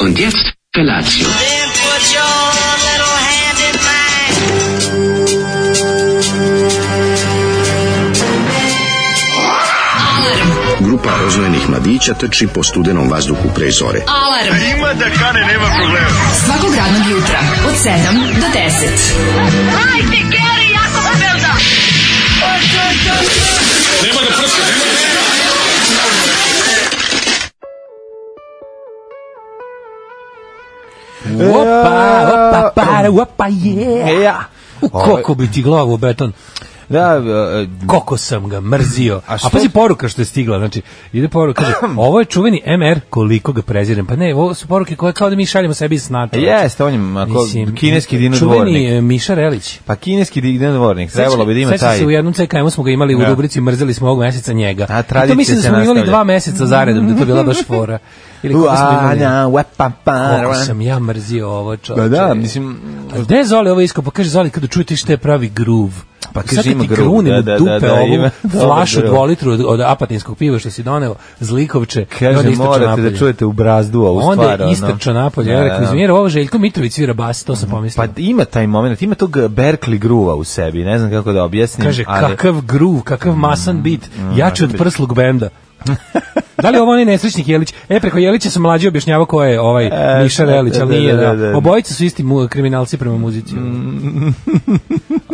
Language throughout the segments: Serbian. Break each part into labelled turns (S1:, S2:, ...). S1: Und jetzt Felatio.
S2: Then put your little hand in mine.
S3: Grupa rozvojenih mladića trči po studenom vazduhu pre zore.
S4: Alarm. A ima da kane, nema problema. Svakog radnog jutra, od 7 do 10.
S5: Opa, opa, para, opa, je.
S6: Ja. Ovaj-
S5: U koliko bi ti glavu u beton.
S6: Da, e, e,
S5: Koliko sam ga mrzio. A,
S6: A što-
S5: pazi poruka što je stigla, znači, ide poruka, kaže, ovo je čuveni MR, koliko ga prezirem. Pa ne, ovo su poruke koje kao da mi šaljemo sebi iz snata. znači.
S6: jeste, on je ako,
S5: Mislim,
S6: kineski
S5: Čuveni
S6: dinodvornik.
S5: e, Miša Relić.
S6: Pa kineski dinodvornik, trebalo bi da ima
S5: Sećaš
S6: taj...
S5: se u jednom CKM smo ga imali u
S6: Da.
S5: rubrici mrzeli smo ovog meseca njega.
S6: A,
S5: I to
S6: tradicija
S5: mislim da
S6: se
S5: smo imali
S6: nastavlja.
S5: dva meseca zaredom, da je to bila baš fora. Ili kako smo imali?
S6: Uana,
S5: pa,
S6: wepa,
S5: Kako
S6: para.
S5: sam ja mrzio ovo čovječe.
S6: Pa da, mislim,
S5: A gde je Zoli ovo iskao? Pa kaže Zoli, kada čujete šta je pravi groove.
S6: Pa
S5: I
S6: kaže,
S5: sad kad
S6: ima
S5: ti
S6: groove,
S5: krunem
S6: da,
S5: u
S6: da,
S5: dupe
S6: da, da,
S5: ovu
S6: ima dobar
S5: flašu
S6: groove.
S5: dvolitru od, od apatinskog piva što si doneo, zlikovče, i onda
S6: kaže,
S5: istrčao
S6: morate
S5: napolje.
S6: da čujete u brazdu ovu stvar.
S5: Onda je
S6: ono.
S5: istrčao napolje.
S6: Da,
S5: Ja rekao,
S6: da.
S5: izvinjera, ovo Željko Mitrović svira bas, to sam pomislio.
S6: Pa ima taj moment, ima tog Berkeley gruva u sebi, ne znam kako da objasnim.
S5: Kaže,
S6: ali- Mm,
S5: kakav groove, kakav masan bit, jači od prslog benda. da li je ovo onaj nesrećnik Jelić? E, preko Jelića sam mlađi objašnjavao ko je ovaj
S6: E,
S5: Miša Relić, ali
S6: da, da,
S5: nije.
S6: da,
S5: Da,
S6: da, Mm. da.
S5: Obojica su isti mu, kriminalci prema muzici.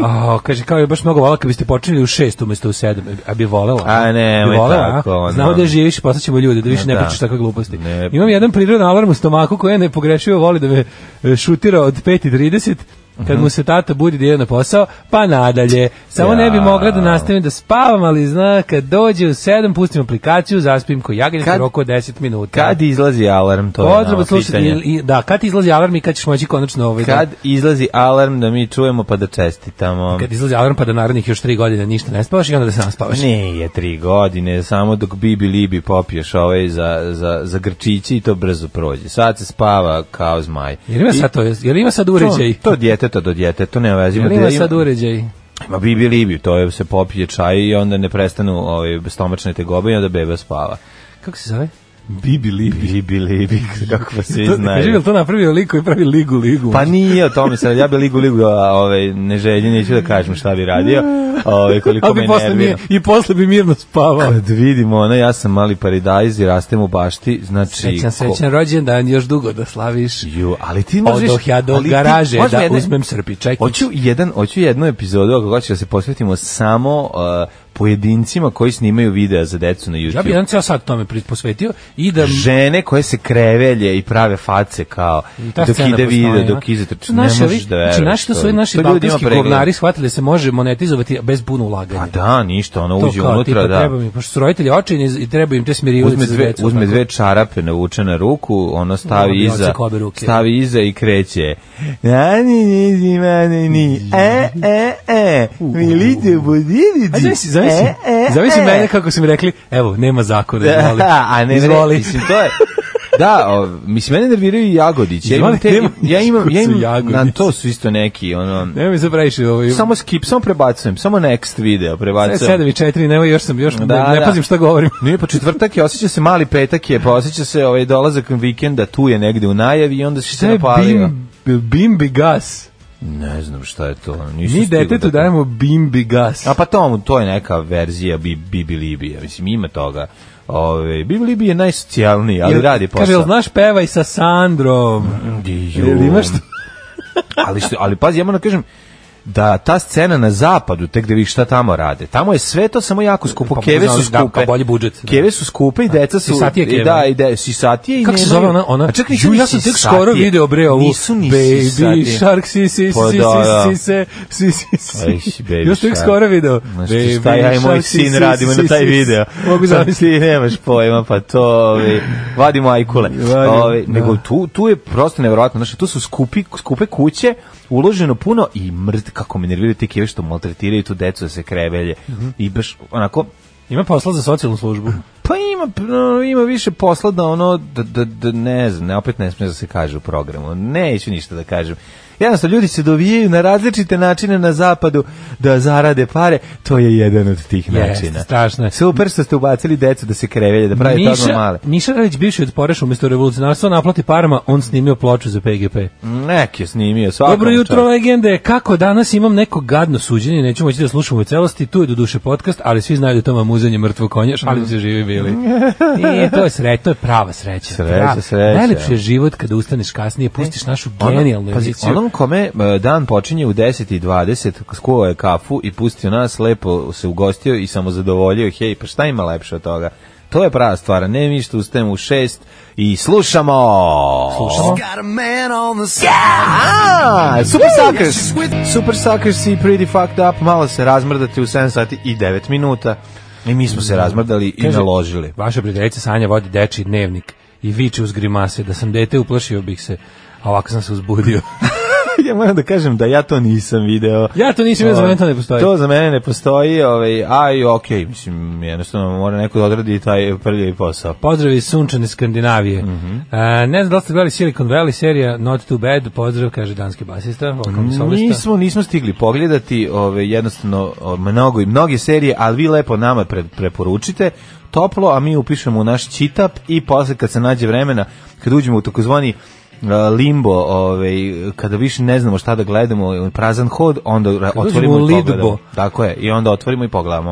S5: A, kaže, kao je baš mnogo vola kad biste počeli u šest umesto u sedam. A bi volela?
S6: A, nemoj
S5: Bi volela,
S6: tako,
S5: a?
S6: ono.
S5: Znamo da živiš i postaćemo ljude, da više ne
S6: Da.
S5: pričaš takve gluposti.
S6: Ne.
S5: Imam jedan prirodan alarm u stomaku koji je nepogrešivo voli da me e, šutira od 5.30
S6: Mhm.
S5: kad mu se tata budi da ide na posao, pa nadalje. Samo ne bi mogla da nastavim da spavam, ali zna kad dođe u 7 pustim aplikaciju, zaspim ko jaganj
S6: Kad-
S5: u roku od 10 minuta.
S6: Kad izlazi alarm, to je
S5: Pozdrav
S6: nama
S5: od slušatelja.
S6: pitanje.
S5: I- i- Da, kad ti izlazi alarm i kad ćeš moći konačno ovaj
S6: Kad
S5: da,
S6: izlazi alarm da mi čujemo pa da čestitamo.
S5: kad izlazi alarm pa da narednih još 3 godine ništa ne spavaš i onda da sam spavaš.
S6: Ne, je tri godine, samo dok bibi libi popiješ ovaj za, za, za grčići i to brzo prođe. Sad se spava kao zmaj.
S5: Jer ima sad to, jer ima sad uređaj.
S6: To, to djeteta do djeteta, to nema veze.
S5: Jer ima sad uređaj.
S6: Ma bibi libi, to je se popije čaj i onda ne prestanu ovaj, stomačne tegobe i onda beba spava.
S5: Kako se zove?
S6: Bibi libi. Bibi libi, kako vas svi
S5: To- Kaži, je
S6: znaju.
S5: li to napravio lik koji pravi ligu ligu?
S6: Pa nije o tome, sad ja bi ligu ligu, a, ovaj, ne želji, neću da kažem šta bi radio, ovaj, koliko
S5: Ali
S6: me
S5: bi posle
S6: nervira.
S5: mi, i posle bi mirno spavao.
S6: Kad vidimo ono, ja sam mali paradajz i rastem u bašti, znači...
S5: Srećan,
S6: ko-
S5: srećan rođendan, još dugo da slaviš.
S6: Ju, ali ti možeš...
S5: Odoh ja do
S6: ali ti-
S5: garaže
S6: možda
S5: da
S6: jedne-
S5: uzmem srpi čekić.
S6: Hoću, jedan, hoću jednu epizodu, ako hoćeš da se posvetimo samo uh, pojedincima koji snimaju videa za decu na YouTube.
S5: Ja bi jedan ceo sat tome pri- posvetio i da...
S6: Žene koje se krevelje i prave face kao
S5: I ta
S6: dok
S5: scena
S6: ide
S5: postoji,
S6: video,
S5: a?
S6: dok izatrči, ne
S5: Naši
S6: možeš
S5: ovi-
S6: da veruješ.
S5: Znači, naši to su ovi naši
S6: To ljudima
S5: balkanski
S6: pregleda.
S5: govnari shvatili da se može monetizovati bez puno ulaganja.
S6: Pa da, ništa, ono
S5: to
S6: uđe
S5: kao,
S6: unutra,
S5: tipa,
S6: da.
S5: treba mi, pošto su roditelji očajni i treba im te smirijulice
S6: uzme
S5: za
S6: dve,
S5: decu,
S6: uzme
S5: tako. da.
S6: dve čarape navuče na ruku, ono stavi
S5: Ono bi
S6: iza,
S5: odsek obe ruke.
S6: stavi iza i kreće. Na ni ni ni ma, ni ni, e e e, milite e, budili
S5: A zavisi, zavisi, zavisi mene kako su mi rekli, evo, nema zakona, izvoli.
S6: A ne, ne,
S5: izvoli.
S6: mislim, to je... Da, o, mislim, mene nerviraju i jagodić. Ja imam,
S5: Izvoli,
S6: te,
S5: nema-
S6: ja imam, ja
S5: Su
S6: imam,
S5: jagodice.
S6: na to su isto neki, ono,
S5: Nemoj mi se previše ovaj,
S6: samo skip, samo prebacujem, samo next video prebacujem.
S5: 7 i 4, nema još sam, još
S6: Da,
S5: ne, ne
S6: da.
S5: pazim šta govorim.
S6: Nije pa četvrtak je, osjeća se mali petak je, pa osjeća se ovaj dolazak vikenda, tu je negde u najavi i onda si se
S5: Šta je
S6: napalio.
S5: bim, bimbi gas?
S6: Ne znam šta je to. Nisam
S5: Mi
S6: stigao
S5: detetu
S6: da-
S5: dajemo bimbi gas.
S6: A pa tomu, to je neka verzija bi, Bibi Libije, mislim ima toga. Ove, Bibi Libije je najsocijalniji, ali
S5: Jel-
S6: radi
S5: Kaže,
S6: posao.
S5: jel znaš pevaj sa Sandrom?
S6: Ju.
S5: Jel imaš to?
S6: ali, što- ali pazi, ja moram da kažem, da ta scena na zapadu, tek da vi šta tamo rade. Tamo je sve to samo jako skupo.
S5: Pa,
S6: keve su
S5: znali, da,
S6: skupe.
S5: kao bolji budžet, da.
S6: Keve su skupe i deca su...
S5: sisatije keve.
S6: i Da, i de, sisatije i
S5: Kako se
S6: nemaju-
S5: zove ona- ona-
S6: A čekaj,
S5: Ju,
S6: nisu
S5: ja
S6: ni
S5: sam tek
S6: sisatije.
S5: skoro video, bre, ovu
S6: Nisu ni
S5: Baby
S6: sisatije.
S5: Shark, si, si,
S6: Pa
S5: si,
S6: da,
S5: si,
S6: da.
S5: si, se, si, si, si.
S6: Ej, baby
S5: Još tek
S6: shark.
S5: skoro video.
S6: Znaš ti šta
S5: Baby
S6: ja i moj
S5: shark, si,
S6: sin
S5: si,
S6: radimo
S5: si,
S6: na taj
S5: si, si.
S6: video.
S5: Mogu
S6: Pa
S5: zamisliti.
S6: Ti nemaš pojma, pa to ovi, vadimo ajkule.
S5: Vadimo,
S6: Ovi,
S5: da.
S6: nego tu, tu je prosto nevjerojatno. Znači, tu su skupi, skupe kuće, uloženo puno i mrt, kako me nerviraju ti
S5: Mhm.
S6: kjeve što maltretiraju tu decu da se krevelje. I baš onako,
S5: Ima posla za socijalnu službu.
S6: Pa ima, no, ima više posla da ono, da, da, da ne znam, ne, opet ne smije da se kaže u programu. Neću ništa da kažem. Jednostavno, ljudi se dovijaju na različite načine na zapadu da zarade pare. To je jedan od tih načina.
S5: strašno je.
S6: Super što ste ubacili decu da se krevelje, da pravi toga male.
S5: Miša Radić, bivši od Poreša umjesto revolucionarstva, naplati parama, on snimio ploču za PGP.
S6: Nek je snimio svakom
S5: Dobro jutro,
S6: čoveku.
S5: legende. Kako danas imam neko gadno suđenje, neću moći da slušam u celosti, tu je do duše podcast, ali svi znaju da je to mamuzanje mrtvo konja, šalim se živi bili. I to je sreća, to je prava sreća.
S6: Sreća,
S5: Prava.
S6: sreća. E,
S5: Najlepši je život kada ustaneš kasnije, pustiš našu
S6: Ono-
S5: genijalnu
S6: pazi,
S5: emisiju.
S6: Onom kome e, dan počinje u 10.20, skuo je kafu i pustio nas, lepo se ugostio i samo zadovoljio, hej, pa šta ima lepše od toga? To je prava stvar, ne mi što ustajemo u 6 i slušamo!
S5: Slušamo.
S6: A, Super Suckers! Super Suckers i Pretty Fucked Up, malo se razmrdate u 7 sati i 9 minuta. I mi smo se razmrdali i
S5: Kaže,
S6: naložili.
S5: Vaša prijateljica Sanja vodi deči dnevnik i viče uz grimase da sam dete uplašio bih se, a ovako sam se uzbudio.
S6: ja moram da kažem da ja to nisam video.
S5: ja to nisam vidio, za mene to ne postoji.
S6: Ovaj, To za mene ne postoji, ovaj, a i okej, mislim, jednostavno mora neko da odradi taj prljavi posao.
S5: Pozdrav iz sunčane Skandinavije.
S6: Mhm.
S5: E, ne znam da li ste gledali Silicon Valley serija Not Too Bad, pozdrav, kaže danski basista, vokalni solista.
S6: Nismo, nismo stigli pogledati ove, jednostavno o, mnogo i mnoge serije, ali vi lepo nama pre, preporučite toplo, a mi upišemo u naš čitap i posle kad se nađe vremena, kad uđemo u takozvani a, limbo, ovaj, kada više ne znamo šta da gledamo, prazan hod, onda ra-
S5: uđemo
S6: otvorimo
S5: u
S6: i
S5: lidbo.
S6: pogledamo. Tako je, i onda otvorimo i pogledamo.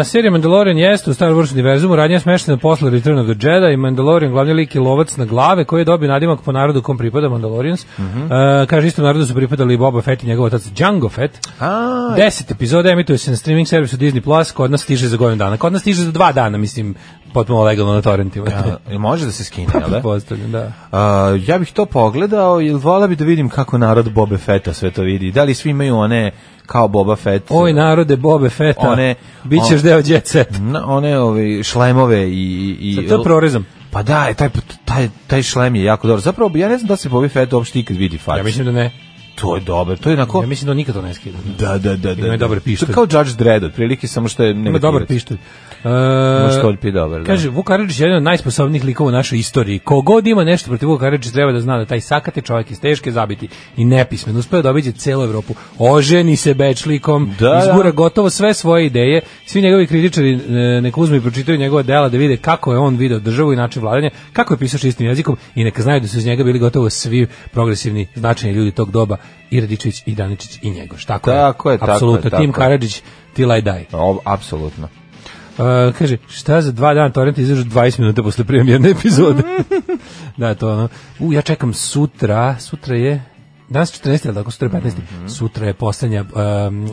S5: E, serija Mandalorian jeste u Star Wars univerzumu, radnja smeštena posle Return of the Jedi i Mandalorian glavni lik je lovac na glave koji je dobio nadimak po narodu kom pripada Mandalorians.
S6: Mhm.
S5: E, kaže istom narodu su pripadali i Boba Fett i njegov otac Django Fett.
S6: A,
S5: Deset epizoda emituje se na streaming servisu Disney Plus, kod nas stiže za godinu dana. Kod nas stiže za dva dana, mislim, potpuno legalno na torrentima.
S6: jel može da se skine, jel da?
S5: Pretpostavljam, da.
S6: A, ja bih to pogledao, jer vola bi da vidim kako narod Boba Fetta sve to vidi. Da li svi imaju one kao Boba Fett?
S5: Oj narode Bobe Feta,
S6: One-
S5: bit ćeš
S6: on-
S5: deo jet set.
S6: Na, one ove, šlemove i... i,
S5: Sad
S6: i
S5: to je prorezam.
S6: Pa da, e, taj, taj, taj šlem je jako dobar. Zapravo, ja ne znam da se Boba Fett uopšte ikad vidi facu.
S5: Ja mislim da ne.
S6: To je dobro, to je onako...
S5: Ja mislim da on nikad to ne skida.
S6: Da, da, da. da
S5: Ima i dobar
S6: da.
S5: pištolj.
S6: To je kao Judge Dredd, otprilike, samo što je negativac.
S5: Ima dobar pištolj. E,
S6: Ima štoljpi dobar, da.
S5: Kaže, Vuk Karadžić je jedan od najsposobnijih likova u našoj istoriji. Kogod ima nešto protiv Vuk Karadžića treba da zna da taj sakate čovjek iz teške zabiti i nepismen. Uspeo da obiđe celu Evropu. Oženi se bečlikom,
S6: Da,
S5: izgura
S6: da.
S5: gotovo sve svoje ideje. Svi njegovi kritičari e, neka uzmu i pročitaju njegova dela da vide kako je on video državu i način vladanja, kako je pisao čistim jezikom i neka znaju da su iz njega bili gotovo svi progresivni značajni ljudi tog doba i Radičić i Daničić i Njegoš. Tako,
S6: Tako je, tako je,
S5: Apsolutno,
S6: tako
S5: Tim
S6: je.
S5: Karadžić, till I die.
S6: O, apsolutno.
S5: Uh, kaže, šta za dva dana torrent izađu 20 minuta posle premijerne epizode. da, to je ono. U, ja čekam sutra, sutra je... Danas 14. ali tako, sutra je 15.
S6: Mhm.
S5: Sutra je poslednja, um,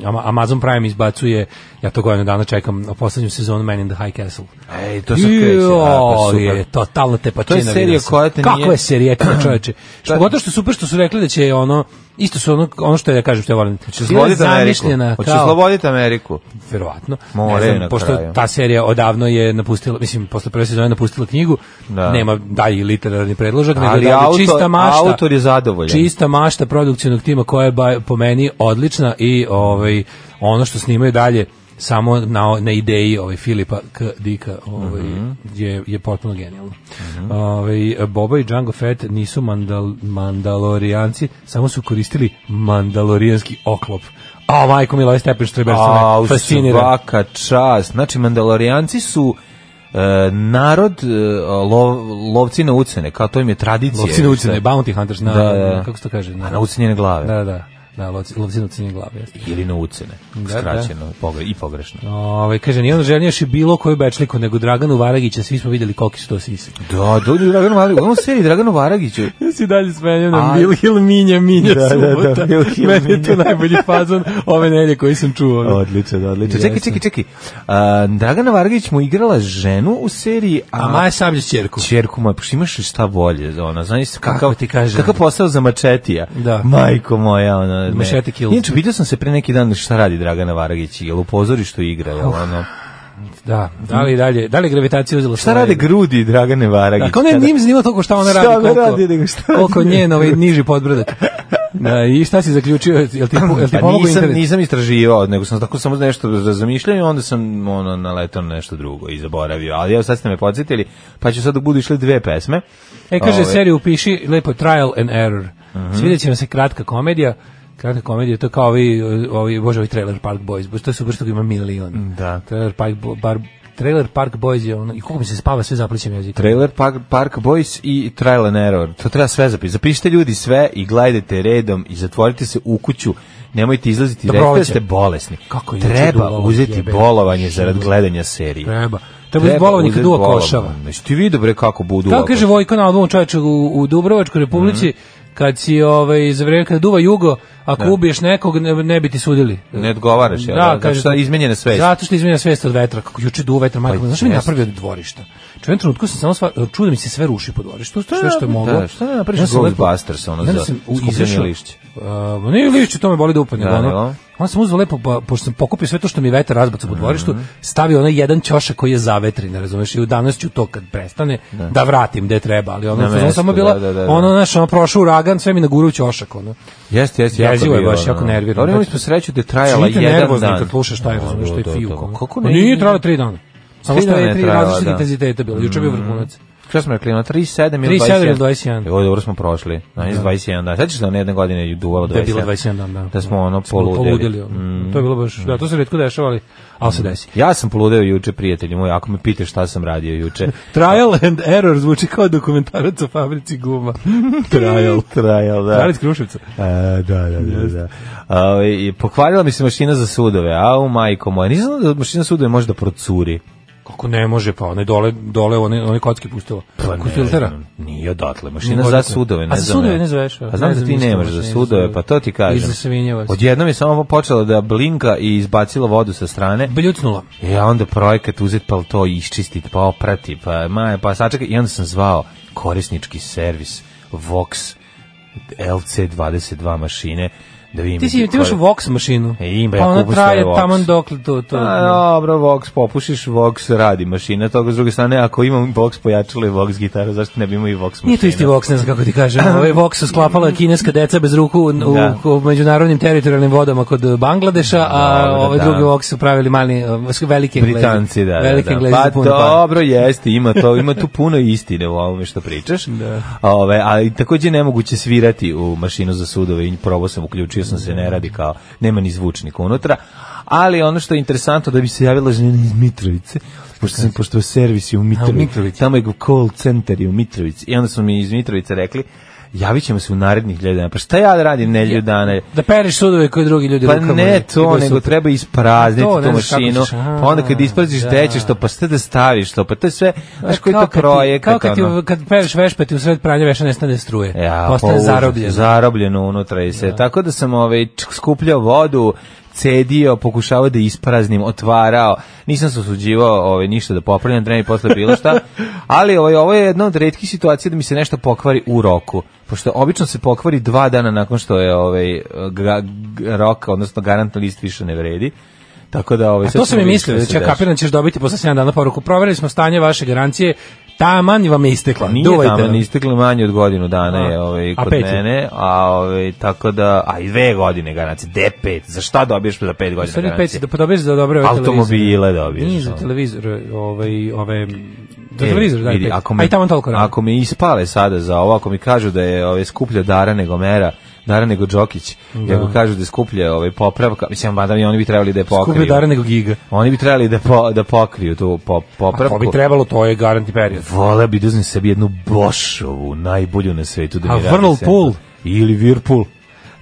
S5: Ama- Amazon Prime izbacuje, ja to godinu dana čekam, poslednju sezonu Man in the High Castle.
S6: Ej, E, to sam kreće. a, pa
S5: Jo,
S6: super.
S5: je, totalno te pačina.
S6: To je serija
S5: vidio sam.
S6: koja te
S5: Kako
S6: nije-
S5: je serijetina, čoveče? Što pogotovo što je super što su rekli da će ono, isto su ono, ono što ja kažem što ja volim.
S6: Hoće sloboditi Ameriku.
S5: zamišljena
S6: Hoće
S5: kao-
S6: sloboditi Ameriku.
S5: verovatno.
S6: Moraju
S5: ne znam,
S6: na
S5: pošto
S6: kraju.
S5: ta serija odavno je napustila, mislim, posle prve sezone je napustila knjigu,
S6: Da.
S5: nema dalji literarni predložak, nego
S6: Ali
S5: je
S6: autor,
S5: čista mašta.
S6: autor je zadovoljan.
S5: Čista mašta produkcionog tima koja je ba- po meni odlična i ovaj ono što snimaju dalje samo na, na ideji ovaj Filipa K. Dika ovaj,
S6: Mhm.
S5: je, je potpuno genijalno. ovaj, Boba i Django Fett nisu mandal, mandalorijanci, samo su koristili mandalorijanski oklop. A, majko mila, ovaj stepen štreber
S6: A,
S5: me
S6: u
S5: fascinira.
S6: svaka čast. Znači, Mandalorijanci su e, narod e, lov, lovci na ucene, kao to im je tradicija.
S5: Lovci na ucjene, bounty hunters, na,
S6: Da, da.
S5: kako se to kaže? Na,
S6: A na ucenjene glave.
S5: Da, da, da, lovci, lovci na ucjene glave, jeste.
S6: Ili na ucene.
S5: da.
S6: Skraćeno pogre, i pogrešno.
S5: Ove, Ovaj, kaže, nije on želio još i bilo koju bečliku, nego Draganu Varagića, svi smo vidjeli koliki su to sisi.
S6: Da, da, da, Draganu Varagiću. Ono seriji Draganu Varagiću.
S5: Ja si dalje smenjam na
S6: Ali-
S5: Vilhil Minja Minja
S6: Da, da, da,
S5: subota.
S6: Vilhil
S5: Meni je to
S6: Minja.
S5: najbolji fazon ove nelje koji sam čuo.
S6: Odlično, da, odlično.
S5: Jeste.
S6: Čekaj, čekaj, čekaj. A, Dragana Varagić mu igrala ženu u seriji, a,
S5: A Maja Sabljić ćerku.
S6: Čerku moja, pošto imaš li šta bolje, ona, znaš kakav,
S5: Kako ti kažem?
S6: kakav posao za mačetija,
S5: Da.
S6: majko moja, ona, ne.
S5: Mačeti kills.
S6: Inače, vidio sam se pre neki dan šta radi Dragana Varagić, jel u pozorištu igra, jel ono,
S5: Da, da li dalje, da li je gravitacija uzela
S6: šta rade grudi Dragane Varagić?
S5: Ako ne,
S6: kada-
S5: nije me zanimalo toliko šta ona radi, da
S6: Šta ona
S5: koliko,
S6: radi, nego šta
S5: koliko
S6: radi?
S5: njen ovaj niži podbrdak. Da, I šta si zaključio? Jel ti, jel ti
S6: Pa
S5: pomogao
S6: nisam,
S5: internet?
S6: nisam istraživao, nego sam tako samo nešto zamišljao i onda sam ono, naletao na nešto drugo i zaboravio. Ali evo sad ste me podsjetili, pa ću sad dok budu išle dve pesme.
S5: E, kaže,
S6: Ove, Mhm.
S5: seriju upiši lepo Trial and Error. Uh će vam se kratka komedija. Kratka komedija, to je kao ovi, ovi, bože, ovi Trailer Park Boys. Bože, to je super što ga ima milion.
S6: Da.
S5: Trailer Park, Bo- bar, Trailer Park Boys je ono, i kako mi se spava sve zaplićem jezik.
S6: Trailer Park, Park Boys i Trial and Error. To treba sve zapisati. Zapišite ljudi sve i gledajte redom i zatvorite se u kuću. Nemojte izlaziti i
S5: Dobro,
S6: recite da
S5: hoće.
S6: ste bolesni.
S5: Kako je juče
S6: treba
S5: duvalo,
S6: uzeti
S5: jebe.
S6: bolovanje zarad gledanja serije.
S5: Treba. Treba uzeti bolovanje kad
S6: uzeti
S5: duva
S6: bolovanje.
S5: košava.
S6: Znači ti vidi bre kako budu.
S5: Kako kaže Vojko na albumu čoveče u, u Dubrovačkoj republici,
S6: Mhm.
S5: kad si ovaj, za vreme kada duva jugo, ako
S6: Da.
S5: ubiješ nekog, ne, ne bi ti sudili.
S6: Ne odgovaraš, jel? Da, kaže, šta, izmenjene svesti.
S5: Zato što je izmenjena svest od vetra, kako juče duva vetar, majko,
S6: Pa,
S5: znaš što mi
S6: jeste.
S5: napravio od dvorišta? Ču jednom trenutku sam samo sva, čuo da mi se sve ruši po dvorištu, sve što je
S6: da,
S5: moglo.
S6: da, šta ne napraviš
S5: Ja sam lepo-
S6: Ghostbusters, ono,
S5: Ja
S6: za
S5: sam u-
S6: skupljanje
S5: izašao-
S6: lišća.
S5: A, ma ne lišće, to me boli da upadne.
S6: Da,
S5: Da,
S6: jel?
S5: ono. Onda sam uzeo lepo, pa, pošto sam pokupio sve to što mi je vetar razbacao po
S6: Mhm.
S5: dvorištu, stavio onaj jedan ćošak koji je zavetrin, ne razumeš, i u danas ću to kad prestane, da, vratim gde treba, ali ono,
S6: Na
S5: fazon
S6: mesto,
S5: samo bila,
S6: da, da, da, da.
S5: ono, znaš, ono, prošao uragan, sve mi nagurao u ćošak, ono.
S6: Jeste, jeste, jako
S5: Jezivo je
S6: bilo,
S5: baš,
S6: ono.
S5: jako nervirno.
S6: Dobro, imali smo sreću da je trajala
S5: Čujete
S6: jedan
S5: nervozni
S6: dan.
S5: kad slušaš taj, razumeš, to je
S6: Da, da,
S5: fijuko.
S6: da.
S5: ono.
S6: Kako
S5: Ma
S6: ne?
S5: Pa Nije trajalo tri dana. Samo
S6: Tri
S5: što
S6: dana je
S5: je tri
S6: trajala,
S5: različite
S6: da. Mm.
S5: intenziteta bilo. Juče je bio vrhunac.
S6: Šta smo rekli, na 37 ili
S5: 37
S6: 21?
S5: ili 21.
S6: Evo, dobro smo prošli. Na da. 21 dan. Sećaš se da na jedne godine je duvalo 21?
S5: Da je bilo 21 dan, da.
S6: Da smo ono Mm.
S5: Smo
S6: poludeli.
S5: ono. To je bilo baš, da, to se retko dešava, ali,
S6: Mm.
S5: ali se desi.
S6: Ja sam poludeo juče, prijatelji moji, ako me pitaš šta sam radio juče.
S5: Trial and error zvuči kao dokumentarac o fabrici guma. Trial.
S6: Trajal, da.
S5: Kraljic Kruševca.
S6: A, da, da, da, da. A, i pokvarila mi se mašina za sudove. Au, majko moja. Nisam znao da mašina za sudove može da procuri.
S5: Kako ne može, pa one dole, dole one, one kocke pustilo. Pa Kako
S6: ne
S5: filtera?
S6: znam, Nije odatle, mašina
S5: Nije
S6: za
S5: odatle.
S6: sudove, ne
S5: A za
S6: znam
S5: sudove
S6: ja.
S5: ne zoveš, a?
S6: A znam
S5: Ne
S6: da
S5: znam
S6: ti
S5: ništa o
S6: nemaš za
S5: mašini za
S6: sudove,
S5: sudove.
S6: pa to ti kažem.
S5: Iza Savinjevac.
S6: Odjednom je samo počela da blinka i izbacila vodu sa strane.
S5: Bljucnula.
S6: I E, onda projekat uzet pa to isčistit, pa oprati, pa maje, pa sačekaj. I onda sam zvao korisnički servis Vox LC22 mašine da vidim.
S5: Ti, si, ti imaš
S6: koje-
S5: Vox mašinu.
S6: E, ima, ja
S5: pa ona
S6: kupim
S5: traje
S6: svoje Pa, Vox.
S5: taman dokle to. to
S6: A, dobro, Vox popušiš, Vox radi mašina, toga s druge strane, ako imam Vox pojačalo i Vox gitaru, zašto ne bi imao i Vox mašina?
S5: Nije to isti Vox, ne znam kako ti kažem. Ovaj Vox su sklapala kineska deca bez ruku u,
S6: Mm. Da.
S5: u, u međunarodnim teritorijalnim vodama kod Bangladeša, a
S6: Dobro,
S5: ove
S6: da.
S5: druge Vox su pravili mali, uh, velike englezi.
S6: Britanci, da, da,
S5: Velike
S6: da.
S5: englezi
S6: Pa
S5: za puno para.
S6: dobro, jeste, ima to, ima tu puno istine u ovome što pričaš.
S5: Da.
S6: Ove, ali takođe je nemoguće svirati u mašinu za sudove i probao sam, uključio sam se,
S5: Da.
S6: ne radi kao, nema ni zvučnika unutra. Ali ono što je interesantno da bi se javila žena iz Mitrovice, pošto sam pošto servis je u Mitrovici,
S5: Mitrovici.
S6: tamo je call center je u Mitrovici i onda su mi iz Mitrovice rekli javit ćemo se u narednih ljeda dana. Pa šta ja da radim nelju dana?
S5: Da pereš sudove koji drugi ljudi
S6: Pa
S5: rukama.
S6: ne
S5: i- i
S6: to,
S5: boju
S6: nego
S5: sutra.
S6: treba isprazniti
S5: To,
S6: tu
S5: ne znaš kako
S6: mašinu,
S5: ćeš, a,
S6: pa onda kad ispraziš
S5: da.
S6: dećeš to, pa šta da staviš to, pa to je sve, znaš koji je
S5: Kao
S6: to
S5: kad ti- Kao
S6: projekat,
S5: kad, ti,
S6: ono.
S5: kad pereš vešpe, ti u sred pranja veša nestane da struje.
S6: Ja,
S5: Postaje
S6: pa užas,
S5: zarobljen.
S6: Zarobljeno unutra i sve. Tako da sam ovaj, čk- skupljao vodu, cedio, pokušavao da ispraznim, otvarao. Nisam se osuđivao ovaj, ništa da popravljam, treba mi posle bilo šta. Ali ovaj, ovo je jedna od redkih situacija da mi se nešto pokvari u roku. Pošto obično se pokvari dva dana nakon što je ovaj, gra, g- rok, odnosno garantna list više ne vredi. Tako da ovaj
S5: A
S6: sad
S5: to sam
S6: ćemo
S5: i
S6: vidjeti
S5: mislio, da
S6: šta se
S5: će
S6: dešava.
S5: kapiran ćeš dobiti posle 7 dana poruku. Proverili smo stanje vaše garancije, taman vam je istekla.
S6: Nije
S5: Duvajte
S6: tamo,
S5: nam.
S6: ni Pa ovaj isteklo manje od godinu dana
S5: A.
S6: je ovaj,
S5: A
S6: kod
S5: pet je?
S6: mene, a ovaj, tako da, a i dve godine garancije, de pet, za šta dobiješ za pet godina
S5: Sve pet
S6: garancije?
S5: da podobiješ za dobre ove
S6: Automobile dobiješ.
S5: Nije za
S6: ono.
S5: televizor, ovaj, ove... Za
S6: E,
S5: televizor, daj
S6: vidi,
S5: pet.
S6: ako
S5: Ako
S6: me,
S5: Aj tamo toliko rano.
S6: Ako me ispale sada za ovo, ako mi kažu da je ovaj, skuplja Dara nego Mera, Dara nego Đokić, i ako kažu da je skuplja ovaj, popravka, mislim, vada oni bi trebali da je pokriju.
S5: Skuplje dare nego giga.
S6: Oni bi trebali da, po, da pokriju tu po,
S5: A
S6: popravku.
S5: to bi trebalo, to je garantni period.
S6: Voleo bi da uzmem sebi jednu Bošovu, najbolju na svetu. Da
S5: A
S6: mi radi
S5: Whirlpool?
S6: sve. Ili Whirlpool.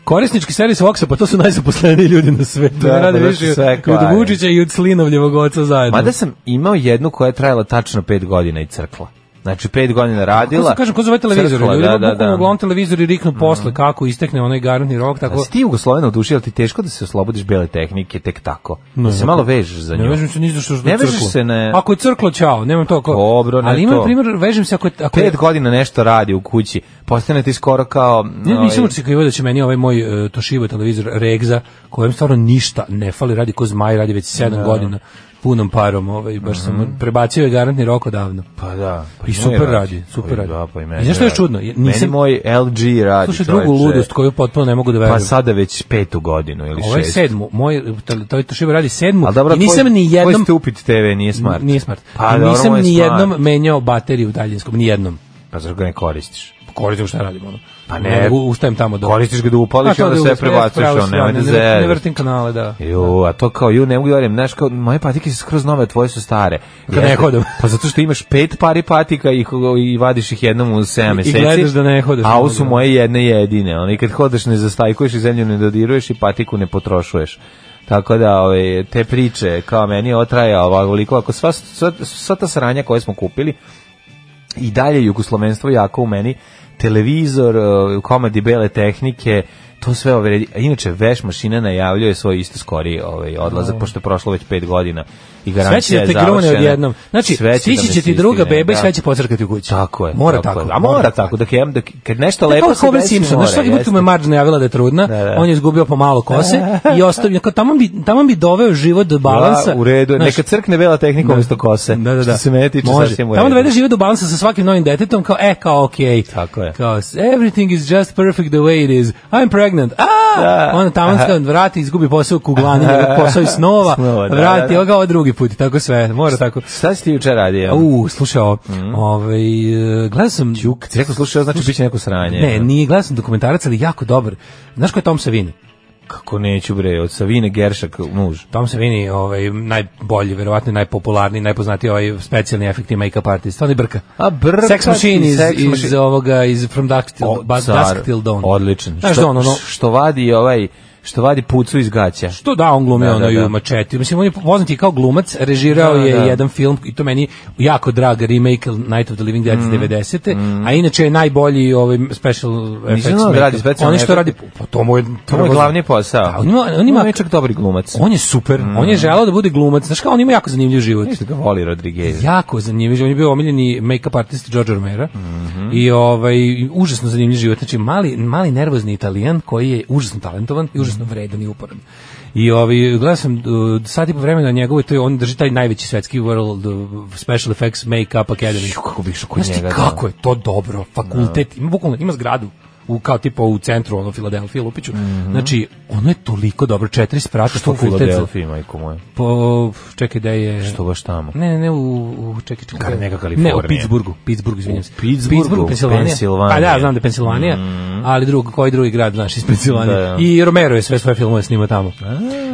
S5: Korisnički servis Voxa, pa to su najzaposleniji ljudi na svetu.
S6: Da,
S5: Da, ne rade
S6: pa da
S5: više
S6: su sve
S5: i od
S6: kvare.
S5: Vučića i od Slinovljevog oca zajedno.
S6: Mada sam imao jednu koja je trajala tačno pet godina i crkla. Znači, pet godina
S5: Kako
S6: radila.
S5: se kažem, ko zove televizor?
S6: crkla,
S5: Ljudi
S6: da, da,
S5: bukvalno
S6: da.
S5: uglavnom televizori riknu posle kako istekne onaj garantni rok,
S6: A
S5: tako...
S6: si ti Jugoslovena u duši, ali ti teško da se oslobodiš bele tehnike tek tako? Da se malo vežeš za nju.
S5: Ne vežem se ni za što što
S6: Ne
S5: je
S6: vežeš
S5: crklo.
S6: se, ne.
S5: Ako je crklo, čao, nemam to ko.
S6: Dobro, ne
S5: Ali imam
S6: to.
S5: na primjer, vežem se ako je ako je
S6: Pet godina nešto radi u kući, postane ti skoro kao...
S5: Ne,
S6: ovaj,
S5: nisam očekivao da će meni ovaj moj e,
S6: Da.
S5: Toshiba televizor Regza, kojem stvarno ništa ne fali, radi ko zmaj, radi već 7 godina. punom parom, ovaj, baš
S6: Mhm.
S5: sam prebacio je garantni rok odavno.
S6: Pa da. Pa
S5: I
S6: moj
S5: super radi, super
S6: Pa i
S5: radi.
S6: Da, pa i meni
S5: I znaš što je
S6: radi.
S5: čudno? Ja
S6: Meni
S5: nisam-
S6: moj LG radi.
S5: Slušaj
S6: čoveče.
S5: drugu ludost Ovaj koju potpuno ne mogu da verujem.
S6: Pa sada već petu godinu ili
S5: Ovo je
S6: šestu.
S5: sedmu, moj, to- to je Toshiba radi sedmu,
S6: Ali dobro,
S5: i nisam
S6: tvoj-
S5: ni
S6: Tvoj
S5: jednom...
S6: stupid TV nije smart.
S5: Nije smart.
S6: Pa,
S5: I
S6: dobro,
S5: nisam
S6: moj je
S5: ni
S6: smart.
S5: jednom menjao bateriju u daljinskom, ni jednom.
S6: Pa zar ga ne koristiš?
S5: Koristim šta radim, ono.
S6: Pa ne.
S5: mogu, ustajem tamo do...
S6: Koristiš ga da
S5: A
S6: upališ i
S5: to
S6: onda
S5: da
S6: sve
S5: uzmem,
S6: prebacuješ,
S5: pravo
S6: on
S5: si, ne
S6: nemoj da
S5: vrtim- Ne
S6: zeri.
S5: vrtim kanale, da.
S6: Jo, a to kao ju ne mogu da verujem, znaš kao moje patike su skroz nove, a tvoje su stare.
S5: Kad ne
S6: Jeste.
S5: hodam.
S6: Pa zato što imaš pet pari patika i, ko- i vadiš ih jednom u 7 meseci.
S5: gledaš da ne hodaš.
S6: A ovo su moje jedne jedine. Oni kad hodaš ne zastajkuješ i zemlju ne dodiruješ i patiku ne potrošuješ. Tako da ove, te priče kao meni ovo traje ovoliko ako sva, sva, sva ta sranja koje smo kupili i dalje jugoslovenstvo jako u meni televizor, e, komadi bele tehnike to sve ove redi- a inače veš mašina najavljuje svoj isto skori ovaj odlazak pošto je prošlo već 5 godina i
S5: Da. Sve će
S6: garancija
S5: da
S6: je
S5: te grune
S6: završena.
S5: odjednom. Znači,
S6: Sve
S5: stići
S6: da me
S5: će ti druga
S6: stigne,
S5: beba i
S6: da.
S5: sve će pocrkati u kući.
S6: Tako je.
S5: Mora tako. E,
S6: je. A mora tako, dok je, dok, kad nešto lepo
S5: Lepo
S6: se
S5: Homer
S6: desi,
S5: Simpson,
S6: mora,
S5: znaš svaki put
S6: jeste.
S5: mu je Marge najavila da je trudna,
S6: Da, da.
S5: on je izgubio pomalo kose i ostavio, kao tamo bi, tamo bi doveo život do balansa.
S6: Da, u redu, je.
S5: Znaš,
S6: neka crkne bela tehnika umjesto kose.
S5: Da, da, da.
S6: Što se mene tiče,
S5: Može.
S6: sasvim u
S5: Tamo da
S6: redu.
S5: dovede život do balansa sa svakim novim detetom, kao, e, kao, okej.
S6: Tako je.
S5: Kao, everything is just perfect the way it is. I'm pregnant. A!
S6: Da.
S5: Onda tamo se vrati, izgubi posao u kuglani, posao iz snova,
S6: Snova, da, da,
S5: vrati,
S6: da.
S5: ovo ga ovo drugi put, i tako sve, mora tako.
S6: Šta si ti juče radio?
S5: U, slušaj, ovo, ovaj, e, gledao sam... Čuk,
S6: Mhm. Ti rekao, slušaj, ovo znači bit će neko sranje.
S5: Ne, nije, gledao sam dokumentarac, ali jako dobar. Znaš ko je Tom Savini?
S6: Kako neću bre, od Savine Geršak, muž.
S5: Tom Savini, ovaj, najbolji, verovatno i najpopularniji, najpoznatiji ovaj specijalni efekti make-up artist, on je brka.
S6: A brka
S5: Sex
S6: ti,
S5: Machine iz,
S6: Sex
S5: iz,
S6: Machine.
S5: ovoga, iz From Dusk Till,
S6: O,
S5: ba,
S6: car.
S5: Dusk Till Dawn.
S6: Odličan.
S5: Znaš
S6: Što-
S5: da on, ono,
S6: Što vadi ovaj, što vadi pucu iz gaća.
S5: što da on glumi
S6: Da, da,
S5: ono i
S6: da.
S5: u mačeti. Mislim, on je poznat i kao glumac, režirao
S6: Da,
S5: je
S6: da.
S5: jedan film i to meni jako drag remake Night of the Living
S6: Mm,
S5: Dead iz 90. A inače je najbolji ovaj special effects.
S6: znao da
S5: make-up.
S6: radi specijalne
S5: Oni što radi,
S6: efekte.
S5: pa to mu je,
S6: To mu je glavni posao.
S5: Da, on ima, on ima,
S6: On je čak dobri glumac.
S5: on je super,
S6: Mm.
S5: on je želao da bude glumac. Znaš kao, on ima jako zanimljiv život.
S6: Što ga voli Rodriguez.
S5: Jako zanimljiv, on je bio omiljeni make-up artist George Romero
S6: Mhm.
S5: i ovaj, užasno zanimljiv život, znači mali, mali nervozni italijan koji je užasno talentovan i
S6: Mhm.
S5: užasno vredan i uporan. I ovaj, gledao sam uh, sat i po vremena njegovoj, to je, on drži taj najveći svetski World uh, Special Effects Make-up Academy.
S6: Ju, kako bi išao kod
S5: Znaš ti
S6: njega. da.
S5: kako je to dobro, fakultet, ima, bukvalno, ima zgradu u kao tipa u centru ono Filadelfije Lupiću. Znači, ono je toliko dobro, četiri sprata
S6: Mhm. Što u
S5: fakultet. za-
S6: Filadelfiji, majko moje.
S5: Po, čekaj da je...
S6: Što baš tamo?
S5: Ne, ne, ne, u, u čekaj, čekaj.
S6: Kar- neka
S5: Ne, u
S6: Kalifornija.
S5: Pittsburghu, Pittsburgh, izvinjam se.
S6: U Pittsburghu,
S5: Pensilvanija.
S6: Pensilvanija. Mhm.
S5: Pa da, znam da je Pensilvanija, ali drugo, koji drugi grad naš iz Pensilvanije.
S6: Da, da.
S5: I Romero je sve svoje filmove snimao tamo.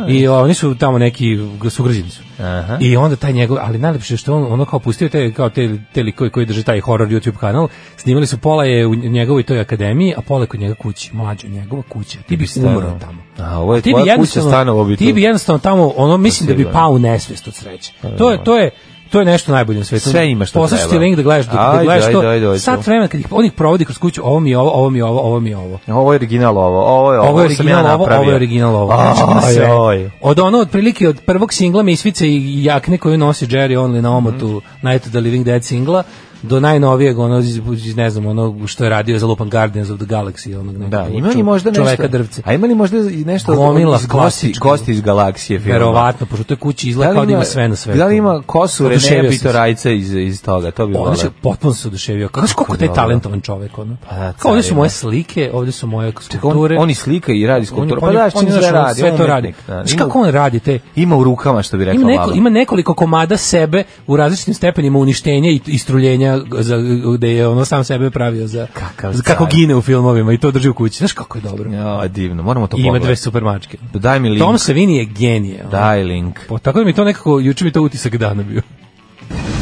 S5: I o, oni su tamo neki sugrađeni su.
S6: Aha.
S5: I onda taj njegov, ali najlepše je što on ono kao pustio te kao te te likove koji drže taj horror YouTube kanal, snimali su pola je u njegovoj toj akademiji, a pola je kod njega kući, mlađa njegova kuća. Ti bi umro
S6: stanovao.
S5: tamo.
S6: A, ovo je
S5: Ti bi
S6: tvoja kuća,
S5: jednostavno-
S6: stanovo bi
S5: Ti
S6: tu.
S5: bi jednostavno tamo, ono mislim da bi
S6: sigurno. Pa da.
S5: pao u nesvest od sreće. To je to je to je nešto najbolje na svetu.
S6: Sve ima što
S5: Poslaću ti
S6: treba.
S5: link da gledaš, da, da
S6: Ajde,
S5: gledaš
S6: ajde,
S5: to.
S6: ajde, ajde.
S5: Sat vremena kad ih on ih provodi kroz kuću, ovo mi je ovo, ovo mi je ovo, ovo mi je ovo.
S6: Ovo je original ovo, ovo je ovo,
S5: Ovo je
S6: sam ja
S5: original ovo,
S6: napravio.
S5: ovo je original ovo. Znači, sve.
S6: Aj, aj.
S5: Od ono, otprilike od prvog singla Misvice i jakne koju nosi Jerry Only na omotu
S6: Mhm.
S5: Night of the Living Dead singla, do najnovijeg, ono, iz, iz, ne znam, ono što je radio za Lupan Guardians of the Galaxy, onog nekog
S6: Da, ima li možda nešto?
S5: čoveka drvce.
S6: A ima li možda i nešto
S5: Gomila
S6: iz gosti,
S5: klasičnih.
S6: gosti iz galaksije filma?
S5: Verovatno, pošto to je kući izgleda kao da ima sve na svetu.
S6: Da li ima kosu Renea
S5: Oduševio sam se.
S6: Bitorajca iz, iz toga? To bi
S5: Ono
S6: volao.
S5: se potpuno se oduševio. Kako
S6: Kako
S5: kako taj
S6: dobro.
S5: talentovan čovjek ono.
S6: Pa da,
S5: Kao ovdje su
S6: carina.
S5: moje slike, ovdje su moje
S6: On,
S5: skulpture.
S6: on i slika i radi
S5: On je-
S6: skulpturu.
S5: on
S6: Pa
S5: je-
S6: da, što
S5: on je,
S6: sve
S5: znaš, on
S6: radi.
S5: sve to
S6: umetnik,
S5: radi.
S6: da.
S5: Znaš
S6: Ima-
S5: kako on radi te
S6: Ima u rukama, što bi rekla
S5: Ima, neko,
S6: Lala.
S5: ima nekoliko komada sebe u različitim stepenima uništenja i istruljenja za, gde je ono sam sebe pravio za,
S6: Kakav
S5: za kako
S6: car.
S5: gine u filmovima i to drži u kući. Znaš kako je dobro?
S6: Ja, Da, divno, moramo to
S5: I ima dve
S6: pogledati.
S5: super mačke.
S6: Daj mi link.
S5: Tom Savini je genije. ono.
S6: Daj link.
S5: Po- tako da mi to nekako, juče mi to utisak dana bio.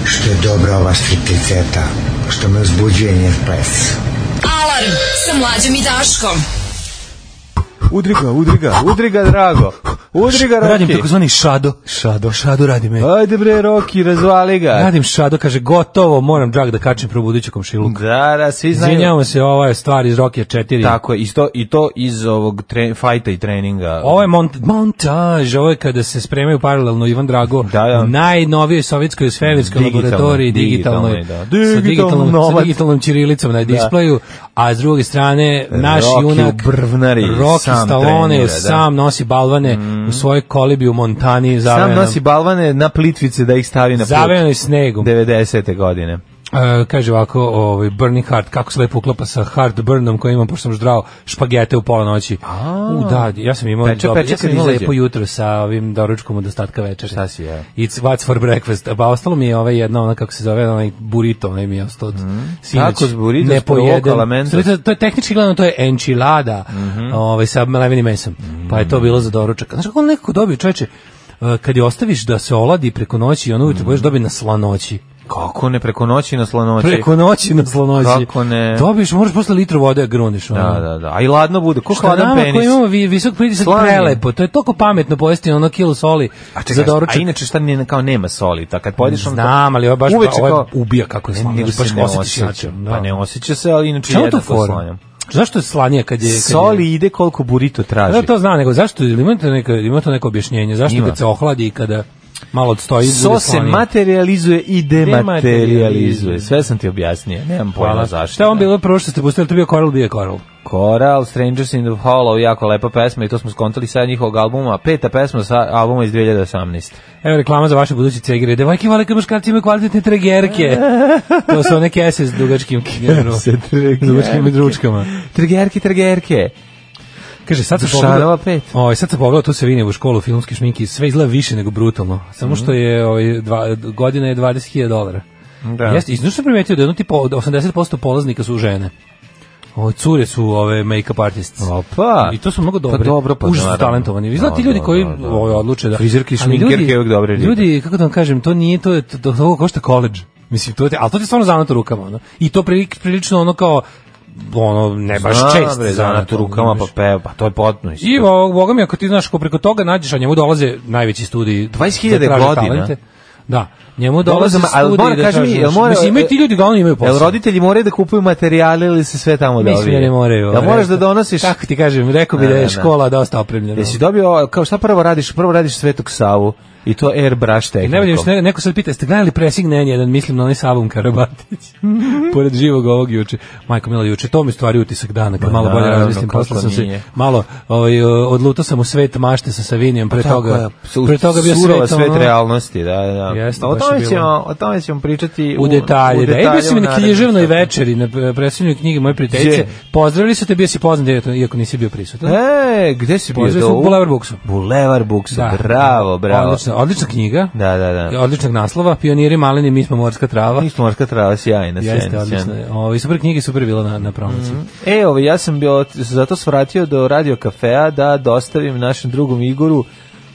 S1: Što je dobra ova stripticeta, što me uzbuđuje njen ples.
S4: Alarm sa mlađom i Daškom.
S6: Udriga, udriga, udriga, drago. Udriga, Roki.
S5: Radim takozvani šado. Šado. Šado radi me.
S6: Ajde bre, Roki, razvali ga.
S5: Radim šado, kaže, gotovo, moram drag da kačem pro buduću komšiluku.
S6: Da, da, svi znaju.
S5: Izvinjavamo se, ova je stvar iz Rokija 4.
S6: Tako je, isto, i to iz ovog tre, fajta i treninga.
S5: Ovo je mont, montaž, ovo je kada se spremaju paralelno Ivan Drago,
S6: Da, da.
S5: u najnovijoj sovjetskoj svemirskoj
S6: Digitalno,
S5: laboratoriji, digitalnoj,
S6: digitalno, da.
S5: sa
S6: Digitalno
S5: digitalnom, sa
S6: novac. Da.
S5: digitalnom čirilicom na displeju, a s druge strane naš
S6: Rocky
S5: junak
S6: u Brvnari
S5: Rocky
S6: sam
S5: Stallone
S6: trenira, da. Mm.
S5: sam nosi balvane u svojoj kolibi u Montani
S6: Sam
S5: zavejanom,
S6: nosi balvane na plitvice da ih stavi na put.
S5: zavejanoj snegom.
S6: 90. godine.
S5: E, kaže ovako, ovaj Burning Heart, kako se lepo uklapa sa Heartburnom koji imam, pošto sam ždrao špagete u pola noći. U, da, ja sam imao,
S6: Peče,
S5: dobro,
S6: peče
S5: ja sam
S6: kad
S5: imao
S6: izađe.
S5: lepo jutro sa ovim doručkom od ostatka večera.
S6: Šta si jeo?
S5: It's what's for breakfast. A ostalo mi je ovaj jedna, ona kako se zove, onaj burrito, onaj mi je ostao od sinoć.
S6: Mhm. Tacos, burrito,
S5: Ne
S6: sprovokala
S5: pojedem.
S6: mentos.
S5: Sorry, To, to je tehnički gledano, to je enchilada
S6: Mhm.
S5: ovaj, sa levenim mesom. Pa je to bilo za doručak. Znaš kako on nekako dobio, čoveče, e, kad je ostaviš da se oladi preko noći i ono
S6: Mhm.
S5: ujutro budeš dobio na slanoći.
S6: Kako ne preko noći na slonoći?
S5: Preko noći na slonoći.
S6: Znači, Kako ne?
S5: Dobiješ, moraš posle litru vode da gruniš. ono.
S6: Da, da, da. A i ladno bude. Ko
S5: Šta
S6: hladan
S5: nama
S6: penis?
S5: koji imamo vi- visok pritisak
S6: Slani.
S5: prelepo. To je toliko pametno pojesti ono kilo soli
S6: A
S5: za
S6: čekaj,
S5: doručak.
S6: a inače šta ne, kao nema soli, ta kad pojedeš on
S5: Znam, ali ovo je baš
S6: Uveče
S5: ovo je
S6: kao-
S5: ubija kako je
S6: Ne,
S5: slano,
S6: nego
S5: baš
S6: se ne
S5: osjetiš
S6: osjeća.
S5: jače, da.
S6: Pa ne osjeća da se, ali inače
S5: Čemu to
S6: jednako
S5: fora?
S6: slanjam.
S5: Zašto je slanije kad je... Kad je-
S6: Soli ide koliko burrito traži.
S5: Da to zna, nego zašto, ili imate neko, ima to neko objašnjenje, zašto
S6: Ima.
S5: kad se ohladi i kada malo odstoji,
S6: So
S5: bude
S6: se
S5: slanije?
S6: materializuje i dematerializuje.
S5: Dematerializuje.
S6: Sve sam ti objasnio. Nemam pojma zašto.
S5: Šta je on bilo prvo što ste pustili, to je bio Coral, bio je Coral.
S6: Coral, Strangers in the Hollow, jako lepa pesma i to smo skontali sa njihovog albuma. Peta pesma sa albuma iz 2018.
S5: Evo reklama za vaše buduće cegire. Devojke vole kad muškarci imaju kvalitetne tregerke. To su one kese s dugačkim kinerom. S dugačkim dručkama.
S6: Tregerke, tregerke.
S5: Kaže, sad se
S6: Dušanova
S5: pogledao...
S6: pet.
S5: Ovaj, sad se pogledao, tu se vinje u školu filmski šminki. Sve izgleda više nego brutalno. Samo što je ovaj, dva, godina je 20.000 dolara.
S6: Da.
S5: Jeste, i znaš što sam primetio da jedno tipa od 80% polaznika su žene. Ovo, cure su ove make-up artists.
S6: Opa.
S5: I to su mnogo dobre.
S6: Pa dobro, pa
S5: Užasno
S6: naravno.
S5: talentovani. Vi znate
S6: Da,
S5: ljudi
S6: da,
S5: koji
S6: da, da.
S5: ovaj, odluče da...
S6: Frizerke i
S5: Ali
S6: šminkerke
S5: ljudi-
S6: uvek dobre ribe.
S5: Ljudi, kako da vam kažem, to nije, to je, to, to, to košta koleđ. Mislim, to te, ali to ti je stvarno zanat u rukama. Ono. I to prilično, prilično ono kao ono, ne baš
S6: Zna,
S5: čest
S6: bre,
S5: zanat,
S6: zanat u
S5: ono,
S6: rukama,
S5: znaš.
S6: pa peva, pa to je potpuno. isto.
S5: I bo- boga mi, ako ti znaš, ko preko toga nađeš, a njemu dolaze najveći studiji.
S6: 20.000
S5: da traže
S6: godina.
S5: talente. Da, njemu dolaze
S6: Dolaze, ali
S5: studiji
S6: mora,
S5: da
S6: kaži mi,
S5: traže-
S6: jel mora-
S5: Mislim, imaju ti ljudi, da uglavnom imaju posao.
S6: Jel roditelji moraju da kupuju materijale ili se sve tamo dobije?
S5: Mislim da ne moraju.
S6: Jel moraš
S5: Rekao-
S6: da donosiš?
S5: Kako ti kažem, rekao bi
S6: Da,
S5: da
S6: da,
S5: je
S6: da.
S5: škola dosta opremljena.
S6: Jesi dobio, kao šta prvo radiš? Prvo radiš Svetog Savu i to airbrush
S5: I
S6: tehnikom.
S5: najbolje još ne, neko sad pita, ste gledali pressing Nenja jedan, mislim na onaj Savom Karabatić,
S6: Mhm.
S5: pored živog ovog juče. Majko Mila juče, to mi je stvari utisak dana, kad malo bolje
S6: naravno,
S5: razmislim,
S6: kako
S5: posle sam se
S6: nije.
S5: malo, ovaj, odluto sam u svet mašte sa Savinijom,
S6: Pa
S5: pre toga, pre toga bio
S6: surova
S5: svet,
S6: svet
S5: ono,
S6: realnosti, da, da.
S5: Jeste,
S6: o,
S5: baš je
S6: tome
S5: bilo.
S6: ćemo, o tome ćemo pričati
S5: u detalje. da, e, bio si mi
S6: u
S5: na
S6: narednom
S5: književnoj
S6: satu.
S5: večeri, na predstavljanju knjige moje prijateljice.
S6: Je.
S5: Pozdravili su te, bio si poznat, iako nisi bio prisutan.
S6: E, gde si bio?
S5: Pozdravili
S6: Do-
S5: smo u Bulevar Buksu.
S6: Bulevar Buksu,
S5: Da.
S6: bravo, bravo.
S5: Odlična, odlična knjiga.
S6: Da, da, da.
S5: Odličnog naslova, Pioniri maleni, mi smo morska trava.
S6: Nismo morska trava, sjajna, sjajna.
S5: Jeste, odlično.
S6: sjajna.
S5: Ovi super knjige super bila na na promociji.
S6: E, ovaj, ja sam bio, zato svratio do radio kafea da dostavim našem drugom Igoru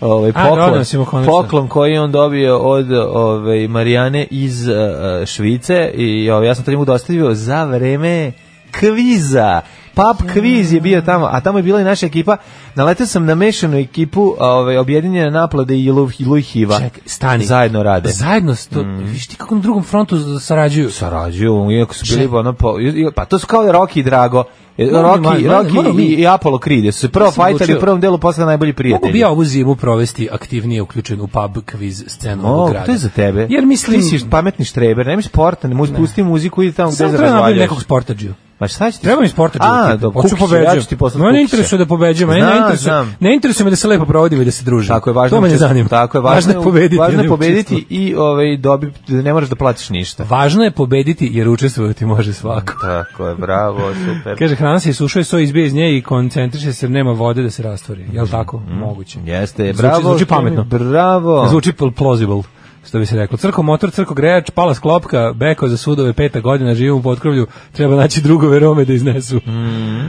S6: ovaj,
S5: A,
S6: poklon,
S5: donosimo konačno.
S6: poklon koji je on dobio od ovaj, Marijane iz eh, eh, Švice i ovaj, ja sam to njemu dostavio za vreme kviza. Pub kviz je bio tamo, a tamo je bila i naša ekipa. Naletio sam na mešanu ekipu ovaj, objedinjene naplade i Luj, Luj Hiva.
S5: Ček, stani.
S6: Pa, Zajedno rade. Mhm.
S5: Zajedno sto, viš ti kako na drugom frontu z- sarađuju.
S6: Sarađuju, iako su bili
S5: Ček.
S6: ono po, i- i- pa to su kao Rocky i Drago. E,
S5: Moram i
S6: Rocky,
S5: manje,
S6: Rocky
S5: moram
S6: i,
S5: i-
S6: i Apollo Creed jer su se prvo
S5: Nisam
S6: fajtali u
S5: odlučio.
S6: prvom delu, posle najbolji
S5: Mogu
S6: prijatelji.
S5: bi ja ovu zimu provesti aktivnije uključen u pub quiz scenu ovog
S6: O,
S5: grada.
S6: to je za tebe.
S5: Jer mislim...
S6: Ti si pametni štreber, nemaš sporta, ne možeš pusti muziku, idi tamo gde
S5: Samo
S6: se
S5: treba napraviti
S6: razvaljaš.
S5: nekog sportađiju.
S6: Ma šta ćeš?
S5: Treba mi sportađiju.
S6: A,
S5: ekipu.
S6: do,
S5: Hoću pobeđujem.
S6: Ja ću ti poslati
S5: Mene
S6: kukiće.
S5: interesuje da pobeđujem. Mene ne
S6: Znam,
S5: interesuje,
S6: znam.
S5: ne interesuje me da se lepo provodimo i da se družimo.
S6: Tako je važno.
S5: To me ne
S6: učest-
S5: zanima.
S6: Tako je
S5: važno je pobediti.
S6: Važno je
S5: ne
S6: pobediti
S5: učestvovati.
S6: i ovaj dobi ne moraš da platiš ništa.
S5: Važno je pobediti jer učestvovati može svako.
S6: Tako je, bravo, super.
S5: Kaže, hrana se isušuje, so izbije iz nje i koncentriše se, jer nema vode da se rastvori. Jel tako? Moguće.
S6: Jeste,
S5: Zvuči-
S6: bravo.
S5: Zvuči
S6: što mi-
S5: pametno.
S6: Bravo.
S5: Zvuči pl- plausible što bi se reklo. Crko motor, crko grejač, pala sklopka, beko za sudove, peta godina, živimo u potkrovlju, treba naći drugove Rome da iznesu.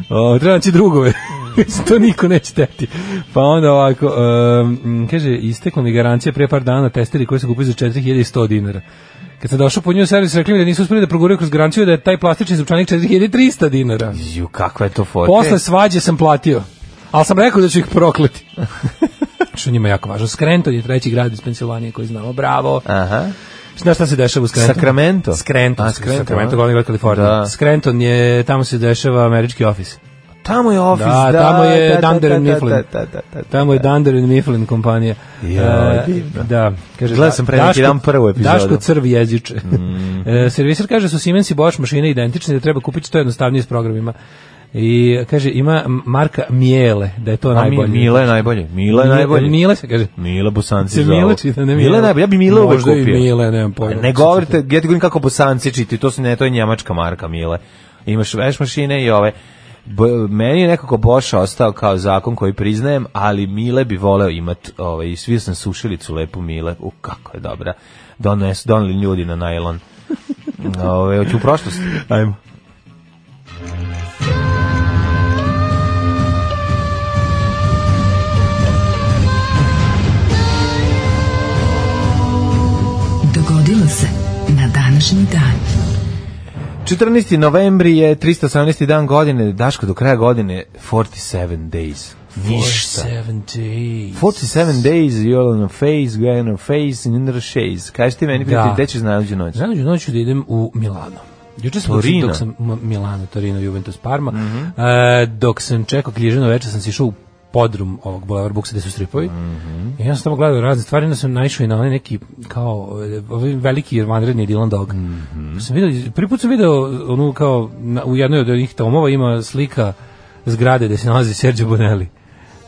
S5: O, treba naći drugove. to niko neće teti. Pa onda ovako, um, kaže, istekla mi garancija pre par dana testeri koji su kupili za 4100 dinara. Kad sam došao po nju u servis, rekli mi da nisu uspeli da proguraju kroz garanciju da je taj plastični zupčanik 4300 dinara.
S6: Ju, kakva je to fotka.
S5: Posle svađe sam platio. Ali sam rekao da ću ih prokleti. što njima je jako važno. Scranton je treći grad iz Pensilvanije koji znamo. Bravo.
S6: Aha.
S5: Znaš šta se dešava u Scrantonu?
S6: Sacramento?
S5: Scranton.
S6: A,
S5: A,
S6: Scranton,
S5: Scranton.
S6: a?
S5: Scranton, glavni grad Kalifornije.
S6: Da.
S5: Scranton je, tamo se dešava američki ofis.
S6: Tamo je Office,
S5: Da,
S6: da,
S5: tamo je
S6: da, da,
S5: Dunder
S6: da,
S5: and
S6: da,
S5: Mifflin.
S6: da, da, da, da,
S5: Tamo je Dunder and Mifflin kompanija.
S6: Joj,
S5: E,
S6: divno.
S5: Da. Kaže,
S6: Gledao sam pre neki
S5: Daško-
S6: dan prvu epizodu. Mm.
S5: Daško crv jeziče. E, servisar kaže su Siemens i Bosch mašine identične, da treba kupiti što jednostavnije s programima. I kaže, ima marka Mijele, da je to
S6: A mi,
S5: najbolje.
S6: Mila je najbolje. Mila je
S5: Mile-
S6: najbolje.
S5: Mile se kaže.
S6: Mila Bosanci
S5: Se
S6: zovu.
S5: Mile čita, ne Mile. da.
S6: Mila je najbolje. Ja bi Mila uvek
S5: Možda
S6: kupio. Pa
S5: i Mile, nemam pojma.
S6: Ne govorite, ja ti govorim kako Bosanci čiti, to su ne, to je njemačka marka Mile. Imaš veš mašine i ove. B, meni je nekako Bosch ostao kao zakon koji priznajem, ali Mile bi voleo imat, ovaj, i svi sam sušilicu lepu Mile, u kako je dobra. Dones, doneli ljudi na najlon. Ove, hoću u prošlost. Ajmo.
S4: Dogodilo se na današnji dan.
S6: 14. novembri je 318. dan godine, Daško, do kraja godine 47 days. Ništa.
S5: 47
S6: 47 days, you're on a face, we're on a face, and in the shades. Kaži ti meni,
S5: Da.
S6: da. gde ćeš nađu noć?
S5: Znam da noću da idem u Milano. Juče sam
S6: Torino. Mhm.
S5: dok sam M- Milano, Torino, Juventus, Parma. E, dok sam čekao kljižano večer sam se išao u podrum ovog Boulevard Buksa gde su stripovi.
S6: Mhm.
S5: I ja sam tamo gledao razne stvari, onda sam naišao i na onaj neki kao e, ovaj veliki vanredni Dylan Dog.
S6: Mhm.
S5: Sam video, prvi put sam video onu kao na, u jednoj od onih tomova ima slika zgrade gde se nalazi Sergio Bonelli.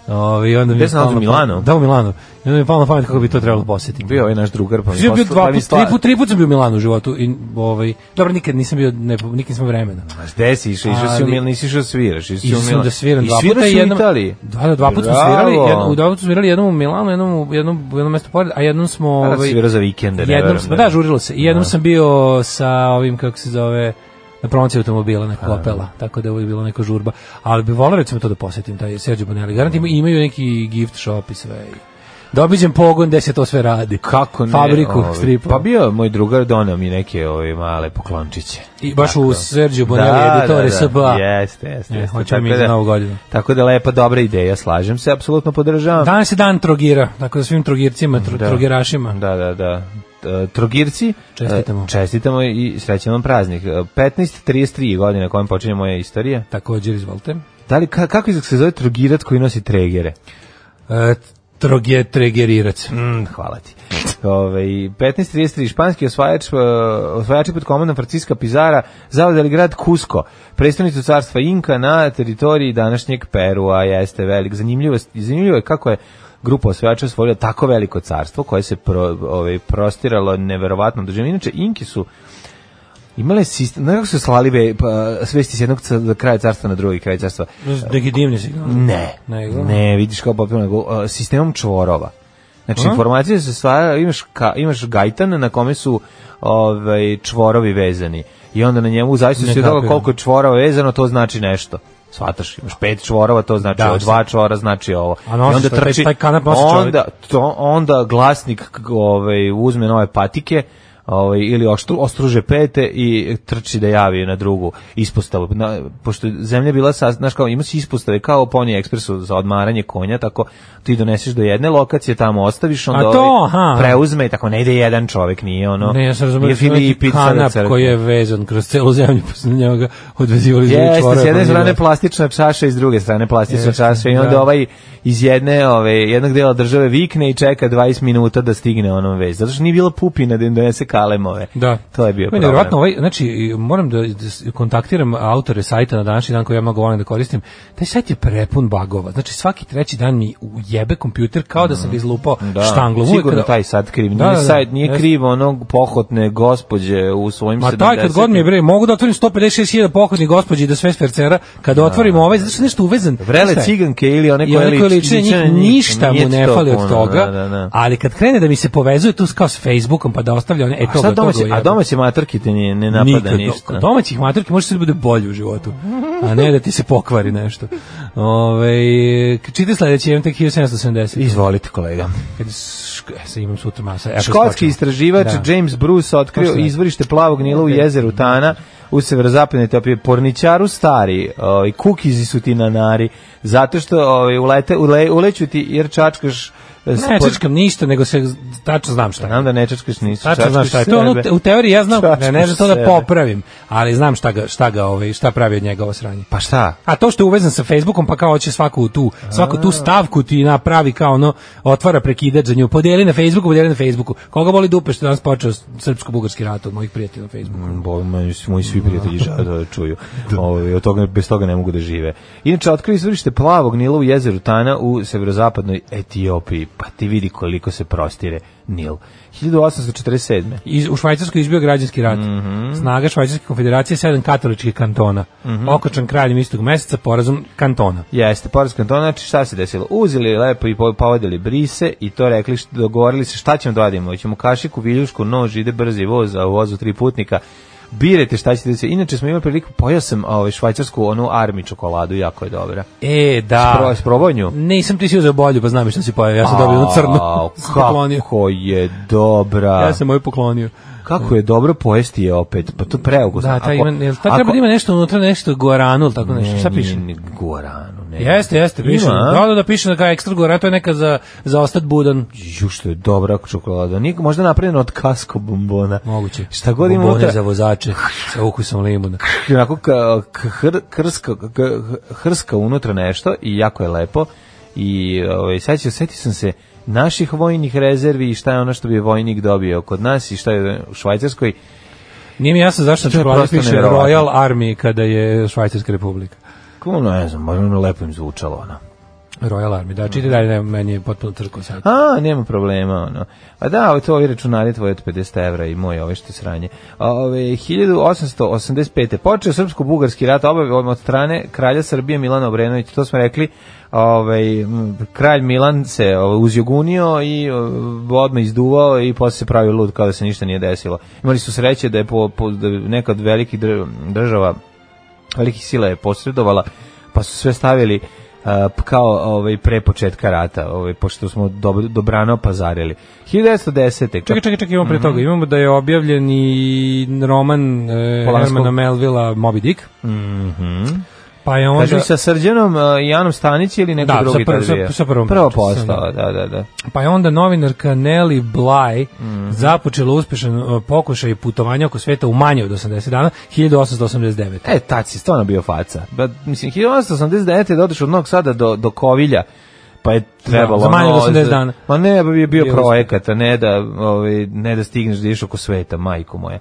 S5: Ove, i onda mi
S6: Gde
S5: je
S6: se nalazi,
S5: palo na
S6: u
S5: pamet-
S6: Milanu?
S5: Da, u Milanu. I onda mi je palo na pamet kako bi to trebalo posjetiti.
S6: Bio je naš drugar, pa mi
S5: Znači, Ja bio
S6: poslao- pa
S5: dva
S6: mi
S5: put, tri
S6: sla-
S5: put, tri put sam bio u Milanu u životu i ovaj dobro nikad nisam bio ne, nikad nisam imao vremena.
S6: Znaš, Gde si išao? Išao si u
S5: Ali-
S6: Milan, nisi išao da sviraš. Išao si
S5: Išao
S6: u
S5: sam
S6: Milan.
S5: da sviram
S6: I
S5: dva
S6: sviraš
S5: puta
S6: u
S5: jednom.
S6: Italiji?
S5: Da, da, dva puta smo
S6: Bravo.
S5: svirali, jednom, u dva puta smo svirali jednom u Milanu, jednom u jednom u jednom mestu pored, a jednom smo
S6: A da si
S5: ovaj
S6: svirao za vikende, ne
S5: jednom
S6: verujem
S5: smo,
S6: da
S5: da,
S6: ne.
S5: žurilo se. I jednom sam bio sa ovim kako se zove na promociji automobila na Opela, tako da je uvijek bilo neka žurba. Ali bi volao recimo to da posjetim, taj Sergio Bonelli. Garant ima- imaju neki gift shop i sve. Da obiđem pogon gde se to sve radi.
S6: Kako ne?
S5: Fabriku,
S6: ovaj,
S5: stripa.
S6: Pa bio je moj drugar, donao mi neke ove male poklončiće.
S5: I baš u
S6: Da,
S5: Sergio Bonelli editore SBA.
S6: Jeste, jeste.
S5: E,
S6: jeste.
S5: hoćemo
S6: Tako
S5: mi za
S6: da-
S5: Novu godinu. Da,
S6: Tako da lepa, dobra ideja, slažem se, apsolutno podržavam.
S5: Danas je dan trogira, tako da svim trogircima, tro,
S6: Da.
S5: trogirašima.
S6: Da, da, da. E, Trogirci,
S5: Čestitamo.
S6: e, čestitamo i srećan vam praznik. E, 15.33 godine kojom počinje moja istorija.
S5: Također, izvolite.
S6: Da li, ka- kako izgleda se zove trogirac koji nosi tregere?
S5: E, troge, tregerirac.
S6: Mm, hvala ti. Ovaj, Ove, 15.33, španski osvajač, e, osvajači pod komandom Franciska Pizara zavodali grad Kusko, predstavnicu carstva Inka na teritoriji današnjeg Perua, jeste velik. Zanimljivo, zanimljivo je kako je grupa osvajača osvojila tako veliko carstvo koje se pro, ovaj, prostiralo neverovatno dužinu. Inače, Inki su Imale sistem, znaš kako su slali ve, pa, svesti s jednog ca- kraja carstva na drugi kraj carstva?
S5: Neki divni signal.
S6: Ne.
S5: da. Nego?
S6: Ne, vidiš kao popio nego uh, sistemom čvorova. Znači
S5: A?
S6: informacije se stvara, imaš ka, imaš gajtan na kome su ovaj čvorovi vezani. I onda na njemu u zavisnosti
S5: Ne
S6: od toga
S5: kapiram.
S6: koliko je čvorova vezano, to znači nešto. Svataš, imaš pet čvorova, to znači
S5: Da,
S6: ovo, dva čvora znači ovo.
S5: A nosiš to, taj- taj kanap nosi čovjek.
S6: onda, da to, onda glasnik k- ovaj, uzme nove patike, ovaj, ili oštru, ostruže pete i trči da javi na drugu ispostavu. Na, pošto je zemlja bila, sa, znaš kao, imaš ispostave kao Pony Expressu za odmaranje konja, tako ti doneseš do jedne lokacije, tamo ostaviš, onda
S5: A to,
S6: ovaj
S5: aha.
S6: preuzme i tako, ne ide jedan čovek, nije ono.
S5: Ne, ja sam razumio
S6: nije
S5: da su neki
S6: Filipica na
S5: kanap
S6: crkvi.
S5: koji je vezan kroz celu zemlju, pa su na njega ga odvezivali za
S6: Jeste,
S5: čvorove,
S6: s jedne
S5: pa
S6: strane
S5: njega-
S6: plastična čaša i s druge strane plastična
S5: Jeste,
S6: čaša i onda
S5: da.
S6: ovaj iz jedne, ove, jednog dela države vikne i čeka 20 minuta da stigne onom vez. Zato što nije bilo pupina da im donese kalemove.
S5: Da.
S6: To je bio
S5: Meni
S6: problem.
S5: nevjerojatno ovaj, znači, i moram da, da s- kontaktiram autore sajta na današnji dan koji ja mnogo volim da koristim. Taj sajt je prepun bagova. Znači, svaki treći dan mi ujebe kompjuter kao da sam ga izlupao
S6: Da,
S5: štanglom. Uvek
S6: sigurno
S5: kada-
S6: taj sad kriv. Nije,
S5: Da, da, da,
S6: sad, nije
S5: jeste.
S6: kriv onog pohotne gospođe u svojim
S5: Ma
S6: 70.
S5: Pa taj kad god mi je bre, mogu da otvorim 156.000 pohodnih gospođi i da sve sfercera, kada otvorim ovaj, zato što je nešto uvezan.
S6: Vrele
S5: Šta je?
S6: ciganke ili one
S5: I
S6: koje
S5: one koje
S6: liči-
S5: liče na
S6: liče na
S5: njih,
S6: njih,
S5: ništa
S6: nije
S5: mu ne
S6: to
S5: fali od
S6: puno,
S5: toga,
S6: da, da, da.
S5: ali kad krene da mi se povezuje tu kao s Facebookom, pa da ostavlja one, e
S6: A
S5: to
S6: šta
S5: ga,
S6: domaći,
S5: to
S6: a domaći matrki te ne, ne napada ništa.
S5: Kod domaćih maturki može se da bude bolje u životu, a ne da ti se pokvari nešto. Ove, čite sledeći, imam tek 1770.
S6: Izvolite kolega.
S5: Kad šk- e, sad imam sutra masa. jako
S6: Škotski
S5: skočimo.
S6: istraživač
S5: Da.
S6: James Bruce otkrio
S5: Možda ne.
S6: izvorište plavog nila u jezeru Tana u severozapadnoj Etiopiji. Porničaru stari, ovaj, kukizi su ti na nari, zato što ovaj, ulete, ule, uleću ti jer čačkaš
S5: Ne čačkam ništa, nego se tačno znam šta.
S6: Znam da ne čačkaš ništa.
S5: Tačno znam šta je. To ono, te- u teoriji ja znam, ne, ne znam to da popravim, ali znam šta, ga, šta, ga, ovaj, šta pravi od njega ovo sranje.
S6: Pa šta?
S5: A to što je uvezan sa Facebookom, pa kao hoće svaku tu, svaku tu stavku ti napravi kao ono, otvara prekidač za nju, podeli na Facebooku, podeli na Facebooku. Koga boli dupe što je danas počeo srpsko-bugarski rat od mojih prijatelja na Facebooku?
S6: Mm, Bo, moji, moji svi prijatelji žele da čuju. Ove, od toga, bez toga ne mogu da žive. Inače, otkrili izvorište plavog Nila u jezeru Tana u severozapadnoj Etiopiji. Pa ti vidi koliko se prostire Nil. 1847.
S5: Iz, u Švajcarskoj je izbio građanski rat. Snaga Švajcarske konfederacije, sedam katoličkih kantona. Okočan kraljem istog meseca, porazum kantona.
S6: Jeste, Poros kantona, znači šta se desilo? Uzeli lepo i po- povadili brise i to rekli, što- dogovorili se šta ćemo da radimo, hoćemo kašiku, viljušku, nož, ide brzi voz, a u vozu tri putnika, birajte šta ćete da se... Inače smo imali priliku, pojao sam ovaj, švajcarsku onu armi čokoladu, jako je dobra.
S5: E,
S6: Pro,
S5: da.
S6: probao nju?
S5: Nisam ti si uzeo bolju, pa znam i šta si pojao. Ja sam dobio onu crnu.
S6: Au,
S5: Sam poklonio.
S6: Kako je dobra.
S5: Ja sam moju poklonio.
S6: Kako je dobro pojesti je opet, pa to preukusno.
S5: Da, ta
S6: Ako-
S5: ima, jel, ta
S6: ako-
S5: treba da ima nešto unutra, nešto guaranu ili tako nešto.
S6: Ne,
S5: Šta
S6: nije
S5: piše?
S6: ni guaranu, ne.
S5: Jeste, jeste, piše.
S6: Ima, a?
S5: Da, da, da, piše da kao ekstra guarana, to je neka za, za ostat budan.
S6: Ju što je dobra čokolada. Nije možda napravljena od kasko bombona.
S5: Moguće.
S6: Šta god ima
S5: Bombone
S6: unutra.
S5: za vozače sa ukusom limuna.
S6: Onako ka, k- hr- krska, k- h- hrska unutra nešto i jako je lepo. I ovaj, sad ću, setio sam se naših vojnih rezervi i šta je ono što bi vojnik dobio kod nas i šta je u Švajcarskoj.
S5: Nije mi jasno zašto
S6: To je
S5: čokolada
S6: prosto
S5: piše
S6: neverovatno.
S5: Royal Army kada je Švajcarska republika.
S6: Kako ono, ne znam, možda mi lepo im zvučalo ono.
S5: Royal Army, da, čite dalje, ne, meni je potpuno crko sad.
S6: A, nema problema, ono. A da, ovo to ovi računari tvoje od 50 evra i moje ove što sranje. Ove, 1885. Počeo srpsko-bugarski rat obavljom od strane kralja Srbije Milana Obrenovića, to smo rekli, ovaj, m, kralj Milan se ovaj, uzjogunio i ovaj, odmah izduvao i posle se pravio lud kao da se ništa nije desilo. Imali su sreće da je po, po, da je neka od velikih dr- država velikih sila je posredovala, pa su sve stavili uh, p- kao ovaj, pre početka rata, ovaj, pošto smo dob dobrano pazarili. 1910.
S5: Čekaj, čekaj, čekaj,
S6: Mhm.
S5: imamo pre toga. Imamo da je objavljen i roman e,
S6: Polanskog.
S5: Hermana Melvila Moby Dick. Pa je
S6: Kaži
S5: onda,
S6: mi Mhm. sa Srđanom uh, i Janom Stanić ili neko
S5: Da,
S6: drugi?
S5: sa prv-
S6: tad
S5: sa-
S6: bio?
S5: sa prvom
S6: Prvo
S5: pričom, sa-
S6: postao, da, da, da.
S5: pa je onda novinarka Nelly Bly
S6: Mhm.
S5: započela uspešan e, pokušaj putovanja oko sveta u manje od 80 dana, 1889.
S6: E, tad si stvarno bio faca. Ba, mislim, 1889. je dotiš od Novog Sada do, do Kovilja, pa je trebalo...
S5: Da, za manje od
S6: ono,
S5: 80 dana.
S6: Ma ne, bi je bio,
S5: Bio
S6: projekat, a ne da, ovaj, ne da stigneš da ideš oko sveta, majko moja.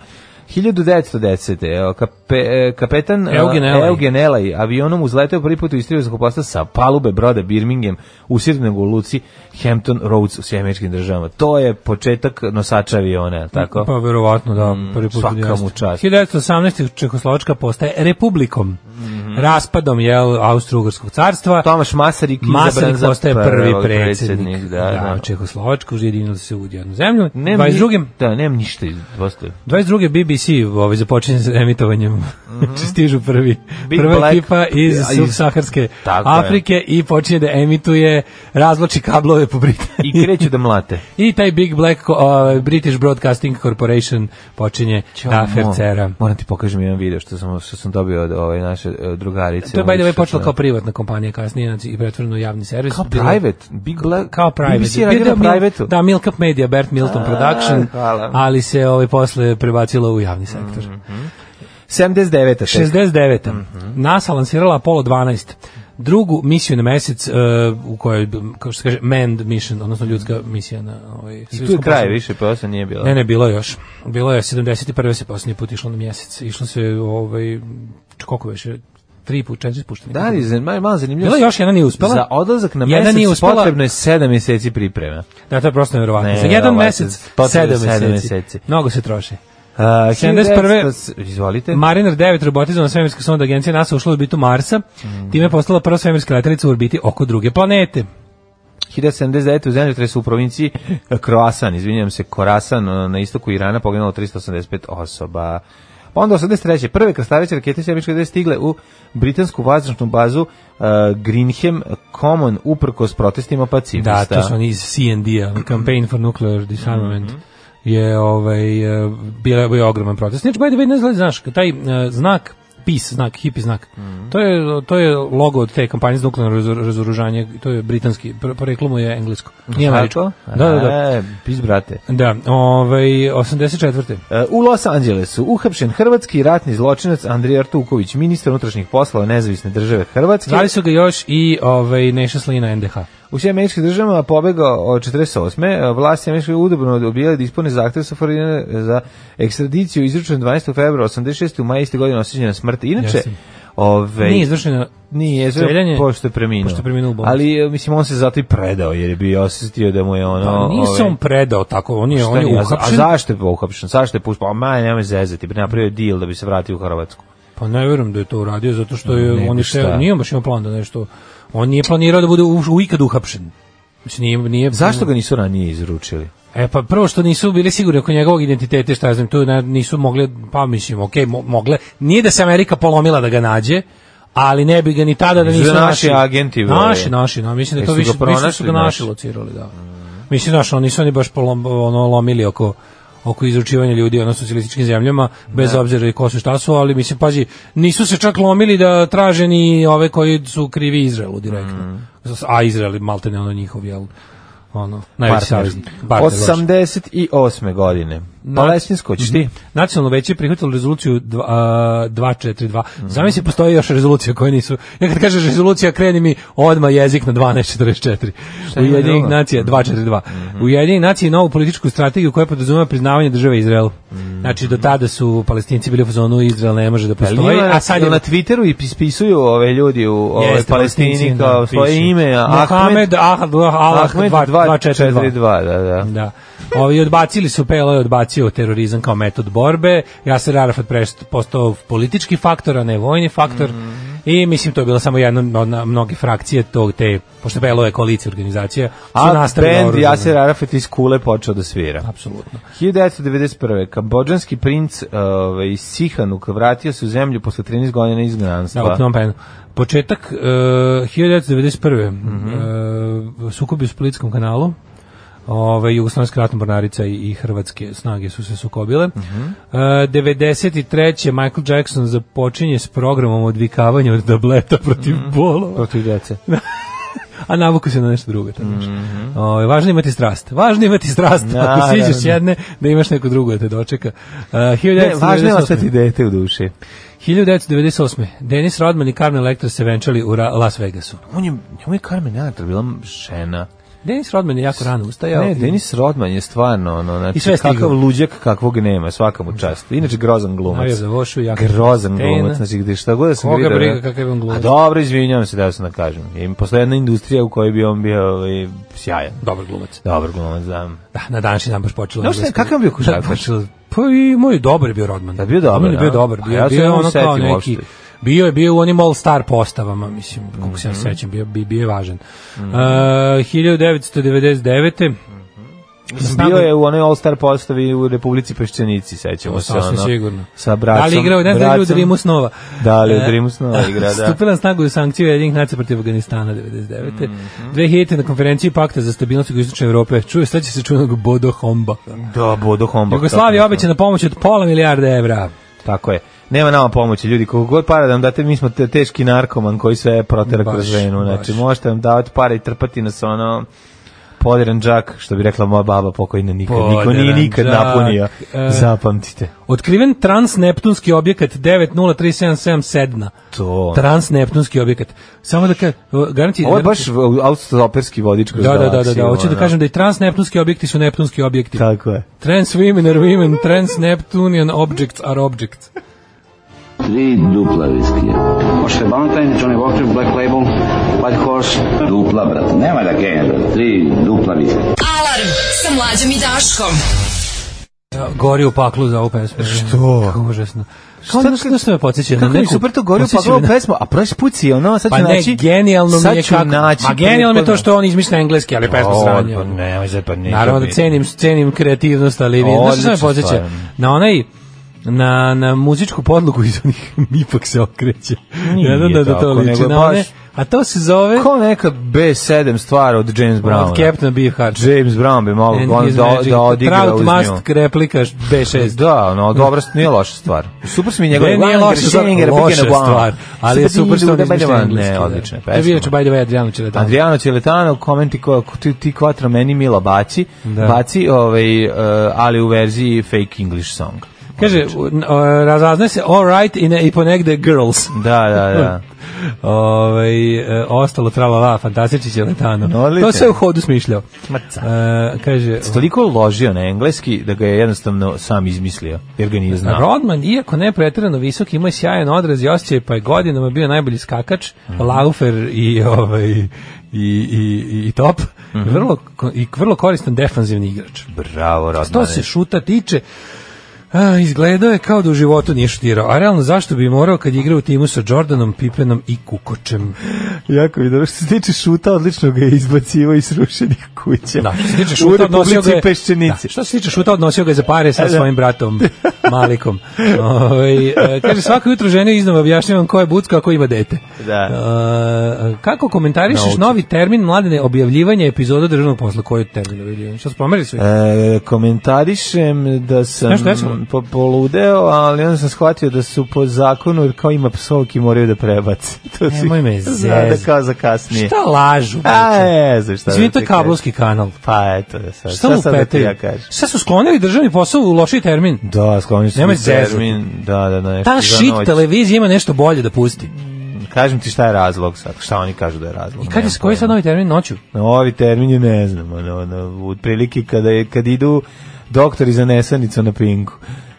S6: 1910. evo, Kape, e, kapetan a,
S5: Eugen Elaj.
S6: Eugen Elaj avionom uzleteo prvi put u istriju zakoposta sa palube broda Birmingham usjednog u luci Hampton Roads u Sjemečkim državama. To je početak nosača aviona, je li tako? Mhm,
S5: Pa verovatno da, prvi put
S6: svaka
S5: jeste.
S6: mu čast.
S5: 1918. Čehoslovačka postaje republikom.
S6: Mhm.
S5: Raspadom je Austrougarskog carstva.
S6: Tomaš Masarik izabran
S5: Pa, Masaryk
S6: za
S5: postaje prvi
S6: prvog
S5: predsjednik.
S6: Da, da.
S5: Čehoslovačka ujedinila se u jednu zemlju.
S6: Nemam
S5: 22.
S6: ni- Da, nemam ništa iz postoje.
S5: 22. BBC ovaj, započinje sa emitovanjem. Znači, Stižu prvi.
S6: Mhm. Big
S5: Prva
S6: Black-
S5: ekipa iz
S6: iz-
S5: subsaharske
S6: Tako je.
S5: Afrike i počinje da emituje razloči kablove po Britaniji.
S6: I kreću da mlate.
S5: I taj Big Black uh, British Broadcasting Corporation počinje da fercera.
S6: Mo- Moram ti pokažem jedan video što sam, što sam dobio od ove naše e, drugarice.
S5: To je by the way počelo kao
S6: Što-
S5: privatna kompanija kasnije znači, i pretvoreno u javni servis.
S6: Kao
S5: Bilo-
S6: private. Big Black.
S5: Kao private.
S6: BBC
S5: Bio
S6: je radio
S5: da,
S6: na
S5: Mil-
S6: private-u.
S5: Da, Milk Up Media, Bert Milton Production,
S6: hvala.
S5: ali se ovaj posle prebacilo u javni sektor.
S6: 79. tek.
S5: 69.
S6: Mhm.
S5: NASA lansirala Apollo 12 drugu misiju na mesec e, u kojoj, kao što se kaže, manned mission, odnosno ljudska misija na ovaj,
S6: I tu je kraj više, pa se nije bilo.
S5: Ne, ne, bilo je još. Bilo je 71. se posljednji put išlo na mjesec. Išlo se, ovaj, č- koliko već, tri put, četiri pušteni.
S6: Da, ali malo, malo zanimljivo.
S5: Bila je još jedna nije uspela.
S6: Za odlazak na
S5: Jedna
S6: mesec
S5: nije uspela.
S6: potrebno je 7 mjeseci priprema.
S5: Da, to je prosto nevjerovatno.
S6: Ne,
S5: Za jedan
S6: verovatno,
S5: mesec,
S6: potrebno je
S5: sedam
S6: sedam
S5: meseci.
S6: meseci.
S5: Mnogo se troši.
S6: Uh,
S5: 71..
S6: 1900 Izvolite.
S5: Mariner 9 robotizovana svemirska sonda agencija NASA ušla u orbitu Marsa, time je postala prva svemirska letelica u orbiti oko druge planete.
S6: 1979. u zemljotresu u provinciji e, Kroasan, izvinjam se, Korasan e, na istoku Irana poginulo 385 osoba. Pa Onda 83. prve krstareće rakete Sjemičke gde stigle u britansku vazdušnu bazu e, Greenham Common uprkos protestima
S5: Da,
S6: pacifista.
S5: to su oni iz CND-a, Campaign for Nuclear Disarmament. eh, je ovaj e, bio bio ogroman protest. Znači, by the way, ne znam, znaš, kad taj e, eh, znak peace znak, hippie znak. To, je, to je logo od te kampanje za nuklearno razoru- razoružanje, to je britanski, pr- poreklo mu je englesko. Nije američko. Da, da, da.
S6: E, pis, brate.
S5: Da, ovaj, 84.
S6: E, U Los Angelesu uhapšen hrvatski ratni zločinac Andrija Artuković, ministar unutrašnjih poslova nezavisne države Hrvatske.
S5: Zvali su ga još i ovaj, Neša Slina NDH.
S6: U sve američkih državama pobegao od 48. Vlasti američke udobno odbijali da ispune zahtev sa Florida za ekstradiciju izručen 12. februara 86. u maju iste godine osuđen na smrt. Inače,
S5: Jasno.
S6: ovaj,
S5: Nije izvršeno
S6: Nije, sve
S5: Streljanje-
S6: pošto je preminuo.
S5: pošto je preminuo u bolnici.
S6: Ali, e, mislim, on se zato i predao, jer je bio osjetio da mu je ono...
S5: Pa nisam
S6: ovaj,
S5: predao tako, on je,
S6: šta
S5: on je
S6: nije, a za-
S5: uhapšen.
S6: A zašto je uhapšen? Zašto je puštao? Pa, ma, nemoj zezati, bi napravio je deal da bi se vratio u Hrvatsku.
S5: Pa ne verujem da je to uradio, zato što je,
S6: Nego
S5: on je
S6: šta?
S5: teo- nije on baš imao plan da nešto, on nije planirao da bude u, u ikad uhapšen. Mislim, nije, nije,
S6: Zašto ga nisu ranije izručili?
S5: E pa prvo što nisu bili sigurni oko njegovog identiteta, šta ja znam, tu ne- nisu mogle, pa mislim, okej, mo- mogle. Nije da se Amerika polomila da ga nađe, ali ne bi ga ni tada da
S6: Nisu
S5: nisu
S6: ga naši agenti, bre.
S5: Naši, naši, no, mislim da je to
S6: Jesu
S5: više,
S6: ga
S5: više su
S6: pronašli
S5: ga naši
S6: naši?
S5: locirali, da. Mislim, znaš, oni su oni baš polom, ono, lomili oko oko izručivanja ljudi ono socijalističkim zemljama bez obzira i ko su šta su, ali mislim pazi, nisu se čak lomili da traže ni ove koji su krivi Izraelu direktno. A Izrael je maltene ono njihov jel ono najveći
S6: Partner.
S5: saveznik. Partner, baš.
S6: 88. godine. Palestinsko, ćeš ti?
S5: E, Nacionalno veće je prihvatilo rezoluciju dva- a, 242. Zamisli,
S6: Mhm.
S5: postoji još rezolucija koje nisu... Ja kad kažeš rezolucija, kreni mi odma jezik na 1244.
S6: ima
S5: Ujedinjenih
S6: drugo? Mhm.
S5: nacija, 242. Ujedinjenih nacija je novu političku strategiju koja podrazumeva priznavanje države Izrael.
S6: Mhm.
S5: Znači, do tada su palestinci bili u zonu Izrael ne može da postoji, a sad je...
S6: Pa na Twitteru i ispisuju ove ljudi u ove
S5: Jeste,
S6: Palestini
S5: Palestinci,
S6: kao
S5: da,
S6: svoje
S5: pišu.
S6: ime
S5: Mohamed Ah- Ahad- Allah
S6: Ahmed
S5: 242.
S6: 242, da, da.
S5: Da. Ovi odbacili su PLO je odbacio terorizam kao metod borbe. Jasir Arafat prest- postao politički faktor, a ne vojni faktor. I mislim to je bila samo jedna od na- mnoge frakcije tog te pošto PLO je koalicija organizacija, su
S6: A
S5: nastavili
S6: band
S5: oružano.
S6: Jasir Arafat iz Kule počeo da svira.
S5: apsolutno.
S6: 1991. Kambodžanski princ ovaj, Sihanuk vratio se u zemlju posle 13 godina izgnanstva.
S5: Da, u Phnom Penhu. Početak uh, 1991.
S6: Mhm.
S5: e, sukobi u Splitskom kanalu. Ove, Jugoslovenska ratna mornarica i, i hrvatske snage su se sukobile.
S6: Mhm.
S5: E, 93. Michael Jackson započinje s programom odvikavanja od tableta protiv
S6: Mhm.
S5: bolova.
S6: Protiv dece.
S5: A navuku se na nešto drugo. tako nešto. Ovaj, važno je imati strast. Važno je imati strast. Ako
S6: Mhm. Naravno.
S5: siđeš jedne, da imaš neko drugo da te dočeka. E,
S6: Ne, važno je
S5: 1998..
S6: ostati dete u duši.
S5: 1998. Denis Rodman i Carmen Electra se venčali u Ra- Las Vegasu.
S6: On je, njemu je Carmen Electra bila žena.
S5: Denis Rodman je jako rano ustajao.
S6: Ne,
S5: i-
S6: Denis Rodman je stvarno ono, znači,
S5: I sve stigao.
S6: kakav luđak kakvog nema, svaka mu čast. Inače grozan glumac.
S5: Navija za vošu, jako
S6: grozan
S5: stena.
S6: glumac, znači gde šta god da sam
S5: Koga
S6: gledao,
S5: briga
S6: ne?
S5: kakav je on glumac.
S6: A dobro, izvinjavam se da sam da kažem. I postoji jedna industrija u kojoj bi on bio ovaj, sjajan.
S5: Dobar glumac.
S6: Dobar glumac, da.
S5: Da, na današnji dan baš počelo.
S6: Da, šta je,
S5: englesko-
S6: kakav je bio košarkaš?
S5: Da, počelo- Pa i moj dobar je bio Rodman.
S6: Da, bio dobar,
S5: Rodman je bio
S6: da.
S5: dobar.
S6: A
S5: Bio,
S6: ja se
S5: bio je
S6: ne mogu
S5: ono kao
S6: setim
S5: neki...
S6: uopšte.
S5: Bio je bio u onim All Star postavama, mislim, koliko
S6: Mhm.
S5: se ja sećam, bio, bi- bio je važan. Uh, 1999. Snaga-
S6: Bio je u onoj All-Star postavi u Republici Peščanici, sećamo
S5: To
S6: se.
S5: sasvim
S6: ono,
S5: sigurno.
S6: Sa braćom.
S5: Da li igrao, ne znam da li u
S6: bracom.
S5: Dreamu snova.
S6: Da li u
S5: E,
S6: Dreamu snova igra, da.
S5: Stupila na snagu je sankcija jedinih nacija protiv Afganistana 99.
S6: Mhm.
S5: 2000. na konferenciji Pakta za stabilnost jugoistočne Evrope. Čuje, sad će se čunog Bodo Homba.
S6: Da, Bodo Hombak.
S5: Jugoslavija
S6: tako.
S5: obećana pomoć od pola milijarda evra.
S6: Tako je. Nema nama pomoći, ljudi, koliko god para da vam date, mi smo te, teški narkoman koji sve protera
S5: Baš,
S6: kroz venu.
S5: baš.
S6: Znači, možete vam davati pare i trpati nas ono podiran džak, što bi rekla moja baba pokojna nikad. Niko nije
S5: Podiran
S6: nikad
S5: džak,
S6: napunio.
S5: e.
S6: Zapamtite.
S5: Otkriven transneptunski objekat 90377 Sedna.
S6: To.
S5: Transneptunski objekat. Samo da ka, garanti...
S6: Ovo je baš v- autostoperski vodič kroz
S5: Da, da, da, da, da.
S6: galaksiju,
S5: Hoću da
S6: ono.
S5: kažem da i transneptunski objekti su neptunski objekti.
S6: Tako je.
S5: Trans women are women, trans Neptunian objects are objects.
S7: Tri dupla viskija. Možete Valentine, Johnny Walker, Black Label, White Horse. Dupla, brate, nema da kenja, brate. Tri dupla viskija.
S4: Alarm sa mlađom i Daškom.
S5: Ja, Gori u paklu za ovu pesmu.
S6: Što?
S5: Kako užasno. Kao nešto,
S6: kad-
S5: nešto me podsjeća. na
S6: Kako mi
S5: neku-
S6: super to govorio, pa
S5: podsjeća me
S6: ovo
S5: na-
S6: pesmu, a prošli put si ono, sad ću
S5: Pa ne,
S6: naći...
S5: genijalno
S6: znači- sad
S5: mi je
S6: ću
S5: kako.
S6: naći
S5: Ma genijalno mi je to
S6: prethodno.
S5: što on izmišlja engleski, ali pesmu
S6: O,
S5: sranje.
S6: Pa nemoj sad, pa nikad
S5: Naravno da
S6: bi-
S5: cenim, cenim kreativnost, ali vi,
S6: Odlična
S5: znaš što me podsjeća?
S6: stvar.
S5: Na onaj, na, na muzičku podlogu iz onih ipak se okreće.
S6: Nije
S5: Jedan da, da
S6: tako,
S5: to liči.
S6: nego
S5: Na one,
S6: baš
S5: A to se zove...
S6: Ko neka B7 stvar od James Browna?
S5: Od Captain Beefheart.
S6: James Brown bi mogo on da, da odigra
S5: Trout
S6: uz nju.
S5: must replika B6.
S6: Da, no, dobra, nije loša stvar. Super su mi njegove.
S5: Ne, nije loša stvar,
S6: Schillinger,
S5: loša
S6: Begin Again.
S5: stvar, ali je super što on
S6: Begin
S5: izmišlja
S6: Again.
S5: engleski.
S6: Ne,
S5: da.
S6: odlična
S5: Da bi inače,
S6: pesma.
S5: by the way, Adriano Čeletano.
S6: Adriano Ciletano komenti ko, ko- ti, ti kvatra meni mila baci,
S5: Da.
S6: baci ovaj, eh, ali u verziji fake English song.
S5: Kaže, u- n- o, razazne se all right i, ne, i ponegde girls.
S6: Da, da, da.
S5: Ovaj e, ostalo tralala, fantastični će letano.
S6: No, odlično.
S5: to se u hodu smišljao.
S6: Ma, ca.
S5: E, kaže,
S6: Toliko je ložio na engleski da ga je jednostavno sam izmislio, jer ga nije znao.
S5: Rodman, iako ne pretjerano visok, ima sjajan odraz i osjećaj, pa je godinama bio najbolji skakač,
S6: Mhm.
S5: laufer i, ovaj, i, i, i, i top.
S6: Mhm.
S5: vrlo, ko- I vrlo koristan defanzivni igrač.
S6: Bravo, Rodmane.
S5: To se šuta tiče, a, izgledao je kao da u životu nije šutirao. A realno zašto bi morao kad igra u timu sa Jordanom, Pipenom i Kukočem?
S6: Jako mi je dobro. Što se tiče šuta, odlično ga je izbacivo iz rušenih kuća.
S5: Da, što se tiče šuta, odnosio ga je, da, što se tiče šuta, odnosio ga je za pare
S6: E,
S5: sa
S6: da.
S5: svojim bratom Malikom. Ovaj, e, kaže, svako jutro ženi iznova objašnjavam ko je bucka, a ko ima dete.
S6: Da.
S5: E, kako komentarišeš
S6: Nauči.
S5: novi termin mladene objavljivanja epizoda državnog posla? Koji je termin objavljivanja? Što su pomerili su? ih?
S6: E, komentarišem da sam
S5: Znaš šta je samo?
S6: po, poludeo, ali onda sam shvatio da su po zakonu, jer kao ima psovki, moraju da prebace. To si-
S5: Nemoj me
S6: Zna Da
S5: zezati.
S6: kao za kasnije.
S5: Šta lažu?
S6: A,
S5: priče?
S6: je, za šta
S5: Izvini,
S6: da
S5: to je
S6: ti kažem.
S5: kablovski kanal.
S6: Pa, eto, sad,
S5: Šta
S6: šta sad da ti
S5: lupetaju?
S6: ja kažem?
S5: Šta su sklonili državni posao u loši termin?
S6: Da, sklonio sam
S5: Nemoj
S6: u termin. Da, da, da, nešto
S5: Ta
S6: za
S5: shit
S6: noć.
S5: televizija ima nešto bolje da pusti.
S6: Kažem ti šta je razlog sad, šta oni kažu da je razlog.
S5: I kad je,
S6: nemam
S5: koji je sad
S6: pojma.
S5: novi termin noću?
S6: Novi termin je ne znam, ono, ono, u prilike kada, je, kad idu doktori za nesanicu na pinku.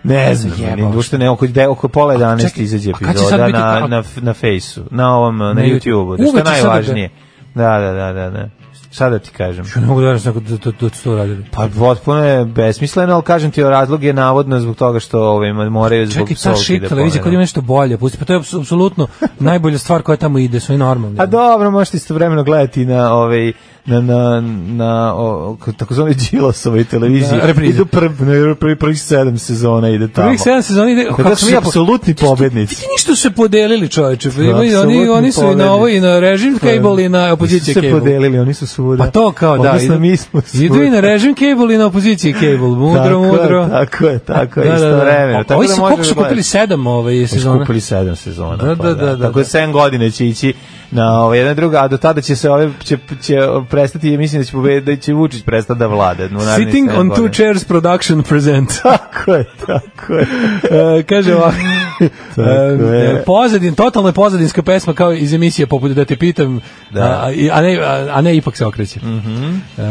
S6: Ne znam,
S5: jebao
S6: ne, uopšte ne, oko, de, oko pola 11
S5: čekaj,
S6: izađe
S5: a kad će sad
S6: epizoda
S5: biti-
S6: na,
S5: a-
S6: na, f- na fejsu, na ovom, na,
S5: YouTube.
S6: YouTube-u, da,
S5: Uvek
S6: što je
S5: će sada
S6: najvažnije. Da, da, da, da, da. Šta da ti kažem?
S5: Ja ne mogu da verujem da, da, da, da su to radili.
S6: Pa potpuno je besmisleno, ali kažem ti, razlog je navodno zbog toga što ovaj, moraju zbog
S5: Čekaj, ta
S6: psovki
S5: shit
S6: da
S5: televizija kod
S6: pomenu.
S5: ima nešto bolje, pusti, pa to je apsu- apsolutno najbolja stvar koja tamo ide, sve normalno.
S6: A Pa dobro, možete istovremeno gledati i na ovaj na na na o, k- takozvane Đilasovoj televiziji.
S5: Da, reprize.
S6: Idu prvi prvi prvih 7 sezona ide tamo.
S5: Prvih 7 sezona ide...
S6: Tako da smo mi
S5: se po-
S6: apsolutni
S5: Vidi
S6: pobednici.
S5: Pa ništa su se podelili, čoveče. pa ima i Oni,
S6: Apsolutni
S5: oni su i na ovo i na režim
S6: pobednici.
S5: cable i na
S6: Nisu
S5: opozicija
S6: se
S5: cable.
S6: podelili, oni su svuda.
S5: Pa to kao, da.
S6: Odnosno,
S5: idu-
S6: mi smo svuda.
S5: Idu i na režim cable i na opozicija cable. Mudro,
S6: Tako je,
S5: mudro.
S6: Tako je, tako je,
S5: Da, da, da.
S6: istovremeno. Tako
S5: Ovi
S6: da
S5: su,
S6: možeš
S5: koliko su
S6: gledati.
S5: kupili sedam ovaj,
S6: Mi
S5: sezona?
S6: skupili sedam sezona. pa
S5: Da, da, da, da,
S6: Tako je
S5: da.
S6: sedam godine će ići na ovo jedna druga, a do tada će se ove, će, će prestati, ja mislim da će, pobedi, da će Vučić prestati da vlada. u narednih
S5: Sitting
S6: sedam
S5: on two
S6: godina.
S5: chairs production present.
S6: Tako je, tako je.
S5: E, kaže ovako.
S6: Tako je.
S5: e, pozadin, totalno je pozadinska pesma kao iz emisije poput da te pitam,
S6: Da. Mm.
S5: a, i- a, ne, a, a ne ipak se okreće. E,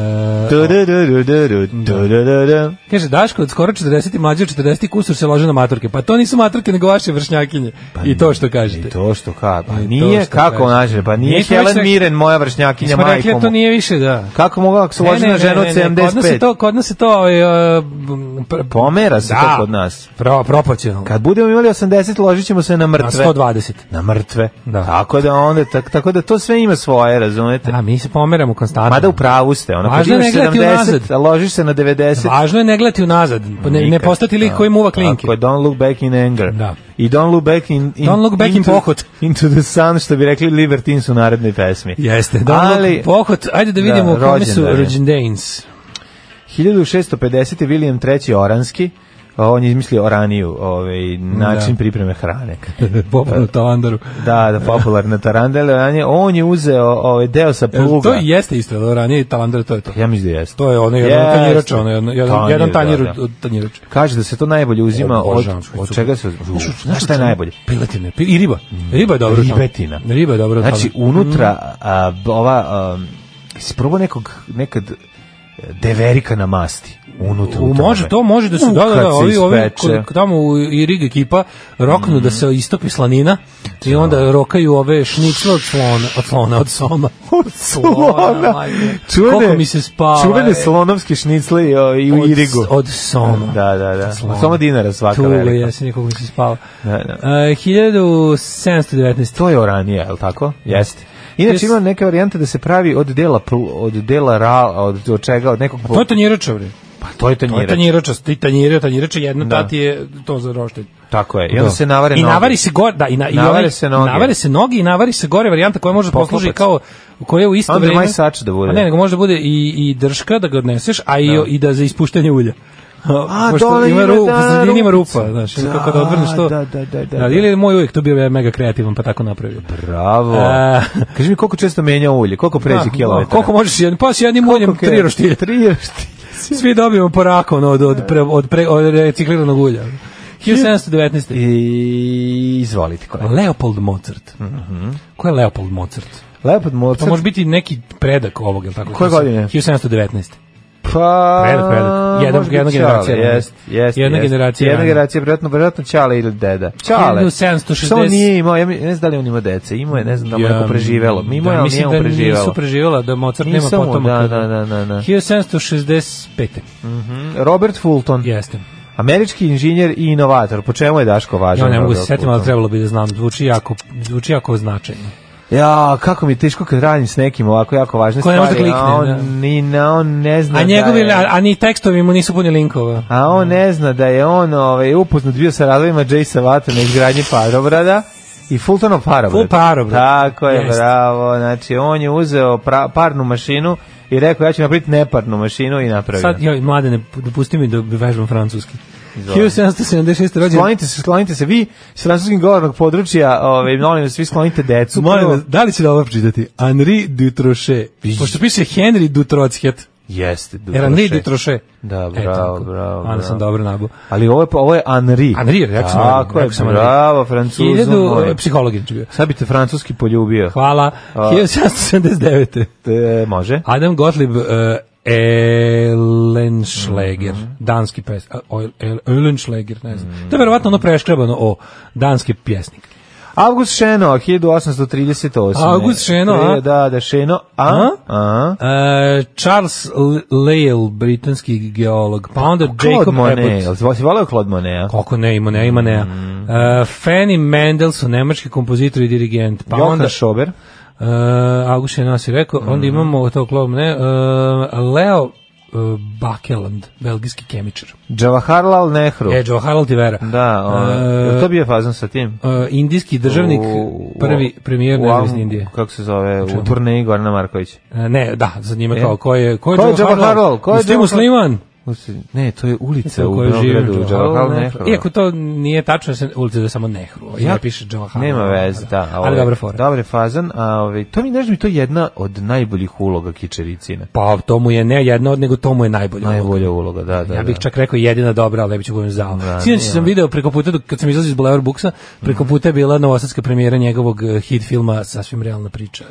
S6: Du-du-du-du-du-du, du-du-du-du.
S5: kaže, Daško od skoro 40 i mlađe od 40 kusur se lože na maturke. Pa to nisu maturke, nego vaše vršnjakinje. I to što kažete.
S6: Pa I to što ka, pa
S5: I
S6: nije,
S5: E, to što
S6: kako
S5: kaže.
S6: nađe, pa nije
S5: Nismo
S6: Helen
S5: već rekli-
S6: Miren moja
S5: Mi
S6: vršnjakinja
S5: smo rekli
S6: majkom.
S5: da to nije više, da.
S6: Kako mogu ako se
S5: Ne,
S6: loži
S5: ne,
S6: na
S5: ne,
S6: ženu od
S5: ne, ne, Kod nas je
S6: 75?
S5: to, kod nas je to ovaj, e, pr-
S6: Pomera se
S5: Da.
S6: to kod nas.
S5: pro, proporcionalno.
S6: Kad budemo imali 80, ložit ćemo se na
S5: Na
S6: mrtve.
S5: 120.
S6: Na mrtve.
S5: Da.
S6: Tako da onda, tak, tako da to sve ima svoje, razumete?
S5: A, mi se pomeramo konstantno.
S6: Da. Mada u pravu ste, ono, kad
S5: Pa da. Važno je
S6: imaš
S5: ne gledati
S6: 70,
S5: unazad.
S6: a ložiš se na 90,
S5: Važno je ne gledati unazad, pa ne, ne
S6: Nikad. da.
S5: postati lik koji muva klinke.
S6: Tako je, don't look back in anger.
S5: Da.
S6: I don't look back in, in
S5: Don't look back in
S6: into,
S5: pohod.
S6: Into the sun, što bi rekli Libertines u narednoj pesmi.
S5: Jeste, da, ali, pohod, ajde da vidimo
S6: Da,
S5: da, kome su
S6: rođendan je.
S5: rođendans.
S6: 1650. je William III. Oranski, a on je izmislio oraniju, ovaj, način
S5: Da.
S6: pripreme hrane.
S5: Poput na Talandaru.
S6: Da, da, popularna tarandela, on je, on je uzeo ovaj, deo sa
S5: Jel
S6: pluga.
S5: To jeste isto, da ranije Talandar, to je to.
S6: Ja mislim da jeste.
S5: To je ono jedan
S6: Jeste.
S5: tanjirač, ono jedan, jedan,
S6: Tanjir,
S5: jedan tanjir
S6: da, da.
S5: od- od tanjirača.
S6: Kaže da se to najbolje uzima od,
S5: Obožavam špecu.
S6: od čega se uzima. Znaš šta je najbolje?
S5: Piletine, pi- i riba. Riba je dobro. tamo.
S6: Ribetina.
S5: Riba je dobro.
S6: Znači,
S5: tamo. Mm.
S6: unutra a, b- ova... a, si probao nekog, nekad e, deverika na masti unutra.
S5: U,
S6: u
S5: može,
S6: tome?
S5: to može da se, da, da,
S6: Kad
S5: da, ovi, ovi,
S6: ispeče.
S5: kod- tamo u i Rig ekipa roknu da se istopi slanina i onda rokaju ove šnicle od slona, od slona, od soma.
S6: Od
S5: Slona,
S6: slona.
S5: majke.
S6: Čuvene,
S5: Koliko mi se spava,
S6: čuvene
S5: ej.
S6: slonovske šnicle i, o, i u
S5: Od-
S6: Irigu.
S5: Od soma.
S6: Da, da, da.
S5: Slona.
S6: Samo dinara svaka
S5: Tugo
S6: velika.
S5: jesi nikog mi se spava.
S6: Da, da.
S5: E, 1719.
S6: To je oranije, je li tako? Jeste. Inače
S5: Jesi.
S6: ima neke varijante da se pravi od dela pl- od dela ra, od, od čega, od nekog
S5: To je tanjirača, bre.
S6: Pa to je
S5: To je
S6: tanjirač.
S5: tanjirača, ti tanjira, tanjirače, jedno
S6: Da.
S5: da. ti je to za roštilj.
S6: Tako je. I onda
S5: Da.
S6: se navare
S5: I
S6: noge.
S5: navari se gore, da, i, na, i
S6: Navare
S5: ovaj-
S6: se noge.
S5: Navare se noge i navari se gore varijanta koja može da posluži
S6: Poklopac.
S5: kao koja u isto
S6: Under
S5: vreme.
S6: my sač da bude.
S5: A ne, nego može da bude i, i drška da ga odneseš, a i, i da za ispuštanje ulja.
S6: A,
S5: Pošto
S6: dole
S5: ima
S6: ima,
S5: rupa,
S6: da,
S5: u sredini ima
S6: rupicu.
S5: rupa, znaš,
S6: Da,
S5: kako da odvrneš to.
S6: da, da, da, da,
S5: Ili je moj uvijek to bio mega kreativan, pa tako napravio.
S6: Bravo.
S5: A.
S6: Kaži mi koliko često menja ulje, koliko pređe
S5: E. Da,
S6: kilometara?
S5: Koliko možeš, jedan, pa s jednim uljem,
S6: Koliko je?
S5: tri roštilja.
S6: Tri roštilja.
S5: Svi dobijemo po raku, ono, od, od, pre, od, pre, od recikliranog ulja. 1719.
S6: I izvolite kolega.
S5: Leopold Mozart.
S6: Mhm.
S5: Ko je Leopold Mozart?
S6: Leopold
S5: To
S6: Mozart.
S5: može biti neki predak ovog, ili tako?
S6: Koje godine?
S5: 1719.
S6: pa
S5: Predak, predak. Jedna-
S6: može biti
S5: jedna
S6: Ćale,
S5: generacija ranije.
S6: Jest, jest,
S5: Jedna
S6: jest.
S5: generacija
S6: Jedna
S5: ranije.
S6: generacija verovatno verovatno Ćale ili deda. Ćale.
S5: 1760.
S6: Što on nije imao, ja mi- ne znam da li on ima dece, imao je, ne znam da mu je neko preživelo. Mi imao je,
S5: da,
S6: ali nije
S5: mislim
S6: mu
S5: da nisu
S6: preživelo.
S5: preživjela, da Mozart nema
S6: Nisam mu,
S5: potomaka.
S6: da, da, da, da, da.
S5: 1765.
S6: Mm, Robert Fulton,
S5: Jeste.
S6: američki inženjer i inovator. Po čemu je Daško važan?
S5: Ja ne mogu se
S6: Robert
S5: setiti, ali
S6: Fulton?
S5: trebalo bi da znam. Zvuči jako, zvuči jako značajno.
S6: Ja, kako mi je teško kad radim s nekim ovako jako važne
S5: Ko ne može da
S6: stvari. a on,
S5: klikne, da.
S6: ni, na, on ne zna
S5: A njegovi,
S6: da
S5: a,
S6: je,
S5: a ni tekstovi mu nisu puni linkova.
S6: a on ne zna da je on ovaj, upoznat bio sa radovima Jay Savata na izgradnji Parobrada i Fultonov Parobrad.
S5: U Parobrad.
S6: Tako je,
S5: Jeste.
S6: bravo. Znači, on je uzeo pra, parnu mašinu i rekao ja ću napraviti neparnu mašinu i napravio.
S5: Sad, joj, mladene, dopusti mi da vežbam francuski.
S6: da. Izvoli.
S5: 1776. rođen.
S6: Sklonite se, sklonite se. Vi s francuskog govornog područja, ovaj, molim vas, vi sklonite decu.
S5: Molim
S6: Prvo-
S5: vas, da li će da ovo pročitati? Henri Dutrochet. Pošto piše Henry Dutrochet.
S6: Jeste, Dutroše.
S5: Jer Henri Dutrochet.
S6: Da,
S5: E,
S6: bravo,
S5: tako.
S6: bravo.
S5: Onda sam dobro nabo.
S6: Ali ovo je, ovo je Henri.
S5: Henri, rekao sam
S6: Tako je,
S5: rekao sam Henri.
S6: bravo, francuzu moj.
S5: Hiljadu, e, psihologin ću bio.
S6: Sad bi te francuski poljubio.
S5: Hvala.
S6: A.
S5: 1779.
S6: E, može.
S5: Adam Gottlieb uh, Elenschläger,
S6: Mhm.
S5: danski pesnik. Elenschläger, e, ne znam. To je verovatno ono preškrabano o danski pjesnik.
S6: August Šeno, 1838.
S5: August Šeno, a?
S6: Da, da, Šeno, a?
S5: A?
S6: A?
S5: Uh, Charles L- Lyell, britanski geolog. Pa onda
S6: Claude
S5: Jacob
S6: Monet.
S5: Abbott.
S6: Jel Mhm. si voleo Claude Monet?
S5: Kako ne ima, ne ima, ne. Uh, Fanny Mendelssohn, nemački kompozitor i dirigent. Pa onda
S6: Johan Schober.
S5: Uh, August je nas i rekao,
S6: Mhm.
S5: onda imamo to klom, ne, uh, Leo uh, Bakeland, belgijski kemičar.
S6: Jawaharlal Nehru.
S5: E, Joe Harald Ivera.
S6: Da, on, jel to bio fazan sa tim?
S5: Uh, indijski državnik,
S6: U- u-
S5: prvi premijer
S6: u-
S5: nezavisne Indije.
S6: Kako se zove? U turneji Gorana Markovića.
S5: Uh, ne, da, za njime
S6: E?
S5: kao, ko je, ko je,
S6: Ko je
S5: Joe
S6: Joe
S5: Harald?
S6: Harald? Ko je
S5: Muslim-
S6: Joe
S5: musliman?
S6: Ne, to je ulica u
S5: u kojoj
S6: Beogradu,
S5: živim.
S6: Jawaharlal Nehru.
S5: Iako to nije tačno, da se ulica da je samo Nehru. Ja,
S6: Ja-
S5: ja piše Joe Harald.
S6: Nema veze, da. a
S5: Ali
S6: ovaj,
S5: dobra fora.
S6: Dobar je fazan, a ovaj, to mi nešto mi to je jedna od najboljih uloga Kičericine.
S5: Pa to mu je ne jedno, nego to mu je najbolje.
S6: Najbolja uloga, da, da.
S5: Ja bih
S6: da.
S5: čak rekao jedina dobra, ali ne bih ću govorim za.
S6: Da,
S5: Sinoć
S6: nije Mhm.
S5: sam video preko puta, dok- kad sam izlazio iz Boulevard Buksa, preko puta je bila novosadska premijera njegovog eh, hit filma Sasvim realna priča.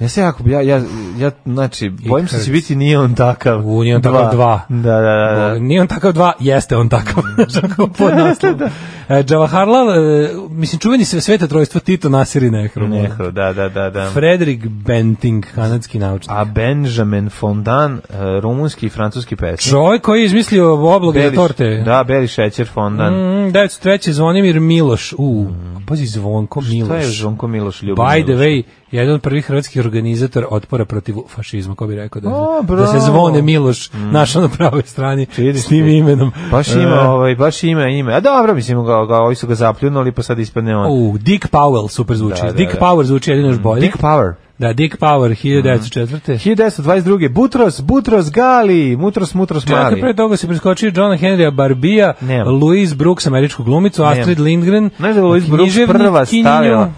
S6: Ja se jako, ja, ja, ja znači, bojim se da će
S5: hurts.
S6: biti nije on takav.
S5: U, nije on takav dva.
S6: Da, da, da. da.
S5: Bog, Nije on takav dva, jeste on takav. Tako pod naslovom.
S6: Da,
S5: E, Jawaharlal, e, mislim, čuveni sve sveta trojstvo Tito Nasir i Nehru.
S6: Nehru, da, da, da, da.
S5: Frederick Benting, kanadski naučnik.
S6: A Benjamin Fondan, e, rumunski i francuski pesnik.
S5: Čovjek koji je izmislio obloge za
S6: Beli-
S5: torte.
S6: Da, Beli šećer Fondan.
S5: Mm, 903. Zvonimir Miloš. U, pazi, Zvonko Miloš.
S6: To Mm. je Žonko Miloš Ljubo
S5: By the
S6: Miloš.
S5: way, jedan od prvih hrvatskih organizator otpora protiv fašizma, ko bi rekao da,
S6: O, bravo.
S5: da se zvone Miloš našao na pravoj strani
S6: Vidiš
S5: s tim
S6: ti.
S5: imenom.
S6: Baš ima,
S5: E,
S6: ovaj, baš ima ime. A dobro, mislim, ga, ga, ovi su ga zapljunuli, pa sad ispadne on.
S5: U, Dick Powell super zvuči.
S6: Da, da,
S5: Dick
S6: da.
S5: Power zvuči jedino još bolje.
S6: Dick Mm-hmm. Power.
S5: da, Dick Power 1904.
S6: 1922. Butros, Butros Gali, Mutros, Mutros
S5: Čekaj, pre
S6: Mali.
S5: toga se preskočio John Henrya Barbija,
S6: Nemam.
S5: Louise Brooks, američku glumicu,
S6: Nemam.
S5: Astrid Lindgren,
S6: Znaš da je Louise Brooks prva
S5: književnikinju.
S6: stavila...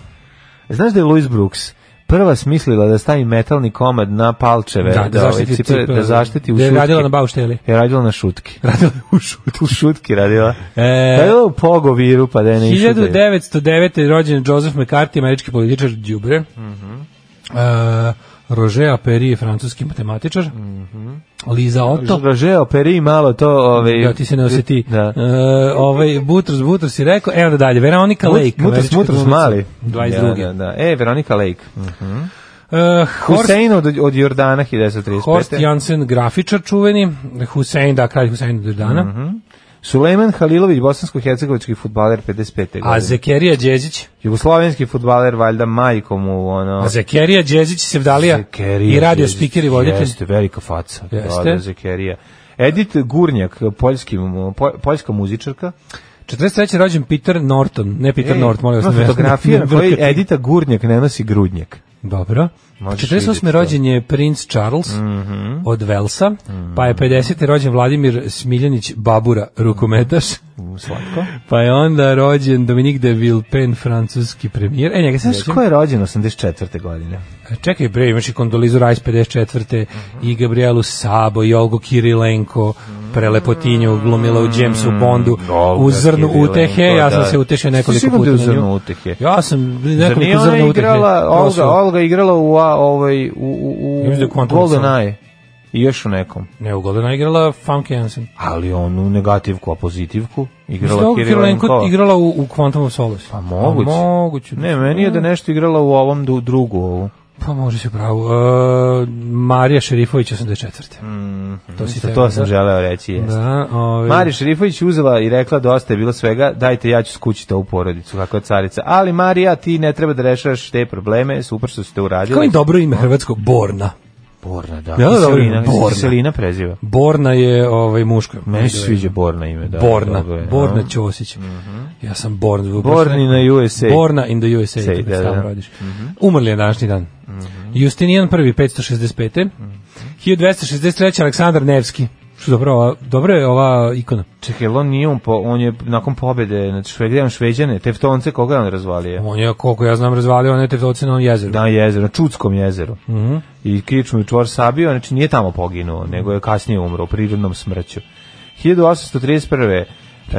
S6: Znaš da je Louise Brooks prva smislila da stavi metalni komad na palčeve
S5: Da, da
S6: ovaj,
S5: zaštiti
S6: cipele,
S5: cipele.
S6: da zaštiti u
S5: Da je
S6: šutki.
S5: radila na baušteli.
S6: Je radila na šutki.
S5: Radila u šutu.
S6: U šutki radila.
S5: E,
S6: radila u pogoviru pa da je ne išutaju.
S5: 1909. je rođen Joseph McCarthy, američki političar Đubre. Mm
S6: Mhm.
S5: Roger Aperi, francuski matematičar.
S6: Mhm.
S5: Liza Otto.
S6: Rože operi malo to... Ovaj,
S5: Da, ti se ne osjeti.
S6: Da.
S5: E, ovaj, Butros, Butros je rekao. Evo da dalje, Veronika Lake.
S6: Mut- Mutros,
S5: američka
S6: Mutros
S5: glumica,
S6: Mali.
S5: 22.
S6: Da, da, da. E, Veronika Lake. Mhm.
S5: E, Horst,
S6: Husein od, od Jordana 1935.
S5: Horst Janssen, grafičar čuveni. Hussein, da, kralj Hussein od Jordana.
S6: Mhm. Sulejman Halilović, bosansko-hercegovički futbaler 55. godine.
S5: A Zekerija Đezić.
S6: Jugoslovenski futbaler, valjda majkom u ono...
S5: A Zekerija Đezić, Sevdalija.
S6: Da. Zekerija
S5: I radio
S6: Đezić.
S5: spiker i voditelj.
S6: Jeste, velika faca.
S5: Jeste.
S6: Da, da, Zekerija. Edith Gurnjak, poljski, po, poljska muzičarka.
S5: 43. rođen Peter Norton, ne Peter Norton, molim vas.
S6: ima
S5: ne-
S6: fotografija
S5: ne-
S6: na kojoj Edita Gurnjak ne nosi grudnjak.
S5: Dobro.
S6: Možeš
S5: 48.
S6: vidjeti Mhm.
S5: rođen je princ Charles od Velsa, pa je 50. rođen Vladimir Smiljanić Babura, rukometaš.
S6: U, Slatko.
S5: Pa je onda rođen Dominik de Villepin, francuski premijer. E, njega se
S6: Znaš
S5: sećam.
S6: ko je rođen 84. godine?
S5: Čekaj bre, imaš i Kondolizu Rajs 54.
S6: Mhm.
S5: i Gabrielu Sabo, i Olgu Kirilenko, prelepotinju, glumila u Jamesu Bondu,
S6: Olga
S5: u Zrnu
S6: Kirilenko,
S5: utehe, ja sam
S6: da.
S5: se utešio nekoliko
S6: Sigurno
S5: puta
S6: da je
S5: na nju.
S6: u Zrnu utehe.
S5: Ja sam
S6: Zar nije
S5: nekoliko
S6: ona
S5: Zrnu utehe.
S6: igrala, Olga,
S5: prošao.
S6: Olga igrala u, a, ovaj, u, u, u
S5: Mislim da je Quantum of
S6: GoldenEye i još u nekom.
S5: Ne, u Goldena igrala Famke Jansen.
S6: Ali onu negativku, a pozitivku igrala
S5: Što Kirilenko
S6: Kirilenko.
S5: igrala u, u Quantum of Solace?
S6: Pa moguće.
S5: Pa moguće.
S6: Ne, meni je da je nešto igrala u ovom du, drugu ovu.
S5: Pa može se pravo. E, Marija Šerifović 84. to si
S6: Sa
S5: teo,
S6: Mhm. to sam
S5: da?
S6: želeo reći, jeste.
S5: Da, ovaj.
S6: Mari Šerifović uzela i rekla dosta je bilo svega, dajte ja ću skućiti ovu porodicu, kako je carica. Ali Marija, ti ne treba da rešavaš te probleme, super što ste uradili.
S5: Kako je dobro ime hrvatsko? Borna.
S6: Borna, da.
S5: Ja, da, dobro,
S6: Kiselina,
S5: Borna.
S6: Kiselina preziva.
S5: Borna je ovaj muško.
S6: Meni se sviđa Borna ime, da.
S5: Borna,
S6: dobro je,
S5: Borna
S6: a?
S5: Ćosić. Ja sam Born.
S6: Born in the USA.
S5: Borna in the USA.
S6: Say,
S5: to kad
S6: da, Mhm.
S5: stalno
S6: da.
S5: radiš. Umrli je današnji dan. Justinijan prvi, 565.
S6: Mhm.
S5: 1263. Aleksandar Nevski. Što dobro, ova, dobro je ova ikona.
S6: Čekaj, jel on nije on, po, on je nakon pobede nad Švedijom Šveđane, teftonce, koga je on razvalio?
S5: On je, koliko ja znam, razvalio one tevtoce na ovom jezeru.
S6: Na jezeru, na Čudskom jezeru.
S5: Mhm.
S6: I kričnu i čvor sabio, znači nije tamo poginuo, nego je kasnije umro u prirodnom smrću. 1831. e,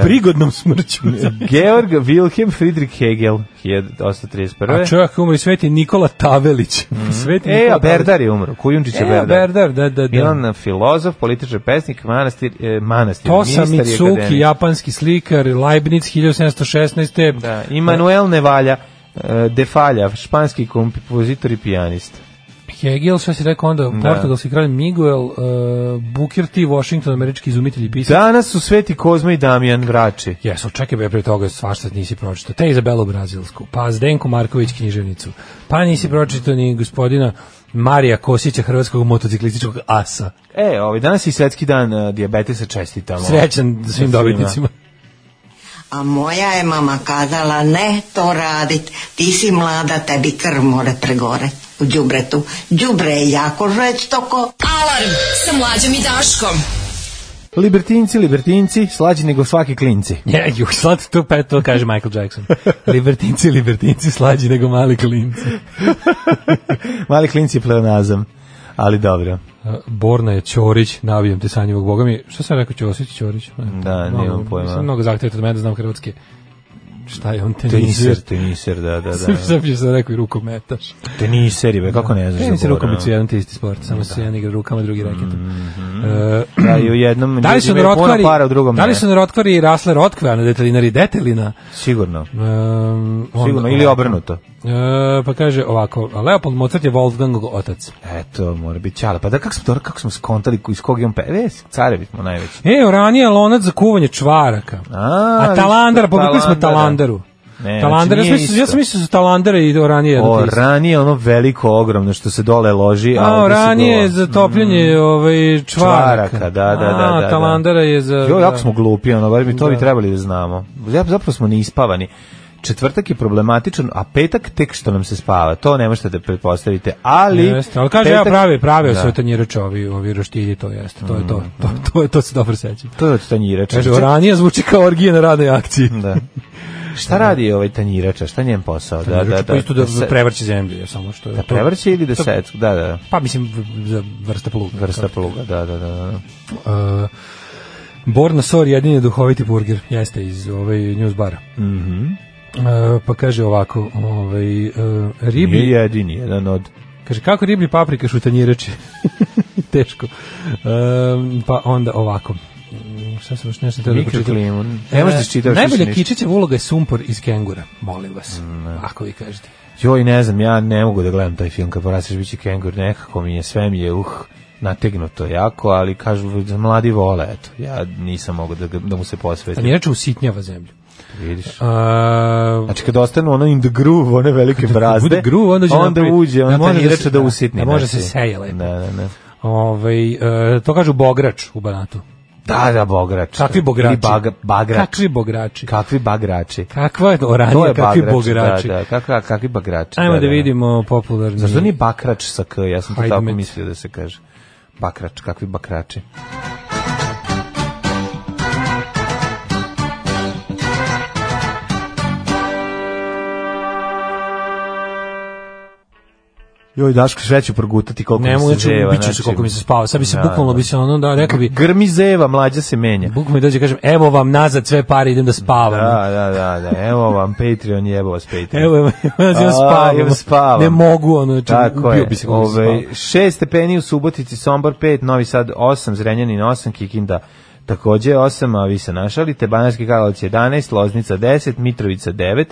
S5: Prigodnom smrću.
S6: Georg Wilhelm Friedrich Hegel, 1831.
S5: A čovjek umri sveti Nikola Tavelić. sveti
S6: E,
S5: Nikola
S6: a Berdar je umro, Kujundžić je
S5: Tavelić. E, a
S6: Berdar.
S5: Berdar, da, da, da.
S6: Milan, filozof, političar, pesnik, manastir, e, manastir,
S5: Tosa
S6: ministar i
S5: Mitsuki,
S6: akademik.
S5: japanski slikar, Leibniz 1716.
S6: Da, Immanuel Nevalja, e, Defalja, španski kompozitor i pijanist.
S5: Hegel, šta si rekao onda, portugalski kralj Miguel, uh, Booker T. Washington, američki izumitelj i pisac.
S6: Danas su Sveti Kozma i Damjan Vrači.
S5: Jesu, čekaj be, pre toga svašta nisi pročitao. Te Izabelu Brazilsku, pa Zdenko Marković književnicu, pa nisi pročitao ni gospodina Marija Kosića, hrvatskog motociklističkog asa.
S6: E, ovaj, danas je i svetski dan e, dijabetesa čestitamo.
S5: Srećan svim dobitnicima.
S8: A moja je mama kazala ne to radit, ti si mlada, tebi krv more pregore u đubretu. Đubre je jako žestoko.
S4: Alarm sa mlađom i Daškom.
S6: Libertinci, libertinci, slađi nego svaki klinci.
S5: Ja, ju, slat to pet, to kaže Michael Jackson. libertinci, libertinci, slađi nego mali klinci.
S6: Mali klinci je pleonazam, ali dobro.
S5: Uh, Borna je Ćorić, navijem te sanjivog boga mi. Šta sam rekao Ćosić, Ćorić? Ne,
S6: Da,
S5: mnogo-
S6: nemam pojma.
S5: Sam mnogo zahtevate od mene da znam hrvatski. Šta je on
S6: Teniser,
S5: teniser?
S6: teniser, da, da, da.
S5: Sam sam što sam rekao i rukometaš.
S6: Teniser, je, Da. be, kako ne znaš da za
S5: Teniser,
S6: Borna?
S5: rukomet su jedan te isti sport, samo se jedan igra rukama, drugi raketom. Uh,
S6: Da, i u jednom
S5: da li su
S6: ljudi imaju puno
S5: narodkvari,
S6: para, u drugom
S5: da li
S6: ne.
S5: su narodkvari rasle rotkve, a ne detelinari detelina?
S6: Sigurno.
S5: Um, onda-
S6: Sigurno, ili obrnuto.
S5: E, pa kaže ovako, Leopold Mozart je Wolfgangov otac.
S6: Eto, mora biti čala. Pa da kako smo, dobro, kako smo skontali iz kog je on pe... E, carevi smo najveći.
S5: E, ranije lonac za kuvanje
S6: E,
S5: čvaraka.
S6: A,
S5: A talandar,
S6: viš,
S5: pobukli smo
S6: talandara.
S5: talandaru.
S6: Ne,
S5: talandar,
S6: znači
S5: ja,
S6: nije
S5: sam mislio, ja sam
S6: isto.
S5: mislio da su talandare i oranije. jedno
S6: O,
S5: te isto.
S6: ranije ono veliko, ogromno što se dole loži, a,
S5: A,
S6: ovde se
S5: oranije je
S6: gola.
S5: za topljenje ovaj, čvaraka.
S6: Mm. Čvaraka, da, da, da,
S5: A,
S6: da, da.
S5: talandara je za...
S6: Jo,
S5: da.
S6: jako smo glupi, ono, bar bi to bi
S5: Da.
S6: trebali da znamo. Zap- Zapravo smo neispavani. Četvrtak je problematičan, a petak tek što nam se spava. To ne možete da pretpostavite, ali...
S5: Jeste, ali kaže, ja
S6: petak-
S5: pravi, pravi
S6: Da. Mm.
S5: su tanjirači ovi, ovi roštilji, to jeste, to je to, to, to, to se dobro sećam.
S6: To je od tanjirača.
S5: Kaže,
S6: Ček-
S5: oranije zvuči kao orgije na radnoj akciji.
S6: Da. Šta radi ovaj tanjirača? Šta je njen posao? Da, da, da.
S5: Pa isto da,
S6: se-
S5: prevrće zemlju, je samo što je
S6: Da
S5: to.
S6: prevrće ili da
S5: to-
S6: se... Da, da.
S5: Pa mislim, v- za vrsta pluga.
S6: Vrsta pluga, da, da, da, da.
S5: Uh, Borna Sor jedini duhoviti burger, jeste iz ovaj news bara. Mhm. pa kaže ovako, ovaj uh, riblji,
S6: Nije jedini, jedan od...
S5: kaže kako riblji paprikaš u tanjirači. Teško. Um, pa onda ovako. Mm, Šta sam još nešto teo da pročitam?
S6: Mikroklimu. Ne možeš da čitaš više
S5: Najbolja
S6: ništa. Mm,
S5: kičićeva uloga je sumpor iz kengura, molim vas. Ako vi kažete.
S6: Joj, ne znam, ja ne mogu da gledam taj film kad porastiš biće kengur, nekako mi je, sve mi je, uh, nategnuto jako, ali kažu da mladi vole, eto, ja nisam mogu da, ga- da mu se posvetim,
S5: Tanjirač usitnjava zemlju.
S6: vidiš.
S5: Uh,
S6: Znači kad ostanu ono in the groove, one velike brazde,
S5: bude groove, onda će
S6: onda
S5: napraviti-
S6: uđe,
S5: da
S6: on
S5: može da
S6: tanjirača
S5: se-
S6: da
S5: da,
S6: usitni.
S5: da može
S6: znači.
S5: se seje lepo.
S6: Da, da, da.
S5: Ovaj, e, to kažu bograč u Banatu.
S6: Da, da, bograč.
S5: Kakvi bograči?
S6: Ili baga, bagrač.
S5: Kakvi bograči?
S6: Kakvi bagrači?
S5: Kakva je oranja, kakvi bograči?
S6: Da, da, kakva, kakvi bagrači.
S5: Ajmo
S6: da,
S5: da vidimo popularni.
S6: Zašto nije bakrač sa K? Ja sam to
S5: Hajde
S6: tako
S5: met.
S6: mislio da se kaže. Bakrač, kakvi bakrači. Joj, Daško, sve ću progutati koliko
S5: Ne
S6: mi se
S5: mogu, znači,
S6: zeva.
S5: bit ću se koliko mi se spava. Sad bi se
S6: Da,
S5: bukvalno
S6: da.
S5: bi se ono, da, rekao bi,
S6: Grmi zeva, mlađa se menja.
S5: bukvalno mi dođe i kažem, evo vam nazad sve pare, idem da spavam.
S6: Da, da, da, da. Evo vam Patreon, jebo vas Patreon.
S5: Evo, evo, evo,
S6: A,
S5: ja spavam.
S6: idem spavam.
S5: Ne mogu, ono, znači,
S6: Tako
S5: ubio
S6: je.
S5: bi se koliko
S6: Ove,
S5: spavam.
S6: 6 stepeni u Subotici, Sombor 5, Novi Sad 8, Zrenjanin 8, Kikinda takođe 8, a vi se našalite, Banarski Karlovac 11, Loznica 10, Mitrovica 9,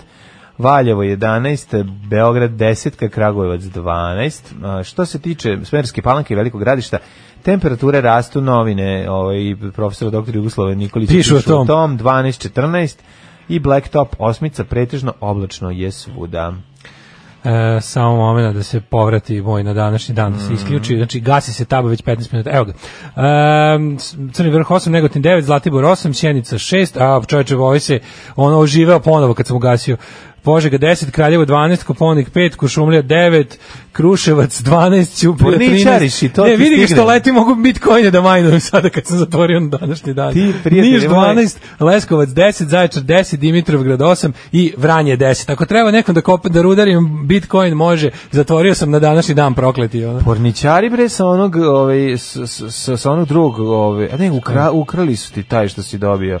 S6: Valjevo 11, Beograd 10, Kragujevac 12. A, Što se tiče Smerske palanke i Velikog gradišta, temperature rastu novine, ovaj, profesor dr. Jugoslava Nikolić
S5: Pišu o
S6: o
S5: tom.
S6: tom 12, 14 i Blacktop osmica pretežno oblačno je svuda.
S5: E, samo momena da se povrati moj na današnji dan, da
S6: Mm.
S5: se isključi. Znači, gasi se tabo već 15 minuta. Evo ga. E, s- Crni vrh 8, Negotin 9, Zlatibor 8, Sjenica 6, a čovječe, ovo se ono oživeo ponovo kad sam ugasio. Požega 10, Kraljevo 12, Koponik 5, Kušumlija 9, Kruševac 12, Ćuprija 13.
S6: Porničariš Pa i to
S5: ne,
S6: ti
S5: vidi ga
S6: stigne.
S5: što leti, mogu bitcoine da majnujem sada kad sam zatvorio na današnji dan.
S6: Ti, prijatelji
S5: Niš
S6: moji.
S5: 12, Leskovac 10, Zaječar 10, Dimitrovgrad 8 i Vranje 10. Ako treba nekom da kopam da rudarim, Bitcoin može. Zatvorio sam na današnji dan prokleti. Ono.
S6: Porničari bre sa onog ovaj s, s, s- sa onog drugog ovaj a ne ukra, ukrali su ti taj što si dobio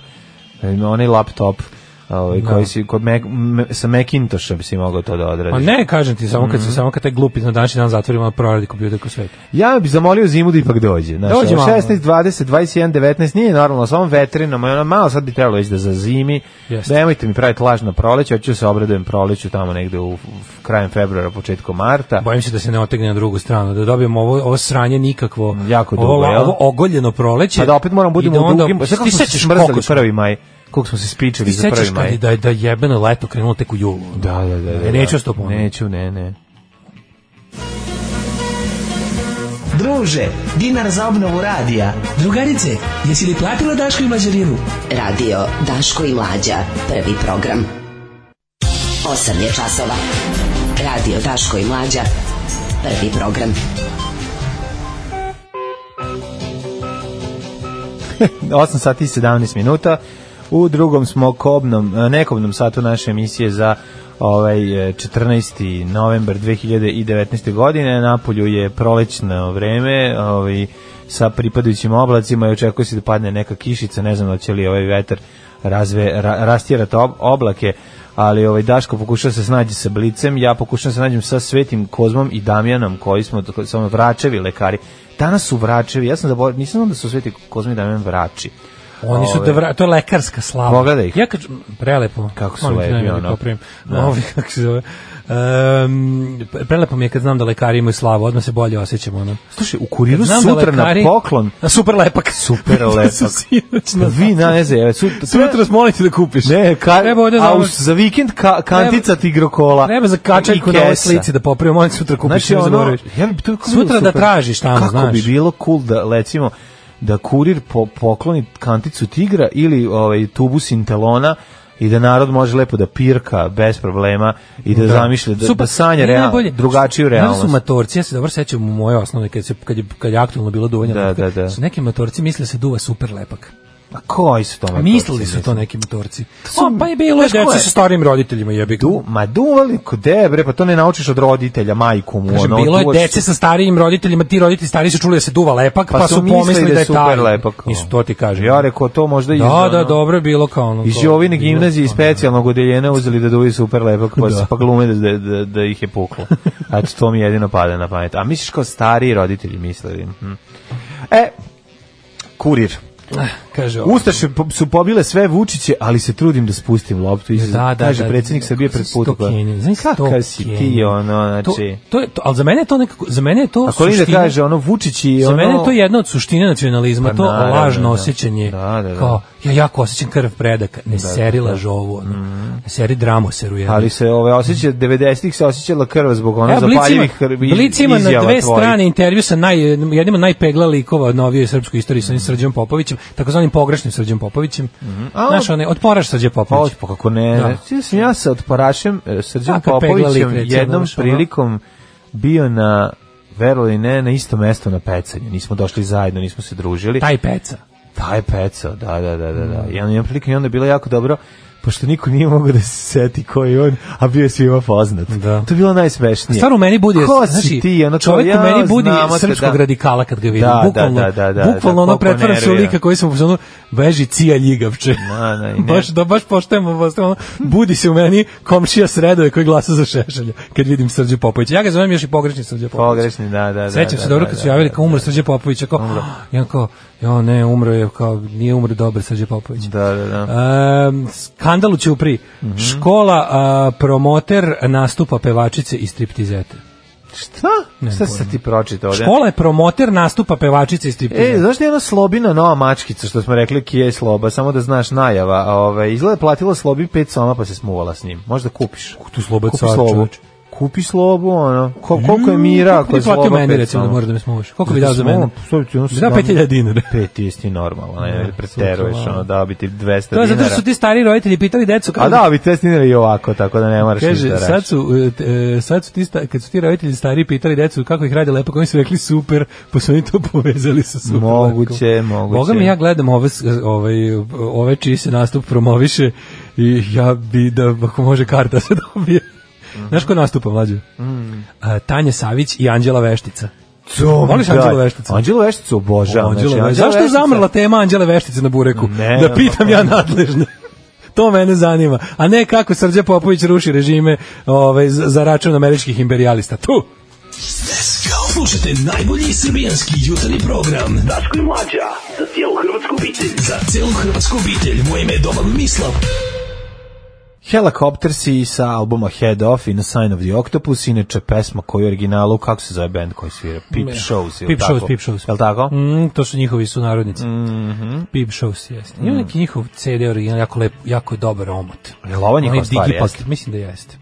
S6: E, onaj laptop ovaj
S5: Da.
S6: koji si kod Mac, m, sa Macintoshom si mogao to da
S5: Pa
S6: odradiš.
S5: ne, kažem ti, samo kad,
S6: Mhm.
S5: se, samo kad taj glupi na današnji dan zatvorimo, proradi kompjuter ko sveta.
S6: Ja bih zamolio zimu da ipak dođe. Znači,
S5: Dođe malo.
S6: 16, 20, 21, 19 nije normalno, samo vetrino, ma ono malo sad bi trebalo ići da zazimi.
S5: Jeste.
S6: Nemojte mi praviti lažno proleće, hoću da se obradujem proleću tamo negde u, u krajem februara, početkom marta.
S5: Bojim se da se ne otegne na drugu stranu, da dobijemo ovo, ovo sranje nikakvo,
S6: Jako
S5: ovo,
S6: dugo, jel?
S5: ovo ogoljeno proleće.
S6: Pa da opet moram
S5: i
S6: budemo
S5: da
S6: u
S5: onda-
S6: drugim. Sve kako
S5: Ti
S6: smo se
S5: sećaš
S6: smrzali
S5: koliko smo-
S6: 1. maj. Koliko smo se spičali
S5: Ti
S6: za 1.
S5: sećaš kad
S6: maj.
S5: je- da, je- da je jebeno leto krenulo tek u julu.
S6: Da, da, da. da
S5: E, neću
S6: da.
S5: s tobom.
S6: Neću, ne, ne.
S9: Druže, dinar za obnovu radija. Drugarice, jesi li platila Daško i Mađarinu?
S4: Radio Daško i Mlađa. Prvi program. 8 je časova. Radio Daško i Mlađa. Prvi program.
S6: 8 sati i 17 minuta. U drugom smo kobnom, e, nekobnom satu naše emisije za ovaj e, 14. novembar 2019. godine. Napolju je prolećno vreme, ovaj sa pripadajućim oblacima i očekuje se da padne neka kišica, ne znam da će li ovaj vetar razve, ra, rastjerati ob, oblake, ali ovaj Daško pokušao se snađi sa Blicem, ja pokušao se nađem sa Svetim Kozmom i Damjanom koji smo koji su ono vračevi lekari. Danas su vračevi, ja sam zaboravio, nisam znao da su Sveti Kozma i Damjan vrači.
S5: Oni su
S6: Ove,
S5: da vra, to je lekarska slava.
S6: Pogledaj ih.
S5: Ja kad prelepo.
S6: Kako su
S5: Molim te,
S6: lepi,
S5: nemoj da
S6: ono.
S5: popravim.
S6: Da.
S5: Ovi, kako se zove. Um, prelepo mi je kad znam da lekari imaju slavu, odmah se bolje osjećam ono.
S6: Slušaj, u kuriru
S5: Znam
S6: sutra
S5: da lekari,
S6: na poklon.
S5: A super lepak.
S6: Super
S5: Da
S6: lepak.
S5: su sinoć
S6: Pa
S5: na-
S6: vi na ne znam, sutra,
S5: Sutra vas molim te da kupiš.
S6: Ne, ka,
S5: Treba ovde za
S6: a
S5: ovo-
S6: uz, za vikend ka, kantica
S5: Treba-
S6: tigrokola.
S5: Treba za kačaljku
S6: I
S5: na ovoj
S6: kesa.
S5: slici da popravim, molim te sutra kupiš.
S6: Znači,
S5: Znači,
S6: ono,
S5: ono,
S6: ja bi to kako bi bilo
S5: Sutra da
S6: super.
S5: tražiš tamo,
S6: kako
S5: znaš.
S6: bi bilo cool da, recimo, da kurir po, pokloni kanticu tigra ili ovaj, tubu sintelona i da narod može lepo da pirka bez problema i da, zamišlja, da, da
S5: Ne,
S6: sanja real,
S5: najbolje-
S6: drugačiju
S5: Znaš da
S6: realnost.
S5: su matorci, ja se dobro sećam u moje osnovne, kad, se, kad, je, kad je aktualno bilo duvanje.
S6: Da,
S5: lepak,
S6: da, da.
S5: Su neki matorci mislili da se duva super lepak.
S6: A koji su to matorci,
S5: Mislili su
S6: Pa, mislim? Da
S5: to neki motorci.
S6: su-
S5: O, pa je bilo
S6: znaš ko
S5: dece
S6: je?
S5: sa starim roditeljima, jebi ga.
S6: Du, ma duvali kod debre, pa to ne naučiš od roditelja, majku mu.
S5: Kažem,
S6: ono,
S5: bilo je
S6: duvaš-
S5: dece sa starijim roditeljima, ti roditelji stari su čuli da se duva lepak,
S6: Pa
S5: pa,
S6: su
S5: su
S6: mislili
S5: pomislili da je
S6: super
S5: taj.
S6: lepak,
S5: Nisu
S6: ono.
S5: to ti kažem.
S6: Ja rekao, to možda iz...
S5: Da, da,
S6: ono,
S5: dobro je bilo kao ono.
S6: Iz
S5: to,
S6: Jovine
S5: bilo
S6: gimnazije iz
S5: kao ono.
S6: specijalnog odeljenja uzeli da duvi super lepak, pa,
S5: Da.
S6: pa glume da, da- da, da ih je puklo. A eto, to mi jedino pada na pamet. A misliš kao stariji roditelji mislili? Hm. E, kurir.
S5: Kaže, ovo.
S6: Ustaše po- su pobile sve Vučiće, ali se trudim da spustim loptu. Iz,
S5: da, da,
S6: kaže
S5: da,
S6: predsjednik
S5: da,
S6: Srbije pred
S5: sto
S6: putu. pa-
S5: Kenija, znaš sto
S6: Kakav si ti,
S5: Kenija.
S6: ono,
S5: to,
S6: znači...
S5: to je, to, ali za mene je to nekako, za mene je to
S6: A Kolinda
S5: suština-
S6: kaže, ono, Vučić i
S5: Za
S6: ono...
S5: mene je to jedna od suštine nacionalizma,
S6: Pa
S5: to
S6: naravno,
S5: lažno
S6: da.
S5: osjećanje.
S6: Da, da, da.
S5: Kao, ja jako osjećam krv predaka, ne seri lažovu, ono. ne seri dramoseru. jednu.
S6: Mhm. Ali se ove osjeća, 90-ih se osjećala krv zbog onih
S5: Evo, Blic ima-
S6: zapaljivih krvi
S5: Blic ima na
S6: izjava
S5: dve
S6: tvojih.
S5: strane intervju sa naj, jednim od najpegla likova od novije srpskoj istoriji sa onim Srđom Popovićem, takozvanim pogrešnim Srđom Popovićem.
S6: Mhm. A,
S5: Znaš, one, od poraš Srđe
S6: Pa
S5: Popović.
S6: hoće, pa kako ne.
S5: Da.
S6: Da. sam ja sa otparašem e, Srđan
S5: Tako je pegla
S6: Popovićem
S5: lik, recimo,
S6: jednom
S5: znaš, ono.
S6: prilikom bio na verovali ili ne, na isto mesto na pecanju. Nismo došli zajedno, nismo se družili.
S5: Taj Mm. peca.
S6: Taj pecao, da, da, da, da. da. I on jedan prilike i onda je bilo jako dobro, pošto niko nije mogao da se seti ko je on, a bio je svima poznat.
S5: Da.
S6: To je bilo najsmešnije.
S5: Stvarno meni budi,
S6: ko si
S5: znači,
S6: ti, ono, kao,
S5: čovjek u
S6: ja,
S5: meni budi
S6: znamo te,
S5: srpskog
S6: da.
S5: radikala kad ga vidim.
S6: Da, da,
S5: bukvalno,
S6: da, da, da,
S5: bukvalno
S6: da,
S5: ono
S6: koliko
S5: pretvara se u
S6: nervira.
S5: lika koji sam ono, veži cija ljigavče.
S6: Na, na, i ne.
S5: baš, da, baš poštujemo, poštujemo. Budi se u meni komšija sredove koji glasa za šešelja kad vidim Srđe Popovića. Ja ga zovem još i pogrešni Srđe Popović.
S6: Pogrešni, da, da, da.
S5: Sećam
S6: da,
S5: se dobro
S6: da,
S5: kad su
S6: da,
S5: javili
S6: da,
S5: kao umro Srđe Popović, ja kao, ja kao, ja ne, umro je, kao, nije umro dobar Srđe Popović.
S6: Da, Mhm. da, da.
S5: Ehm, skandal u Ćupri. Škola a, promoter nastupa pevačice i striptizete.
S6: Šta? Šta se ti pročitao? ovdje?
S5: Škola je promoter nastupa pevačice i
S6: E,
S5: striptizete.
S6: znaš da je ona slobina nova mačkica, što smo rekli kije je sloba, samo da znaš najava. a, Ove, izgleda da je platila slobi pet soma pa se smuvala s njim. Možda kupiš.
S5: tu sloba je
S6: Kupi
S5: car,
S6: slobu.
S5: čoveče. Mm,
S6: Kupi slobu, ono. Ko, koliko je mira
S5: Koliko
S6: ako je
S5: bi platio
S6: sloba
S5: meni,
S6: pet
S5: recimo, da
S6: soma?
S5: mora da me smuvaš? Koliko bi dao za
S6: Smol,
S5: mene? Da
S6: sto ti ono
S5: Bi dao 5000 dinara.
S6: Pet je ti normalno, ne, preteruješ,
S5: malo.
S6: ono, dao bi ti 200
S5: Da, To je zato
S6: dinara.
S5: što su ti stari roditelji pitali decu
S6: A da,
S5: kao
S6: dao bi 200 dinara i ovako, tako da ne moraš ništa
S5: Kaže,
S6: reći.
S5: sad su, e, t- e, sad su ti, sta, kad su ti roditelji stari pitali decu kako ih radi lepo, kako im su rekli super, pa su oni to povezali sa super.
S6: Moguće,
S5: letkom.
S6: moguće.
S5: Boga mi ja gledam ove, s- ovaj, ove čiji se nastup promoviše i ja bi da, ako može, karta se dobije.
S6: Mhm.
S5: Znaš ko nastupa, mlađe?
S6: Mm.
S5: A, Tanja Savić i Anđela Veštica.
S6: Co,
S5: Voliš
S6: daj.
S5: Anđelu Vešticu?
S6: Anđelu Vešticu obožavam.
S5: Anđela
S6: znači,
S5: Veštica.
S6: Anđela
S5: Zašto je
S6: Veštica-
S5: zamrla tema Anđele Veštice na bureku?
S6: Ne,
S5: da
S6: ne,
S5: pitam
S6: pa-
S5: ja nadležne. To mene zanima. A ne kako Srđa Popović ruši režime ovaj, za za račun američkih imperialista. Tu!
S9: Slušajte najbolji srbijanski jutarnji program. Daško i Mlađa, za cijelu hrvatsku obitelj. Za cijelu hrvatsku obitelj, moje ime je Domagoj Mislav.
S6: Helicoptersi sa albuma Head Off i na Sign of the Octopus, inače pesma koju je u originalu, kako se zove band koji svira? Peep Shows, ili
S5: Peep
S6: tako?
S5: Shows, Peep Shows.
S6: Jel tako?
S5: Mm, to su njihovi sunarodnici. Mm
S6: Mhm.
S5: Peep Shows, jeste.
S6: Mm.
S5: Ima neki njihov CD original, jako, lep, jako je dobar omot.
S6: Jel ovo njihova
S5: Onaj
S6: stvar,
S5: digipak,
S6: jeste?
S5: Mislim da jeste.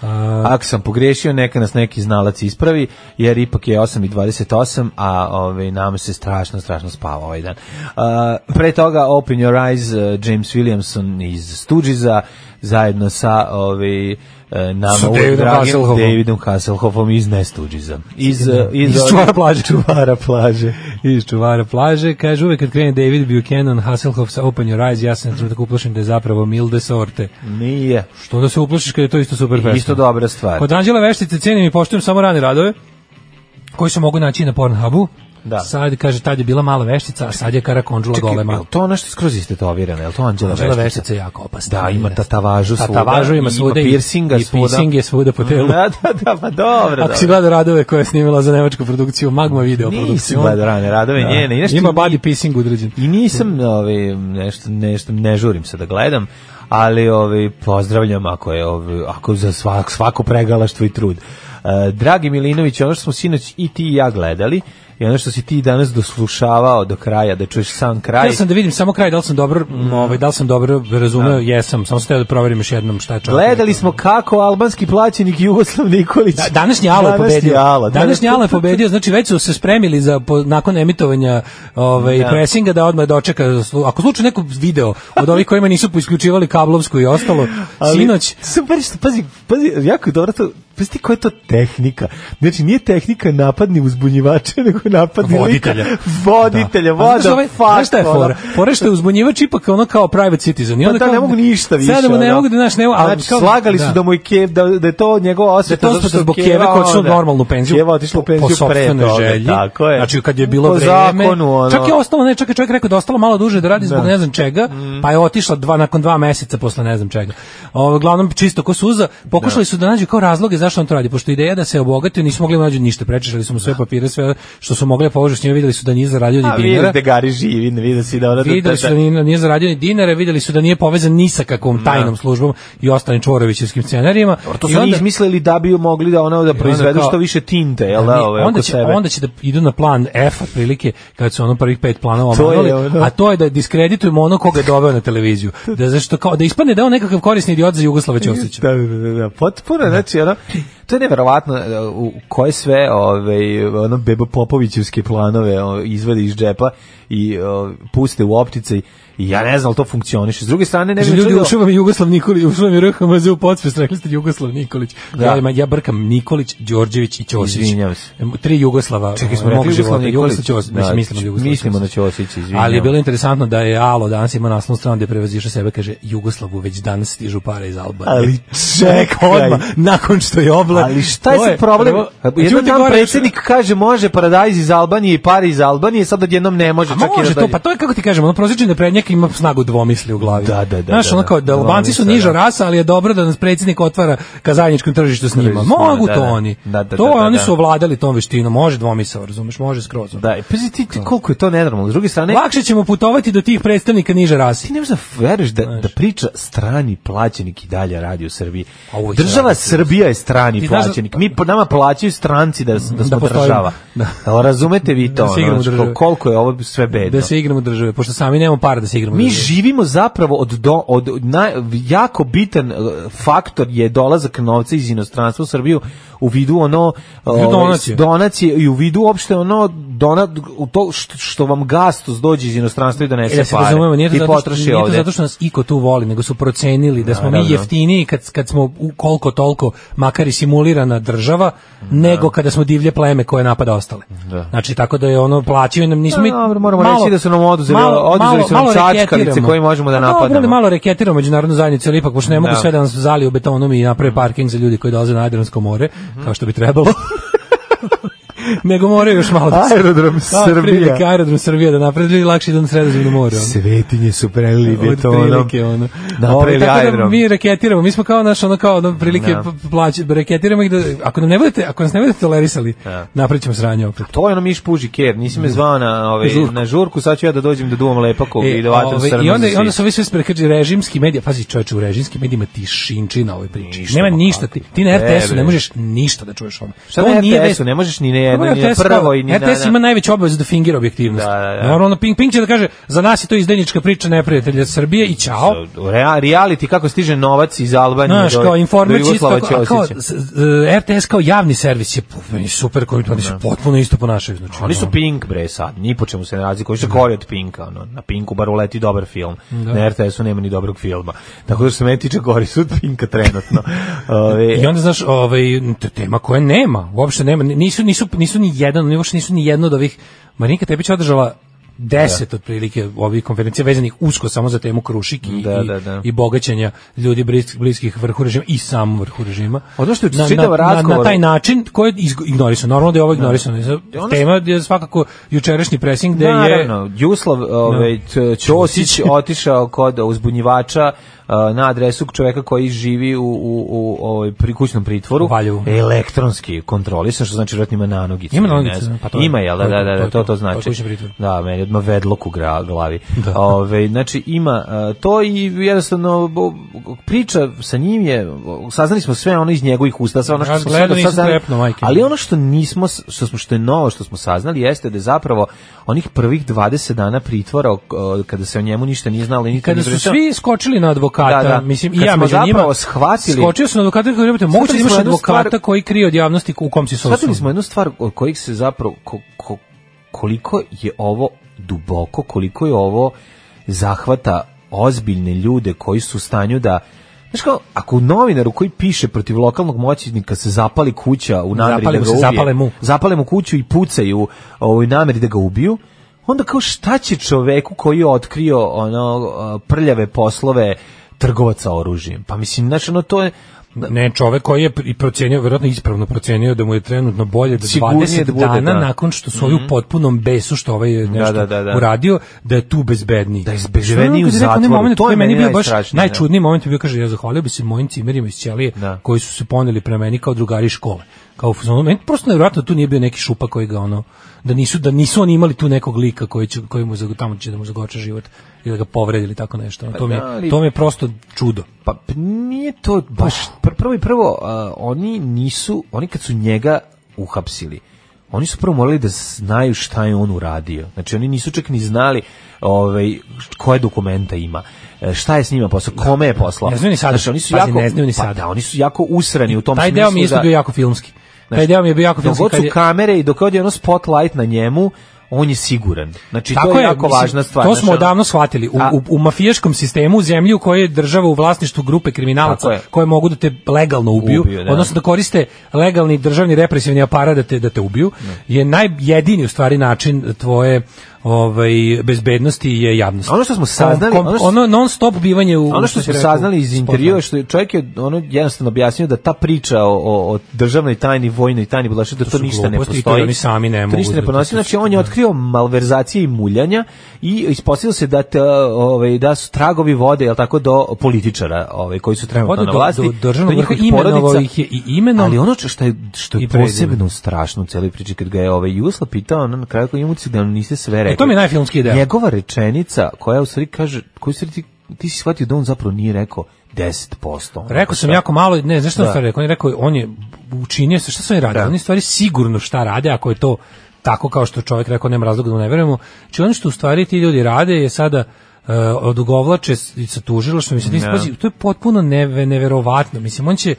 S5: Pa.
S6: Ako sam pogrešio, neka nas neki znalac ispravi, jer ipak je 8.28, a ovaj, nam se strašno, strašno spava ovaj dan. A, pre toga, Open Your Eyes, eh, James Williamson iz Stoogiesa, zajedno sa ovaj, eh,
S5: Sa
S6: nama
S5: Davidom
S6: uvijek dragim
S5: Hasselhoffom.
S6: Davidom Hasselhoffom iz Ne Stoogiesa. Iz, eh,
S5: Iz čuvara plaže.
S6: Čuvara plaže.
S5: iz čuvara plaže. Kaže, uvek kad krene David Buchanan, Hasselhoff sa Open Your Eyes, ja se na trenutak uplašim da je zapravo Milde Sorte.
S6: Nije.
S5: Što da se uplašiš kad je to isto super pesma?
S6: Isto dobra stvar.
S5: Kod Anđela Veštice cenim i poštujem samo rane radove koji se mogu naći na Pornhubu.
S6: Da.
S5: Sad, kaže, tad je bila mala veštica, a sad je karakondžula
S6: Čekaj,
S5: golema.
S6: jel to ono što je skroz istetovirano, jel to Anđela
S5: Anđela
S6: Veštica?
S5: Veštica je jako opasna.
S6: Da, ima
S5: Jeste.
S6: tatavažu svuda.
S5: Tatavažu ima
S6: i
S5: svuda i-
S6: Ima piercinga
S5: i
S6: svuda.
S5: piercing je svuda po telu.
S6: Da, da, da, pa dobro.
S5: Ako si
S6: dobro.
S5: gledao radove koje je snimila za nemačku produkciju, Magma video produkciju. Da.
S6: Nisi gledao rane radove njene. I nešto-
S5: Ima body pissing udređen.
S6: I nisam, ovaj, nešto, nešto, ne žurim se da gledam, ali ovaj, pozdravljam ako je ovaj, ako za svak, svako pregalaštvo i trud. E, dragi Milinović, ono što smo sinoć i ti i ja gledali, i ono što si ti danas doslušavao do kraja, da čuješ sam kraj.
S5: Ja sam da vidim samo kraj, da li sam dobro,
S6: Mm.
S5: ovaj, da li sam dobro razumeo, jesam, samo sam teo da proverim još jednom šta je čovjek.
S6: Gledali smo kako albanski plaćenik Jugoslav Nikolić.
S5: Da, današnji Alo je
S6: Današnji da.
S5: pobedio.
S6: Alo,
S5: današnji Alo je pobedio, znači već su se spremili za po, nakon emitovanja ovaj
S6: Da.
S5: presinga da odmah dočeka slu- ako slučajno neko video od ovih kojima nisu isključivali kablovsku i ostalo
S6: Ali,
S5: sinoć
S6: Super, što, pazi, pazi, jako je dobro to, pazi ti koja je to tehnika. Znači, nije tehnika napadni uzbunjivače, nego napadni
S5: Voditelja.
S6: Lika, voditelja,
S5: A
S6: voda,
S5: znaš ovaj-
S6: fuck,
S5: znaš šta je
S6: ono.
S5: fora? Fora što je uzbunjivač ipak ono kao private citizen. I
S6: Pa
S5: onda
S6: da,
S5: kao-
S6: ne mogu ništa više.
S5: Sad mu ne
S6: ono.
S5: mogu da, znaš, ne mogu- ali
S6: znači,
S5: kao-
S6: slagali su
S5: da.
S6: da mu je Kev, da, da je to njegova
S5: Da je
S6: osveta.
S5: to
S6: zato
S5: zbog,
S6: što
S5: zbog
S6: Keva,
S5: Keve koja
S6: ono,
S5: otišla u normalnu penziju.
S6: Keva otišla u penziju
S5: po
S6: pre
S5: sopstvenoj
S6: toga,
S5: želji.
S6: Tako je.
S5: Znači kad je bilo
S6: po
S5: vreme.
S6: zakonu, ono.
S5: Čak je ostalo, ne, čak je čovjek rekao da je ostalo malo duže da radi zbog ne znam čega,
S6: Mm.
S5: pa je otišla dva, nakon dva meseca posle ne znam čega. Ovo, uglavnom čisto ko suza, pokušali da su da nađu kao razloge zašto on to radi, pošto ideja da se obogatio, nisu mogli nađu ništa, prečešali su mu sve papire, sve što su su mogli da povežu s njima, videli su da nije zaradio
S6: Da. A
S5: ni
S6: vidi
S5: dinara.
S6: da Gari živi, ne vidi si da ona
S5: Videli su da nije, nije zaradio ni dinara, videli su da nije povezan ni sa kakvom tajnom službom i ostalim čvorovićevskim scenarijima.
S6: Da. To
S5: I
S6: su oni
S5: onda-
S6: izmislili da bi ju mogli da ona da proizvedu
S5: kao-
S6: što više tinte, jel da,
S5: Ne,
S6: ove,
S5: onda
S6: oko
S5: će,
S6: sebe.
S5: onda će da idu na plan F otprilike kad su ono prvih pet planova
S6: To je
S5: omanuli,
S6: ono.
S5: a to je da diskreditujemo ono koga je doveo na televiziju. Da zašto kao da ispadne da je on nekakav korisni idiot za Jugoslava Ćosića.
S6: Da, da, da, da, potpuno, znači, ono, to je neverovatno e, u koje sve ove, ono, Bebo Popovićevske planove o, izvade iz džepa i o, puste u optice i ja ne znam, ali to funkcioniše. S druge strane, ne
S5: Kaže,
S6: bi
S5: ljudi,
S6: čudilo-
S5: ušao vam je Jugoslav Nikolić, ušao vam je RHMZ u potpis, rekli ste Jugoslav Nikolić.
S6: Da.
S5: Ja, ja brkam Nikolić, Đorđević i Ćosić.
S6: Izvinjavam se.
S5: Tri Jugoslava
S6: Čekaj, smo
S5: mog
S6: rekli Jugoslav
S5: života. Jugoslav
S6: Nikolić?
S5: Ćosić,
S6: Da,
S5: mislim, mislimo na Jugoslava
S6: mislimo na Ćosića, izvinjavam.
S5: Ali je bilo interesantno da je Alo danas ima naslovnu stranu gde prevaziša sebe, kaže Jugoslavu već danas stižu pare iz Albanije.
S6: Ali čekaj.
S5: odmah, nakon što je oblan.
S6: Ali šta je
S5: To
S6: sad problem?
S5: prvo-
S6: Jedan
S5: Đudi
S6: dan
S5: Goreš-
S6: predsjednik kaže može paradajz iz Albanije i pare iz Albanije, sad odjednom ne može.
S5: A
S6: čak i
S5: može to,
S6: nadalje.
S5: pa to je kako ti kažemo, ono prosječni naprednjak ima snagu dvomisli u glavi.
S6: Da, da, da,
S5: Znaš,
S6: da,
S5: ono
S6: da.
S5: kao da Albanci su
S6: Dvomisla,
S5: niža
S6: da.
S5: rasa, ali je dobro da nas predsjednik otvara ka zajedničkom tržištu s njima.
S6: Tržištu,
S5: Mogu
S6: da,
S5: to
S6: da.
S5: oni.
S6: Da, da,
S5: to
S6: da, da,
S5: oni
S6: da.
S5: su ovladali tom veštinom, može dvomisao, razumeš, može skroz.
S6: Da, i pazi ti, ti koliko je to nenormalno. S druge strane,
S5: Lakše ćemo putovati do tih predstavnika niže
S6: ti
S5: rasi.
S6: ne možeš da veruješ da, da priča strani plaćenik i dalje radi u Srbiji.
S5: A ovo je
S6: Država
S5: radi.
S6: Srbija je strani
S5: Ti znaš da-
S6: plaćenik. Mi po nama plaćaju stranci da, da smo
S5: postojimo.
S6: država.
S5: Da.
S6: Jel razumete vi to?
S5: Da se
S6: ono,
S5: igramo države.
S6: kol- koliko je ovo sve bedno.
S5: Da se igramo države, pošto sami nemamo para da se igramo
S6: Mi
S5: države.
S6: živimo zapravo od, do, od na, jako bitan eh, faktor je dolazak novca iz inostranstva u Srbiju u vidu ono ovaj,
S5: donacije.
S6: donacije i u vidu uopšte ono donat u to što, što vam gastos dođe iz inostranstva i donese
S5: E, da se
S6: pare.
S5: razumemo, nije to,
S6: I
S5: zato što,
S6: potroši
S5: nije to
S6: ovde.
S5: zato što nas iko tu voli, nego su procenili da smo mi
S6: Naravno.
S5: jeftiniji kad, kad smo u koliko toliko, makar i simulirana država, nego kada smo divlje pleme koje napada ostale.
S6: Da.
S5: Znači, tako da je ono, plaćaju nam, nismo... mi-
S6: Da, dobro, moramo reći da su nam oduzeli- oduzeli su nam čačkalice
S5: reketiramo.
S6: koje možemo da
S5: Pa
S6: napadnemo.
S5: Dobro, ali malo reketiramo međunarodnu zajednicu, ali ipak, pošto ne mogu
S6: Da.
S5: sve da nas zaliju betonom i naprave parking za ljudi koji dolaze na Adriansko more, kao što bi trebalo. nego moraju još malo da se...
S6: Aerodrom
S5: Da,
S6: Srbija.
S5: otprilike aerodrom Srbija da napravi ljudi lakše idu na sredozemno more. ono.
S6: Svetinje su prelili betonom.
S5: Otprilike, ono. Ovaj,
S6: Napravili
S5: tako da
S6: aerodrom.
S5: Mi reketiramo, mi smo kao naš ono kao ono prilike
S6: Da.
S5: p- plaći, reketiramo ih da ako nam ne budete, ako nas ne budete tolerisali,
S6: Da.
S5: napravićemo sranje opet.
S6: To je ono miš puži ker, nisi me zvao na, ovaj,
S5: Da. Žurku.
S6: na žurku, sad ću ja da dođem da duvam lepakov i da vatam
S5: ove,
S6: srnu
S5: E, ovaj, I onda,
S6: za
S5: i onda
S6: sisi.
S5: su ovi sve sprekađi režimski medija, pazi čoveče, u režimskim medijima ti šinči na ovoj priči.
S6: Ništa,
S5: Nema
S6: ma
S5: ništa, ti, ti na
S6: kakvi.
S5: RTS-u ne
S6: Ne, bre.
S5: možeš ništa da čuješ ono.
S6: Šta
S5: To
S6: na
S5: nije
S6: RTS-u,
S5: vest-
S6: ne možeš ni na jedno,
S5: Dobro,
S6: ni na
S5: RTS
S6: prvo
S5: kao-
S6: i ni na...
S5: RTS ima najveću obavezu da fingira objektivnost.
S6: Da, da, da.
S5: Naravno, Pink, Pink će da kaže, za nas je to izdajnička priča neprijatelja Srbije i čao.
S6: Rea, reality kako stiže novac iz Albanije
S5: Znaš,
S6: do,
S5: kao
S6: do
S5: informer čisto,
S6: Jugoslava
S5: a kao,
S6: Ćosića.
S5: s- e, RTS kao javni servis je po- meni super, koji oni se potpuno isto ponašaju. Znači,
S6: Da. Oni su
S5: ono,
S6: Pink bre sad, ni po čemu se ne razlikuju,
S5: Da.
S6: što gori od Pinka, ono, na Pinku bar uleti dobar film, na RTS-u nema ni dobrog filma, tako da što se meni tiče gori su od Pinka trenutno. Ove,
S5: I onda znaš, ovaj to je tema koja nema, uopšte nema, nisu nisu nisu ni jedan, oni uopšte nisu ni jedno od ovih Marinka Tepić je održala
S6: Da.
S5: 10 otprilike ovih konferencija vezanih usko samo za temu Krušik i,
S6: Da,
S5: i,
S6: da, da.
S5: i bogaćenja ljudi bliskih, bliskih vrhu režima i sam vrhu režima.
S6: Ono što je
S5: na,
S6: čitav
S5: na, na, na
S6: razgovor-
S5: taj način koji ignorisano. Normalno da je ovo ignorisano. Tema je svakako jučerašnji presing gde je
S6: Naravno, Juslav ovaj,
S5: Da.
S6: Ć- Ćosić otišao kod uzbunjivača eh, na adresu čoveka koji živi u, u, u ovaj, pri kućnom pritvoru.
S5: U Valjevu.
S6: Elektronski kontrolisan, što znači vjerojatno ima nanogicu.
S5: Ima
S6: ne
S5: nanogicu,
S6: znam.
S5: pa to je-
S6: ima, jel da,
S5: to
S6: da,
S5: je-
S6: da,
S5: to
S6: da,
S5: je
S6: to,
S5: to, to
S6: to
S5: je
S6: znači.
S5: kućni pritvor.
S6: Da, meni odmah vedlok u gra- glavi.
S5: Da.
S6: Ovaj, znači, ima eh, to i jednostavno bo- priča sa njim je, saznali smo sve ono iz njegovih usta, sve ono što
S5: Ja
S6: smo
S5: gledao,
S6: sve do
S5: nisam
S6: sad znali.
S5: trepnuo, majke mi.
S6: Ali ono što nismo što smo što je novo što smo saznali jeste da je zapravo onih prvih 20 dana pritvora ok- kada se o njemu ništa nije znalo i nikad
S5: kada
S6: nije
S5: su
S6: izrečeno,
S5: svi skočili na advokata,
S6: Da, da.
S5: mislim i
S6: Kad
S5: ja
S6: smo
S5: među
S6: zapravo
S5: njima,
S6: shvatili-
S5: skočio sam na advokata koji je moguće da
S6: Shvatili
S5: imaš
S6: smo jednu
S5: advokata
S6: stvar-
S5: koji krije od javnosti u kom si se
S6: shvatili smo
S5: osnovno.
S6: jednu stvar od kojih se zapravo ko- ko- koliko je ovo duboko, koliko je ovo zahvata ozbiljne ljude koji su u stanju da Znaš kao, ako novinaru koji piše protiv lokalnog moćnika se zapali kuća u nameri
S5: Zapali
S6: da
S5: mu
S6: ga
S5: se,
S6: ubije,
S5: zapale mu.
S6: zapale mu kuću i pucaju u nameri da ga ubiju, onda kao šta će čoveku koji je otkrio ono a, prljave poslove trgovaca oružjem? Pa mislim, znači ono to je
S5: Ne, čovek koji je i procenio, verovatno ispravno procenio da mu je trenutno bolje da
S6: Sigurnije
S5: 20
S6: da bude,
S5: dana
S6: da.
S5: nakon što su ovi u potpunom besu što ovaj je nešto
S6: da, da, da.
S5: uradio, da je tu bezbedniji.
S6: Da je bezbedniji
S5: Što je ono kad
S6: u
S5: je rekao onaj
S6: zatvoru,
S5: moment
S6: to je
S5: koji je meni
S6: meni
S5: bio baš
S6: najstrašnije, da.
S5: najčudniji moment je bio, kaže, ja zahvalio bi se mojim cimerima iz ćelije
S6: Da.
S5: koji su se poneli prema meni kao drugari iz škole. kao u fazonu, meni prosto nevjerojatno da tu nije bio neki šupa koji ga ono da nisu da nisu oni imali tu nekog lika koji će koji mu zag- tamo će da mu zagoče život ili da ga povredi ili tako nešto. Ono, to mi je,
S6: da, ali-
S5: to mi je prosto čudo.
S6: Pa p- nije to
S5: Pa
S6: baš pr- prvo i prvo a, oni nisu oni kad su njega uhapsili oni su prvo morali da znaju šta je on uradio. Znači oni nisu čak ni znali ovaj koje dokumenta ima. e, Šta je s njima poslao? Kome je poslao?
S5: Da. Ne znaju ni sada.
S6: Znači, oni su
S5: Pazi,
S6: jako
S5: ne znaju ni
S6: pa
S5: sada.
S6: da, oni su jako usrani u tom
S5: Taj
S6: smislu.
S5: deo mi je isto
S6: da-
S5: bio jako filmski.
S6: Znaš,
S5: Taj deo mi je bio jako
S6: Dok
S5: filmski.
S6: god
S5: kad
S6: su
S5: je-
S6: kamere i dok god je ono spotlight na njemu, on je siguran. Znači to je jako
S5: mislim,
S6: važna stvar.
S5: To
S6: Znaš,
S5: smo
S6: ono-
S5: odavno shvatili. U,
S6: A-
S5: u, u mafijaškom sistemu, u zemlji u kojoj je država u vlasništvu grupe kriminalaca
S6: Tako je.
S5: koje mogu da te legalno ubiju,
S6: Ubiju, da.
S5: odnosno da koriste legalni državni represivni aparat da te, da te ubiju, je najjedini u stvari način tvoje ovaj, bezbednosti je javnost.
S6: Ono što smo saznali- ono
S5: ono,
S6: što-
S5: non stop bivanje u...
S6: ono što
S5: se
S6: smo
S5: rekao,
S6: saznali iz
S5: spotlight.
S6: intervjua što je čovjek je ono jednostavno objasnio da ta priča o, o, o državnoj tajni, vojnoj tajni, bila što to,
S5: su
S6: ništa ne
S5: gluposti i to
S6: postoji.
S5: oni sami ne
S6: To
S5: mogu
S6: ništa ne
S5: da- to
S6: ponosi.
S5: su-
S6: Znači on je otkrio malverzacije i muljanja i ispostavilo se da te, ovaj da su tragovi vode jel tako do političara, ovaj koji su trenutno
S5: Vode
S6: na
S5: do-
S6: vlasti,
S5: do državnog vrha,
S6: njihovih
S5: imenovao
S6: porodica.
S5: ih je i imenom
S6: Ali ono što je što je
S5: i prezimenom.
S6: posebno strašno u celoj priči kad ga je ovaj Jusla pitao, ono na kraju koji imuci da nam niste sve rekli.
S5: E, to mi je najfilmskiji deo.
S6: Njegova rečenica koja u stvari kaže, koju u stvari ti, ti si shvatio da on zapravo nije rekao 10%.
S5: Rekao sam jako malo, ne, znaš šta
S6: Da.
S5: da. stvari rekao, on je rekao, on je učinio se, šta su oni radili?
S6: Da.
S5: Oni stvari sigurno šta rade, ako je to tako kao što čovjek rekao, nema razloga da mu ne verujemo. Či ono što u stvari ti ljudi rade je sada uh, odugovlače s- i sa tužilaštvom, mislim,
S6: Da.
S5: da. ispazi, to je potpuno neve, neverovatno, mislim, on će,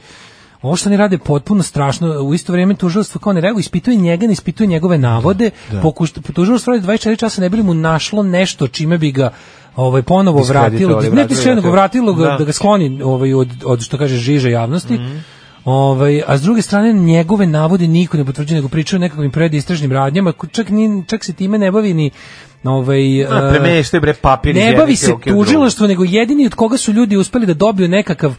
S5: ovo što oni rade je potpuno strašno, u isto vrijeme tužilaštvo kao ne reaguje, ispituje njega, ne ispituje njegove navode, da. pokušta, tužilaštvo radi 24 časa, ne bi li mu našlo nešto čime bi ga ovaj ponovo vratilo, ne
S6: Diskreditovali,
S5: diskreditno,
S6: vratili.
S5: nego vratilo ga,
S6: Da.
S5: da. Mhm. ga skloni ovaj od, od što kaže žiže javnosti. Ovaj, a s druge strane njegove navode niko ne potvrđuje nego pričaju o nekakvim predistražnim radnjama, ko- čak ni čak se time ne bavi ni ovaj
S6: A,
S5: e,
S6: premeštaj, bre, papir iz
S5: Ne
S6: jedne
S5: bavi se
S6: ruke u drugu.
S5: tužilaštvo, nego jedini od koga su ljudi uspeli da dobiju nekakav e,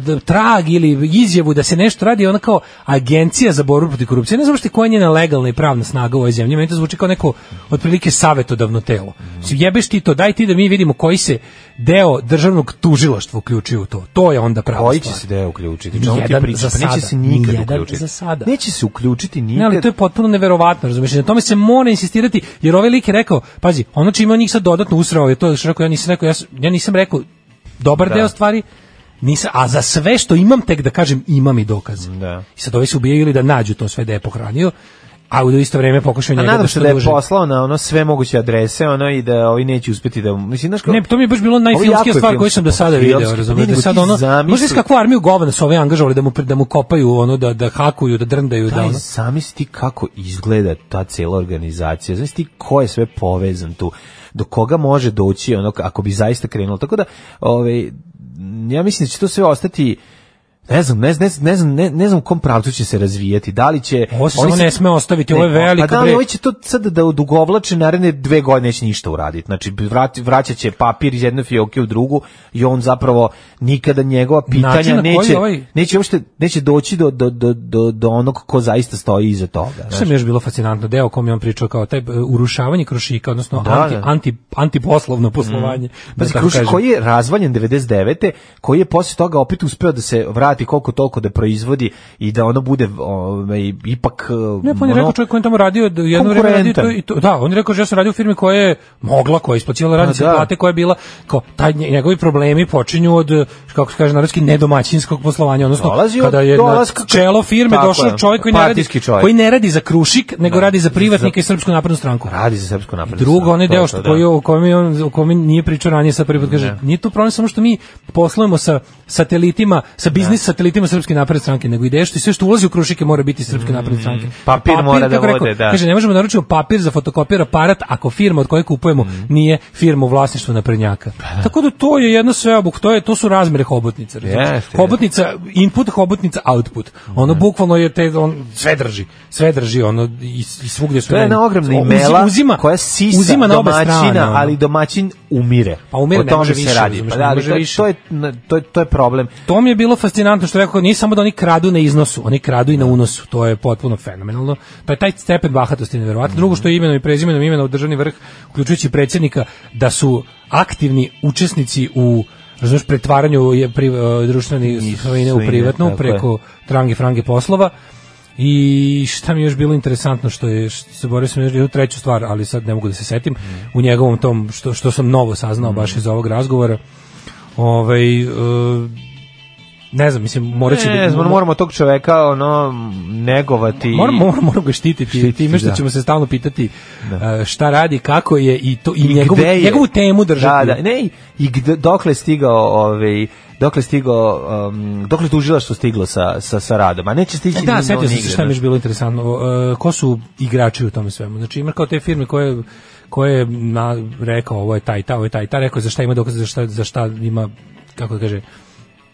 S5: d- trag ili izjavu da se nešto radi, je ona kao agencija za borbu protiv korupcije. Ne znam što koja je njena legalna i pravna snaga u ovoj zemlji. Meni to zvuči kao neko otprilike savetodavno telo. Mislim, Jebeš ti to, daj ti da mi vidimo koji se deo državnog tužilaštva uključio u to. To je onda prava
S6: Koji će
S5: stvar.
S6: se deo uključiti? Čemu ti
S5: Nijedan
S6: pričaš?
S5: za
S6: Pa neće
S5: sada.
S6: se nikad
S5: Nijedan
S6: uključiti.
S5: za sada.
S6: Neće se uključiti nikad.
S5: Ne, ali to je potpuno neverovatno, razumiješ? Na tome se mora insistirati, jer ovaj lik je rekao, pazi, ono čime on njih sad dodatno usrao je to što je rekao, ja nisam rekao, ja, s- ja nisam rekao dobar
S6: Da.
S5: da. deo stvari, nisam, a za sve što imam tek da kažem imam i dokaze.
S6: Da.
S5: I sad ovi se ubijaju ili da nađu to sve da je pohranio, a u isto vreme pokušaju
S6: A
S5: njega
S6: nadam
S5: da
S6: se da je
S5: produže.
S6: poslao na ono sve moguće adrese, ono i da ovi neće uspeti da... Mislim, znaš kako...
S5: Ne, to mi je baš bilo
S6: Ovo jako je
S5: najfilmskija stvar koju
S6: filmski,
S5: sam do sada
S6: filmski.
S5: video,
S6: Ne,
S5: razumeš?
S6: nego
S5: Da
S6: ti
S5: sad ono,
S6: zamisli-
S5: možeš kakvu armiju govana su ove angažovali da mu pre- da mu kopaju ono da da hakuju, da drndaju, da
S6: Daj,
S5: ono.
S6: zamisli ti kako izgleda ta cela organizacija, zamisli ti ko je sve povezan tu, do koga može doći ono, ako bi zaista krenulo. Tako da, ovaj, ja mislim da će to sve ostati Ne znam, ne, ne, ne znam, ne, ne znam u kom pravcu će se razvijati. Da li će
S5: Ovo se
S6: oni
S5: samo ne sme ostaviti, ovo je
S6: Ne,
S5: veliko,
S6: Pa da, ali
S5: bre.
S6: ovi će to sad da odugovlače naredne dve godine neće ništa uraditi. Znači vrati, vraćaće papir iz jedne fioke u drugu i on zapravo nikada njegova
S5: Način
S6: pitanja
S5: na koji
S6: neće
S5: ovaj-
S6: neće uopšte neće doći do do do do do onog ko zaista stoji iza toga.
S5: Šta mi je još bilo fascinantno, deo o kom je on pričao kao taj e, urušavanje krušika, odnosno
S6: Da,
S5: anti,
S6: da. Mm.
S5: anti, antiposlovno poslovanje. da
S6: Pazi,
S5: tako
S6: Krušik
S5: kažem.
S6: koji je razvaljen 99. koji je posle toga opet uspeo da se vrati koliko toliko da proizvodi i da ono bude ovaj, ipak
S5: Ne, pa on je rekao čovjek koji je tamo radio, da jedno vreme radio to i to. Da, on je rekao da ja sam radio u firmi koja je mogla, koja je isplaćivala radnice
S6: da.
S5: da. plate, koja je bila, kao, taj, nje- njegovi problemi počinju od, e, kako se kaže narodski, nedomaćinskog poslovanja, odnosno,
S6: Dolazi od
S5: kada je na
S6: dolaska-
S5: čelo firme
S6: Tako
S5: došao
S6: je,
S5: čovjek koji ne, radi,
S6: partijski čovjek.
S5: koji ne radi za Krušik, nego
S6: Da.
S5: radi za privatnika i Srpsku naprednu stranku.
S6: radi za srpsku naprednu.
S5: Drugo,
S6: stranku,
S5: onaj
S6: to je
S5: deo
S6: to,
S5: što
S6: da.
S5: koji, o kojem je on, o kojem nije pričao ranije, sad prvi put kaže, nije tu problem samo što mi poslujemo sa satelitima, sa biznis satelitima Srpske napredne stranke, nego ideja što i sve što ulazi u krušike mora biti iz Srpske napredne stranke.
S6: Mm, Papir mora da
S5: kako je
S6: vode, da.
S5: Kaže, ne možemo da naručimo papir za fotokopir aparat ako firma od koje kupujemo
S6: Mm.
S5: nije firma u vlasništvu naprednjaka.
S6: Pa
S5: Tako da to je jedno sve obuk, to, je, to su razmere hobotnice. razumeš?
S6: Jeste, Da.
S5: hobotnica input, hobotnica output. Ono bukvalno je te, on sve drži, sve drži, ono i, i svugde su
S6: To je
S5: meni-
S6: jedna ogromna
S5: Uzi-
S6: imela
S5: uzima,
S6: koja sisa
S5: uzima na obe
S6: domaćina,
S5: strane, ono.
S6: ali domaćin umire.
S5: Pa umire,
S6: o
S5: ne
S6: tome
S5: može
S6: se
S5: više,
S6: radi.
S5: razumeš,
S6: Pa da,
S5: ne
S6: ali
S5: može
S6: to, je-
S5: više.
S6: to je to je to je problem.
S5: To mi je bilo fascinantno što je rekao, nije samo da oni kradu na iznosu, oni kradu i na unosu, to je potpuno fenomenalno. Pa je taj stepen bahatosti je neverovatno. Drugo što je imenom i prezimenom imena u državni vrh, uključujući predsjednika, da su aktivni učesnici u razumeš, pretvaranju je pri, e, društvene svojine u
S6: svojine,
S5: privatnu
S6: tako je.
S5: preko trange frange poslova I šta mi je još bilo interesantno što je što se borio sam još jednu treću stvar, ali sad ne mogu da se setim u njegovom tom što što sam novo saznao baš iz ovog razgovora. Ovaj e, ne znam, mislim moraće
S6: Ne, znam, moramo tog čoveka ono negovati.
S5: Moramo, moramo, moramo ga štititi,
S6: Štititi,
S5: time što
S6: da.
S5: ćemo se stalno pitati e, šta radi, kako je i to i,
S6: I
S5: njegovu,
S6: gde je?
S5: njegovu temu držati.
S6: Da, da, ne, i- i gde, dokle je stigao, ovaj, dokle je stigao, um, dokle tužila što stiglo sa, sa, sa radom, a neće stići
S5: E, da,
S6: ni-
S5: setio sam se
S6: nigde,
S5: šta mi je
S6: znaš.
S5: još bilo interesantno. E, ko su igrači u tome svemu? Znači, ima kao te firme koje koje je na, rekao ovo je taj ta, ovo je taj ta, rekao je za šta ima dokaze, za šta, za šta ima, kako da kaže,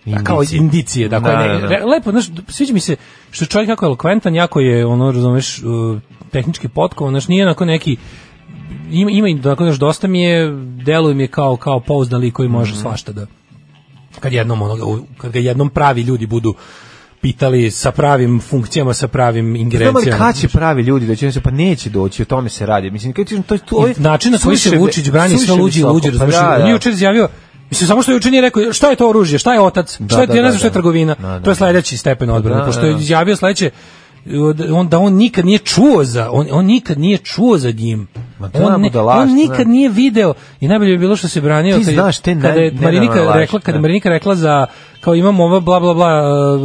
S5: A kao
S6: Indicije.
S5: indicije, da, koje
S6: Da,
S5: ne,
S6: da, da.
S5: re- lepo, znaš, sviđa mi se što čovjek jako elokventan, jako je, ono, razumeš, uh, tehnički potkovan, znaš, nije onako neki, ima, ima i onako, znaš, dosta mi je, deluje mi je kao, kao pouzdan lik koji može svašta da, kad jednom onoga, u- kad ga jednom pravi ljudi budu pitali sa pravim funkcijama, sa pravim
S6: Znamo li
S5: ingerencijama.
S6: kada će pravi ljudi doći, Znači, pa neće doći, o tome se radi. Mislim, kad ti to, ovaj- to,
S5: I način na koji se
S6: suviše-
S5: Vučić brani sve
S6: suviše
S5: luđi i
S6: visoko,
S5: luđi,
S6: pa
S5: razumiješ?
S6: da,
S5: On
S6: da.
S5: je jučer izjavio Mislim, samo što je juče nije rekao, šta je to oružje, šta je otac, šta je,
S6: da,
S5: ja ne
S6: da,
S5: znam šta je
S6: da.
S5: trgovina,
S6: Da, da,
S5: to je sledeći stepen odbrane,
S6: Da, da,
S5: pošto je
S6: da.
S5: izjavio sledeće, da on, da on nikad nije čuo za, on, on nikad nije čuo za njim.
S6: Ma da,
S5: On, ne,
S6: budalaština.
S5: on nikad nije video i najbolje je bilo što se branio
S6: Ti
S5: kad je-
S6: znaš te ne-
S5: kada je
S6: nenormalne
S5: Marinika
S6: laži,
S5: rekla kada
S6: da.
S5: je Marinika rekla za kao imam ova bla bla bla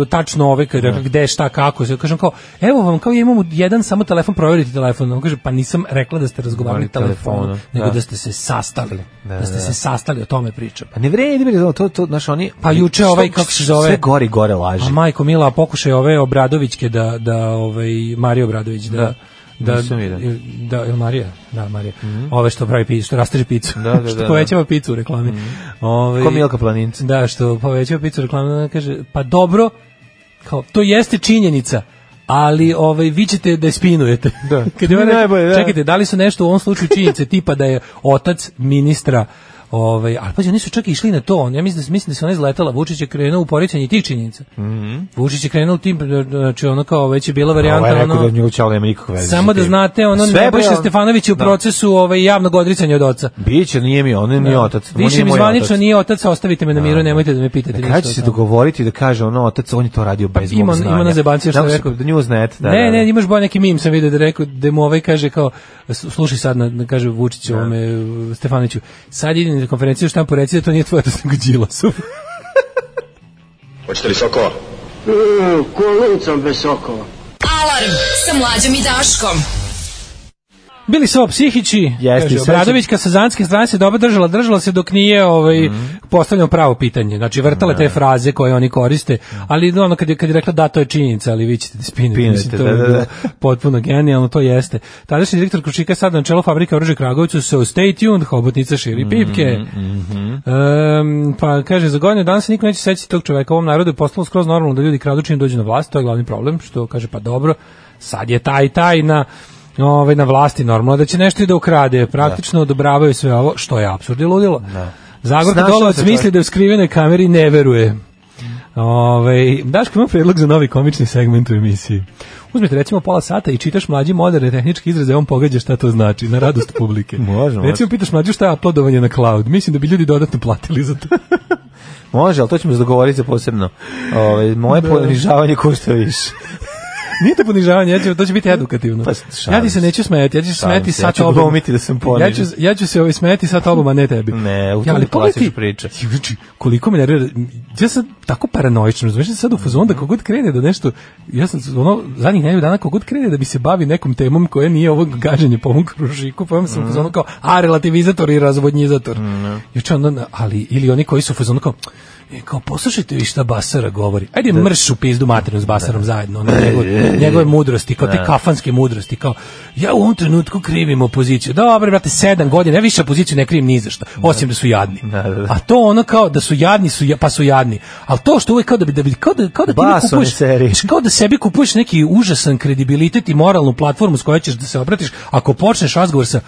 S5: e, tačno ove kad je rekla gde šta kako se kažem kao evo vam kao ja imam jedan samo telefon proveriti telefon on kaže pa nisam rekla da ste razgovarali
S6: Ali telefonom,
S5: telefonom nego
S6: da.
S5: da ste se sastali da ste se sastali o tome pričam
S6: Pa ne vredi, bre, to, to, to, znaš, oni...
S5: Pa juče
S6: što-
S5: ovaj, kako se zove?
S6: Sve gore i gore laži.
S5: A majko Mila, a pokušaj ove Obradovićke da, da ovaj, Marija Obradović da, da,
S6: nisam vidio. Mhm.
S5: il- da, ili Marija? Da, Marija. Ove što pravi picu, što rasteže picu.
S6: Da, da, da,
S5: što
S6: da. Mhm.
S5: povećava picu u reklami. Ovaj,
S6: Ko Milka Planinca.
S5: Da, što povećava picu u reklami, ona kaže, pa dobro, kao, to jeste činjenica, ali ovaj vi ćete da je spinujete.
S6: Da.
S5: Kad je ona rekla,
S6: Najbolje, da.
S5: Čekajte, da li su nešto u ovom slučaju činjenice tipa da je otac ministra Ovaj, ali pazi, oni su čak išli na to. On, ja mislim da, mislim da se ona izletala. Vučić je krenuo u poricanje tih činjenica. Vučić je krenuo u tim, znači ono kao već je bila
S6: Ovaj
S5: varijanta.
S6: Mhm. je rekao
S5: ono,
S6: da njegov čalo nema nikakve veze. sa
S5: samo da
S6: tim.
S5: znate, ono,
S6: Sve je
S5: Nebojša
S6: bilo-
S5: Stefanović je u
S6: Da.
S5: procesu ovaj, javnog odricanja od oca.
S6: Biće, nije mi, on nije otac. on
S5: Da. Više
S6: nije
S5: mi
S6: moj
S5: zvanično
S6: otac. Dakle,
S5: nije otac, ostavite me na miru, nemojte da me pitate.
S6: Na
S5: ništa
S6: kraju
S5: o
S6: će se
S5: tome.
S6: dogovoriti da kaže ono otac, on je to radio bez
S5: Ima-
S6: mog
S5: ima
S6: znanja.
S5: na zebanci što je
S6: Nakon
S5: rekao.
S6: Da Newsnet, da.
S5: ne,
S6: da,
S5: ne,
S6: da.
S5: imaš bolje neki mim sam video da je rekao da mu ovaj kaže kao s- slušaj sad na, na- kaže Vučić
S6: Da.
S5: ovome e, Stefaniću. Sad idem na konferenciju u štampu reci da to nije tvoje to nego Đilasov.
S3: Hoćete li sokova?
S4: Alarm sa mlađom i Daškom.
S5: Bili su ovo psihići.
S6: Jeste,
S5: kaže,
S6: sve će-
S5: Obradovićka sa zanske strane se dobro držala, držala se dok nije ovaj
S6: Mhm.
S5: postavljao pravo pitanje. Znači
S6: Da.
S5: vrtale te fraze koje oni koriste, ali ono kad je kad je rekla da to je činjenica, ali vi ćete da spinete.
S6: Spinete,
S5: Mislim, to
S6: da,
S5: je
S6: da,
S5: bilo
S6: da.
S5: potpuno genijalno, to jeste. Tadašnji direktor Kručika je sad na čelu fabrike oružja Kragovicu se u Stay Tuned, hobotnica širi
S6: Mhm,
S5: pipke. Em, pa kaže, za godinu dana se niko neće sećati tog čoveka. Ovom narodu je postalo skroz normalno da ljudi kradu čim dođu na vlast, to je glavni problem, što kaže, pa dobro, sad je taj, taj na ovaj, na vlasti normalno da će nešto i da ukrade. Praktično odobravaju sve ovo, što je apsurd i ludilo. Zagorka
S6: Da. Snašao
S5: Dolovac
S6: se čovjek.
S5: misli da je u skrivenoj kameri ne veruje. Ove, Daško ima predlog za novi komični segment u emisiji. Uzmite recimo pola sata i čitaš mlađi moderne tehničke izraze, on pogađa šta to znači, na radost publike.
S6: Može, može.
S5: recimo pitaš mlađu šta je uploadovanje na cloud. Mislim da bi ljudi dodatno platili za to.
S6: Može, ali to ćemo se dogovoriti za posebno. Ove, moje
S5: Da.
S6: ponižavanje košta više.
S5: Nije to ponižavanje, ja ću, to će biti edukativno.
S6: Pa, šalim
S5: ja ti se
S6: se.
S5: neću smejati, ja ću se
S6: Šalim
S5: smejati
S6: se, ja
S5: sa
S6: ću
S5: tobom.
S6: glumiti da sam ponižen.
S5: Ja ću, ja ću se ovaj smejati sa tobom, a ne tebi.
S6: Ne, u
S5: Ja, ali
S6: tome klasiš
S5: pogledaj-
S6: priče.
S5: Ju, Znači, koliko me nervira, ja sam tako paranoičan, razumiješ, ja sam sad u fazonu
S6: Mhm.
S5: da kogod krene da nešto, ja sam ono, zadnjih nedelju dana kogod krene da bi se bavi nekom temom koja nije ovo gađanje po ovom kružiku, pa ja sam u
S6: Mhm.
S5: fazonu kao, a, relativizator i razvodnjizator. Juče onda, na- ali, ili oni koji su u fazonu kao, E, kao, poslušajte vi šta Basara govori. Ajde
S6: Da.
S5: mrš u pizdu materinu s Basarom zajedno, ono, njegove, njegove mudrosti, kao
S6: Da.
S5: te kafanske mudrosti, kao, ja u ovom trenutku krivim opoziciju. Dobre, brate, sedam godina, ja više opoziciju ne krivim ni za šta, osim da su jadni.
S6: da, da.
S5: A to ono kao da su jadni su ja- pa su jadni. Al to što uvek kao da bi da bi kao da kao da ti uvek
S6: Bas one
S5: kupuješ
S6: serije.
S5: znaš, kao da sebi kupuješ neki užasan kredibilitet i moralnu platformu s kojoj ćeš da se obratiš ako počneš razgovor sa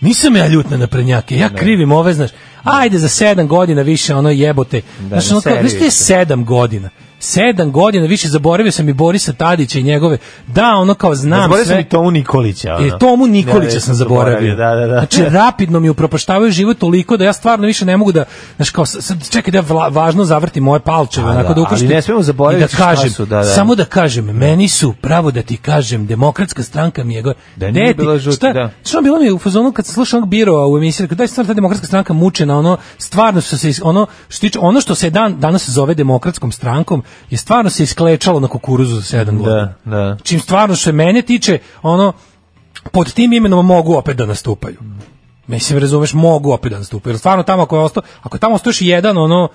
S5: Nisam ja ljut na naprednjake, ja krivim ove, znaš. Ajde za sedam godina više ono jebote.
S6: Da,
S5: znaš,
S6: na
S5: ono kao,
S6: seriju
S5: znaš ti je
S6: isto.
S5: sedam godina. Sedam godina, više zaboravio sam i Borisa Tadića i njegove. Da, ono kao znam
S6: Zaboravio
S5: sve.
S6: sam i Tomu Nikolića. ono.
S5: E, Tomu Nikolića
S6: da. Ja,
S5: sam zaboravio.
S6: Da, da, da.
S5: Znači, rapidno mi upropaštavaju život toliko da ja stvarno više ne mogu da, znaš, kao, sad, čekaj da vla, važno zavrti moje palčeve,
S6: A,
S5: onako
S6: da,
S5: da ukoštim.
S6: ali ne smemo zaboraviti
S5: i da
S6: šta
S5: kažem,
S6: su, da, da.
S5: Samo da kažem, meni su, pravo da ti kažem, demokratska stranka mi je gore.
S6: Da nije
S5: Deti,
S6: bila žuta,
S5: šta,
S6: da.
S5: Što bilo mi je u fazonu kad sam slušao onog birova u emisiji, rekao, daj stvarno ta demokratska stranka mučena, ono, stvarno su se, is- ono, što se tiče, ono što se dan, danas zove demokratskom strankom, je stvarno se isklečalo na kukuruzu za sedam godina.
S6: da.
S5: Čim stvarno što se mene tiče, ono, pod tim imenom mogu opet da nastupaju. Mislim, razumeš, mogu opet da nastupaju. Jer stvarno tamo ako je ostao, ako je tamo ostao još jedan, ono,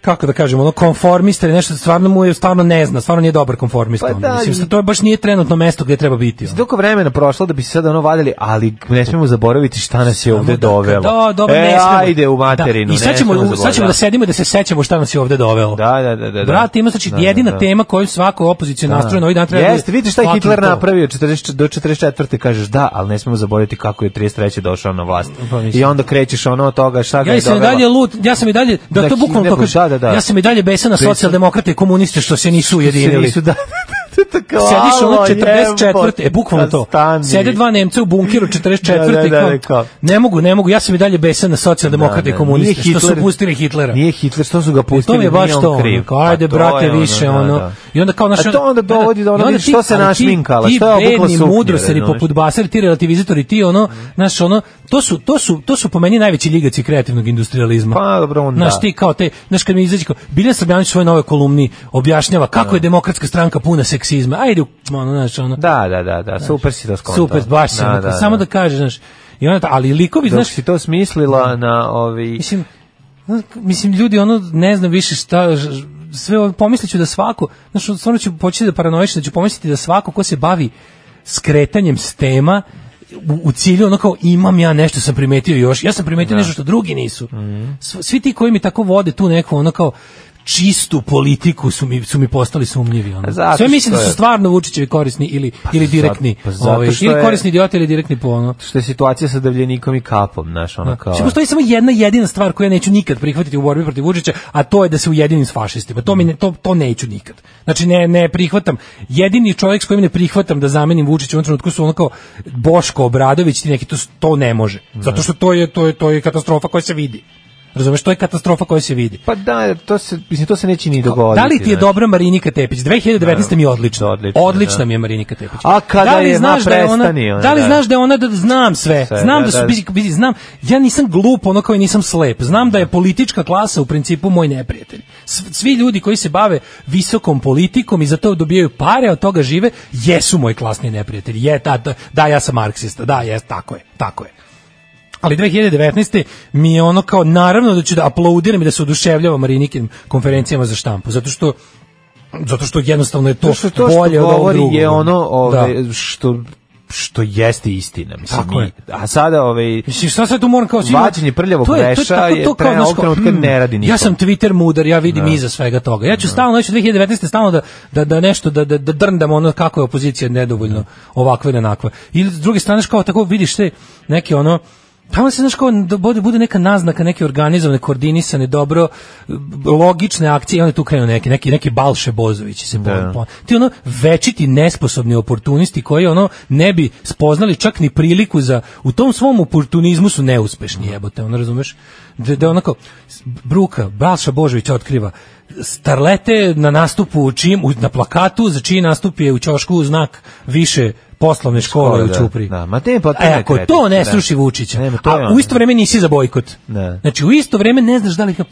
S5: kako da kažem, ono konformista ili nešto stvarno mu je stvarno ne zna, stvarno nije dobar konformista.
S6: Pa
S5: ono.
S6: da,
S5: Mislim,
S6: i-
S5: sad to je baš nije trenutno mesto gdje treba biti. ono.
S6: Toliko vremena prošlo da bi se sad ono vadili, ali ne smemo zaboraviti šta nas je ovde
S5: Samo da-
S6: dovelo.
S5: Da, dobro,
S6: e,
S5: ne smemo.
S6: ajde u materinu.
S5: Da. I sad ćemo,
S6: ne smemo
S5: sad ćemo da sedimo i da se sećamo šta nas je ovde dovelo.
S6: Da, da, da, da, da.
S5: Brate, ima znači
S6: Da, da,
S5: jedina
S6: da.
S5: tema koju svako opozicija nastrojena ovih dana treba. da
S6: Jeste, vidite šta je
S5: fucking
S6: Hitler
S5: to.
S6: napravio 40, do 44. kažeš da, ali ne smemo zaboraviti kako je 33. došao na vlast.
S5: Pa mislim.
S6: I onda krećeš ono od toga šta ga
S5: Ja
S6: je
S5: sam i
S6: dovelo.
S5: dalje lud, ja sam i dalje da,
S6: Da,
S5: to bukvalno
S6: Hitler,
S5: to kaže.
S6: da, da, da.
S5: Ja sam i dalje besan na
S6: Besan.
S5: socijaldemokrate i komuniste što se nisu ujedinili.
S6: Nisu da, Tako,
S5: Sediš ono
S6: alo,
S5: 44.
S6: jebote,
S5: E, bukvalno to.
S6: stani.
S5: Sede dva Nemca u bunkiru 44.
S6: Da, da, da,
S5: kao,
S6: rekao.
S5: ne mogu, ne mogu, ja sam i dalje besan na
S6: Da, da,
S5: socijaldemokrate i komuniste
S6: nije
S5: što su
S6: Hitler-
S5: pustili Hitlera. E,
S6: Nije Hitler, što su ga pustili,
S5: to mi je baš
S6: nije on
S5: to. ono,
S6: kriv.
S5: Kao, ajde,
S6: Pa to
S5: brate,
S6: je
S5: više,
S6: da,
S5: ono.
S6: da.
S5: I onda kao naš...
S6: A to onda dovodi do ono,
S5: onda
S6: vidiš,
S5: ti-
S6: što se
S5: ali ti-
S6: našminkala, šta je
S5: Ti
S6: obukla
S5: bedni
S6: suknju,
S5: mudroseri
S6: razumeš?
S5: poput basari, ti relativizatori, ti
S6: Mm.
S5: ono, znaš, ono, to su, to su, to su po meni najveći ligaci kreativnog industrializma.
S6: Pa, dobro, on da.
S5: Znaš, ti kao te, znaš, kad mi izađe, kao, Bilja Srbljanić u svojoj nove kolumni objašnjava kako je demokratska stranka puna seksizma. Ajde, ono, znaš, ono,
S6: Da, da, da, da, super si to skontao.
S5: super, baš si, onako, samo da kažeš, znaš, i onda, ta- ali likovi,
S6: Dok
S5: znaš, Da.
S6: si to smislila na ovi...
S5: Mislim, mislim, ljudi, ono, ne znam više šta, ž- ž- sve ovo, pomislit ću da svako, znaš, stvarno ću početi da paranoišem, da ću pomisliti da svako ko se bavi skretanjem s tema, u, u cilju ono kao imam ja nešto sam primetio još, ja sam primetio
S6: Da.
S5: nešto što drugi nisu.
S6: Mhm.
S5: Sv- Svi ti koji mi tako vode tu neku ono kao čistu politiku su mi, su mi postali sumnjivi. Ono.
S6: A Pa zato
S5: Sve mislim da
S6: što
S5: su
S6: je-
S5: stvarno Vučićevi korisni ili, ili direktni.
S6: zato- pa zato
S5: ovaj,
S6: što
S5: ili
S6: je-
S5: korisni idioti ili direktni po ono.
S6: Što je situacija sa davljenikom i kapom, znaš, ona kao...
S5: Što Znači, postoji samo jedna jedina stvar koju ja neću nikad prihvatiti u borbi protiv Vučića, a to je da se ujedinim s fašistima. To mi ne, to to neću nikad. Znači ne ne prihvatam. Jedini čovjek s kojim ne prihvatam da zamenim Vučića u ovom trenutku su ono kao Boško Obradović i neki to s- to ne može. Zato što to je to je to je katastrofa koja se vidi. Razumeš, to je katastrofa koja se vidi.
S6: Pa da, jer to se, mislim, to se neće ni dogoditi. znači.
S5: Da li ti je
S6: znaš.
S5: dobra Marinika Tepić? 2019 mi je odlična.
S6: Odlična,
S5: Odlična,
S6: da.
S5: mi je Marinika Tepić.
S6: A kada
S5: da li
S6: je, ma,
S5: znaš da je ona,
S6: prestani, ona,
S5: da li
S6: da.
S5: znaš da je ona da znam sve.
S6: Sve,
S5: znam
S6: da,
S5: da, su
S6: da.
S5: bizi- bizi- znam. Ja nisam glup, ono kao i nisam slep. Znam da je politička klasa u principu moj neprijatelj. S- Svi ljudi koji se bave visokom politikom i za to dobijaju pare, od toga žive, jesu moj klasni neprijatelj. Je, da, da, da, ja sam marksista. Da, jes, tako je, tako je. Ali 2019. mi je ono kao naravno da ću da aplaudiram i da se oduševljavam Marinikim konferencijama za štampu, zato što zato što jednostavno je to,
S6: To što, to što
S5: bolje od ovog
S6: govori
S5: drugog.
S6: je ono ovaj,
S5: Da.
S6: ove, što što jeste istina, mislim.
S5: Tako
S6: mi-
S5: je.
S6: A sada ovaj
S5: Mislim, šta sad tu moram kao...
S6: Vađenje prljavog
S5: To je- to je
S6: veša
S5: tako-
S6: je
S5: to kao,
S6: pre-
S5: znaš,
S6: ovog
S5: kao,
S6: trenutka Da.
S5: hmm,
S6: ne radi nikom.
S5: Ja sam Twitter mudar, ja vidim iza svega toga. Ja ću
S6: Da.
S5: stalno, ja ću 2019. stalno da, da, da nešto, da, da, da drndam ono kako je opozicija nedovoljno ovakva ili onakva. Ili s druge strane, znaš, kao tako vidiš te neke ono, Tamo se, znaš, kao da bude, bude neka naznaka, neke organizovane, koordinisane, dobro, b- logične akcije, i onda tu krenu neki, neki, neki Balše Bozovići se
S6: Da.
S5: da. Ti ono večiti nesposobni oportunisti koji ono ne bi spoznali čak ni priliku za u tom svom oportunizmu su neuspešni
S6: Mhm.
S5: jebote, ono razumeš? Da, da onako Bruka Balša Božović otkriva starlete na nastupu čim u- na plakatu za čiji nastup je u ćošku znak više poslovne škole
S6: Škole,
S5: u
S6: da.
S5: Ćupri.
S6: Da, ma te, pa to
S5: e,
S6: ne
S5: ako
S6: krepi,
S5: to ne
S6: da.
S5: sruši Vučića,
S6: Ne, ma to je
S5: a
S6: ono.
S5: u isto vreme nisi za bojkot.
S6: Da.
S5: Znači u isto vreme ne znaš da li ga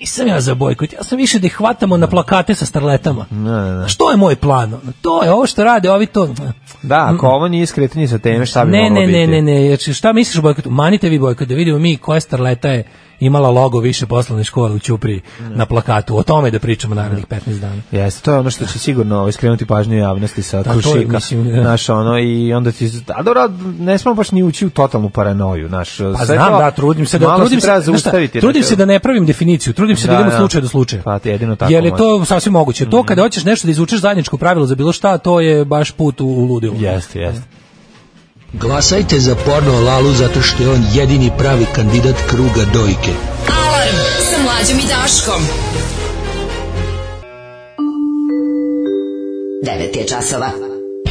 S5: nisam ja za bojkot, ja sam više da ih hvatamo na plakate sa starletama.
S6: da, da.
S5: Što je moj plan? To je ovo što rade ovi to.
S6: Da, ako ovo nije skretanje sa teme, šta bi
S5: Ne,
S6: moglo
S5: ne,
S6: biti?
S5: ne, ne, ne, znači šta misliš o bojkotu? Manite vi bojkot, da vidimo mi koja starleta je imala logo više poslovne škole u Ćupriji
S6: Da.
S5: na plakatu. O tome da pričamo narednih 15 dana.
S6: Jeste, to je ono što će sigurno ovaj, skrenuti pažnju javnosti sa
S5: to je,
S6: krušika,
S5: mislim, da.
S6: znaš, ono, i onda ti, a dobro, ne smemo baš ni ući u totalnu paranoju, znaš,
S5: Pa znam, da, trudim se da
S6: malo
S5: trudim
S6: se
S5: se,
S6: treba
S5: znaš šta,
S6: zaustaviti.
S5: trudim
S6: znaš,
S5: se da ne pravim definiciju, trudim se da,
S6: Da,
S5: idem od
S6: da.
S5: slučaja do slučaja.
S6: Pa, te jedino tako Mhm.
S5: Jer je to sasvim moguće. To kada hoćeš nešto da izvučeš zajedničko pravilo za bilo šta, to je baš put u, u ludilo.
S6: Jeste, jeste.
S9: Glasajte za porno Lalu zato što je on jedini pravi kandidat kruga dojke.
S4: Alarm sa mlađom i Daškom. 9 je časova.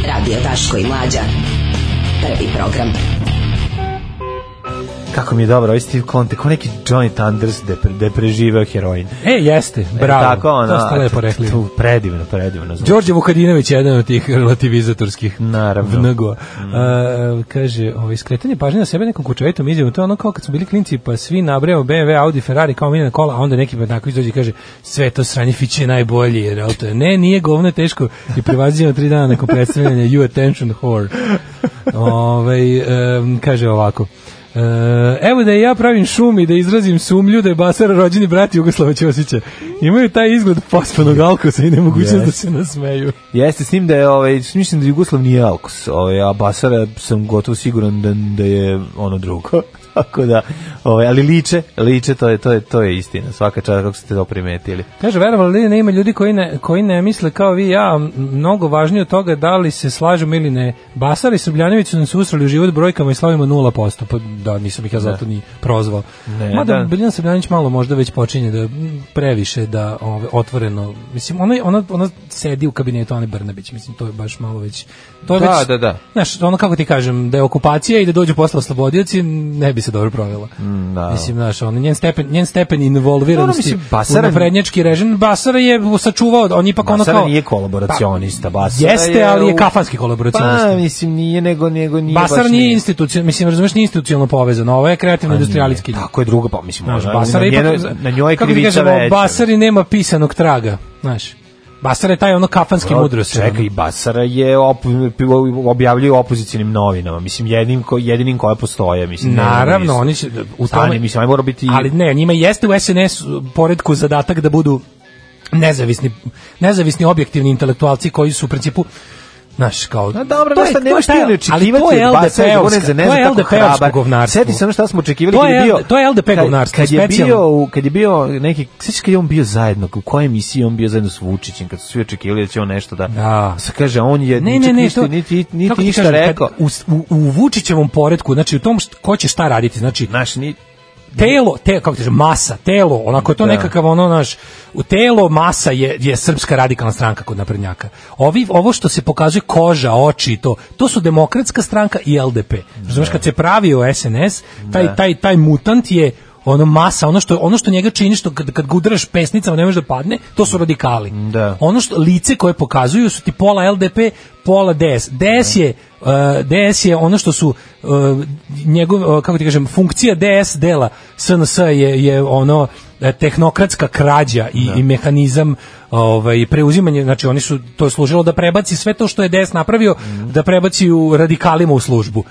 S4: Radio Daško i Mlađa. Prvi program.
S6: Kako mi je dobro, ovaj Steve Conte, kao neki Johnny Thunders da je, pre- da je preživeo heroin.
S5: E, jeste, bravo.
S6: E, tako, ono,
S5: to ste lepo rekli.
S6: Tu, predivno, predivno. Znači.
S5: Đorđe Vukadinović je jedan od tih relativizatorskih
S6: Naravno. Mm.
S5: vngo. A, kaže, ovo iskretanje pažnje na sebe nekom kučevitom izjavom, to je ono kao kad su bili klinci, pa svi nabrajamo BMW, Audi, Ferrari kao miljena kola, a onda neki bednako izdođe i kaže, sve to sranje fiće je najbolji, jer auto je, ne, nije govno je teško i prevazio tri dana nakon predstavljanja You Attention Whore. Ovaj em, kaže ovako, E, evo da i ja pravim šum i da izrazim sumlju da je Basar rođeni brat Jugoslava Ćosića. Imaju taj izgled pospanog alkosa i nemogućnost
S6: Yes.
S5: da se nasmeju.
S6: Jeste s tim da je, ovaj, mislim da Jugoslav nije Alkos, ovaj, a Basara sam gotovo siguran da, da je ono drugo. Tako da, ovaj, ali liče, liče, to je, to je, to je istina. Svaka čast kako ste to primetili.
S5: Kaže, verovali li ne ima ljudi koji ne, koji ne misle kao vi i ja, m- mnogo važnije od toga da li se slažemo ili ne. Basar i Srbljanović su nam se usrali u život brojkama i slavimo 0%, pa da, nisam ih ja zato ni prozvao.
S6: Ne,
S5: Mada
S6: da.
S5: Biljana Srbljanović malo možda već počinje da m, previše da ove, otvoreno, mislim, ona, ona, ona sedi u kabinetu Ane Brnabić, mislim, to je baš malo već... To je
S6: Da,
S5: već,
S6: da, da.
S5: Znaš, ono kako ti kažem, da je okupacija i da dođu posle oslobodioci, ne bi se dobro provela.
S6: da.
S5: Mislim, znaš, on, njen stepen, njen stepen involviranosti
S6: Dobro, mislim, Basara-
S5: u naprednjački režim, Basara je sačuvao, on je ipak ono
S6: Basara
S5: kao... Pa,
S6: nije kolaboracionista, Basara
S5: Jeste, ali je
S6: u-
S5: kafanski kolaboracionista.
S6: Pa, mislim, nije nego, nego nije
S5: Basar
S6: baš
S5: nije institucija, mislim, razumeš, nije institucionalno povezan, ovo je kreativno industrijalijski.
S6: Pa Tako je druga, pa mislim,
S5: Znaš,
S6: ona-
S5: Basara
S6: na,
S5: ipak,
S6: njenoj- na njoj je
S5: kako ti
S6: krivica
S5: kažemo,
S6: veća.
S5: Basari nema pisanog traga, znaš. Basar je taj ono kafanski mudro se.
S6: Čekaj, i Basara je op, objavljaju u opozicijnim novinama, mislim, jednim, ko, jedinim koja postoje, mislim. nema
S5: Naravno,
S6: mislim.
S5: oni će u
S6: Stani,
S5: tome,
S6: mislim, aj mora biti-
S5: Ali ne, njima jeste u SNS poredku zadatak da budu nezavisni nezavisni objektivni intelektualci koji su u principu Znaš, kao...
S6: Na dobro,
S5: to je-
S6: dosta
S5: to je
S6: nemaš ti
S5: taj-
S6: ne očekivati
S5: ali to je
S6: od Basara da bude
S5: LDP-ovska,
S6: za ne znam
S5: to je
S6: kako hrabar.
S5: LDP-ovsko govnarstvo.
S6: Sjeti se ono šta smo očekivali
S5: To
S6: kad je
S5: je
S6: bio...
S5: L- to je LDP
S6: kad-
S5: govnarstvo,
S6: kad je
S5: specijalno.
S6: bio, u- kad je bio neki... Sjećaš kad je on bio zajedno, u kojoj emisiji on bio zajedno s Vučićem, kad su svi očekivali da će on nešto da...
S5: Da.
S6: Se kaže, on je
S5: Ne,
S6: ničak
S5: ne, ne,
S6: ništa,
S5: to,
S6: niti,
S5: kako
S6: niti
S5: ti
S6: ništa
S5: kažem, kad
S6: rekao.
S5: U, s- u, u Vučićevom poredku, znači u tom št, ko će šta raditi, znači
S6: Znaš, ni,
S5: telo, te, kako ti kažem, masa, telo, onako je to nekakav ono naš, u telo masa je, je srpska radikalna stranka kod naprednjaka. Ovi, ovo što se pokazuje koža, oči i to, to su demokratska stranka i LDP. Razumeš, kad se pravio SNS, taj, taj, taj mutant je ono masa, ono što, ono što njega čini, što kad, kad gudreš pesnicama ne možeš da padne, to su radikali.
S6: Da.
S5: Ono što lice koje pokazuju su ti pola LDP, pola DS. DS
S6: Da.
S5: je uh, DS je ono što su uh, njegov uh, kako ti kažem funkcija DS dela SNS je je ono eh, tehnokratska krađa i,
S6: Da.
S5: i mehanizam ovaj preuzimanje znači oni su to je služilo da prebaci sve to što je DS napravio
S6: Mhm.
S5: da prebaci u radikalima u službu.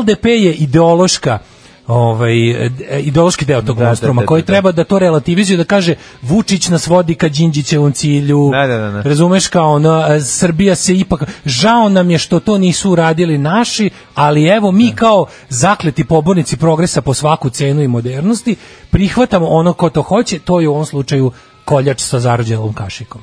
S5: LDP je ideološka ovaj eh, ideološki deo tog
S6: Da, da,
S5: monstruma
S6: da,
S5: koji
S6: da, da.
S5: treba da to relativizuje da kaže Vučić nas vodi ka Đinđićevom cilju
S6: Da, da, da, da.
S5: razumeš kao ono, e, Srbija se ipak, žao nam je što to nisu uradili naši, ali evo mi
S6: Da.
S5: kao zakleti pobornici progresa po svaku cenu i modernosti, prihvatamo ono ko to hoće, to je u ovom slučaju koljač sa zarođelom kašikom.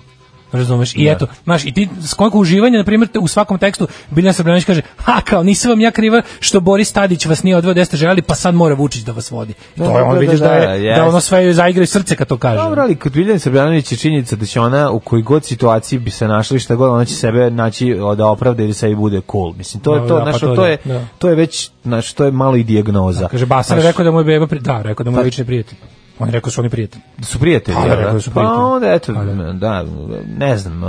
S5: Razumeš?
S6: Da.
S5: I eto, znaš, i ti s koliko uživanja, na primjer, te- u svakom tekstu Biljana Srbljanović kaže, ha, kao, nisam vam ja kriva što Boris Tadić vas nije odveo gde ste želeli, pa sad mora Vučić da vas vodi. to je,
S6: da,
S5: on
S6: da,
S5: vidiš da,
S6: da,
S5: je, da
S6: jest.
S5: ono sve zaigra i srce kad to kaže.
S6: Dobro, ali kod Biljana Srbljanović je činjenica da će ona u kojoj god situaciji bi se našla i šta god, ona će sebe naći o, da opravda ili sebi bude cool. Mislim, to,
S5: Da,
S6: je to,
S5: da, pa
S6: znaš,
S5: to
S6: to,
S5: da,
S6: je,
S5: da.
S6: to je već, znaš, to je malo i dijagnoza.
S5: Kaže Basar je
S6: Znaš, Pa-
S5: rekao da mu je beba pri... da, rekao da mu je lični prijatelj. On je rekao da su oni prijatelji.
S6: da su prijatelji.
S5: Pa,
S6: jel
S5: rekao da su
S6: Pa
S5: prijatelji.
S6: onda, eto,
S5: Pa, da.
S6: da, ne znam, e,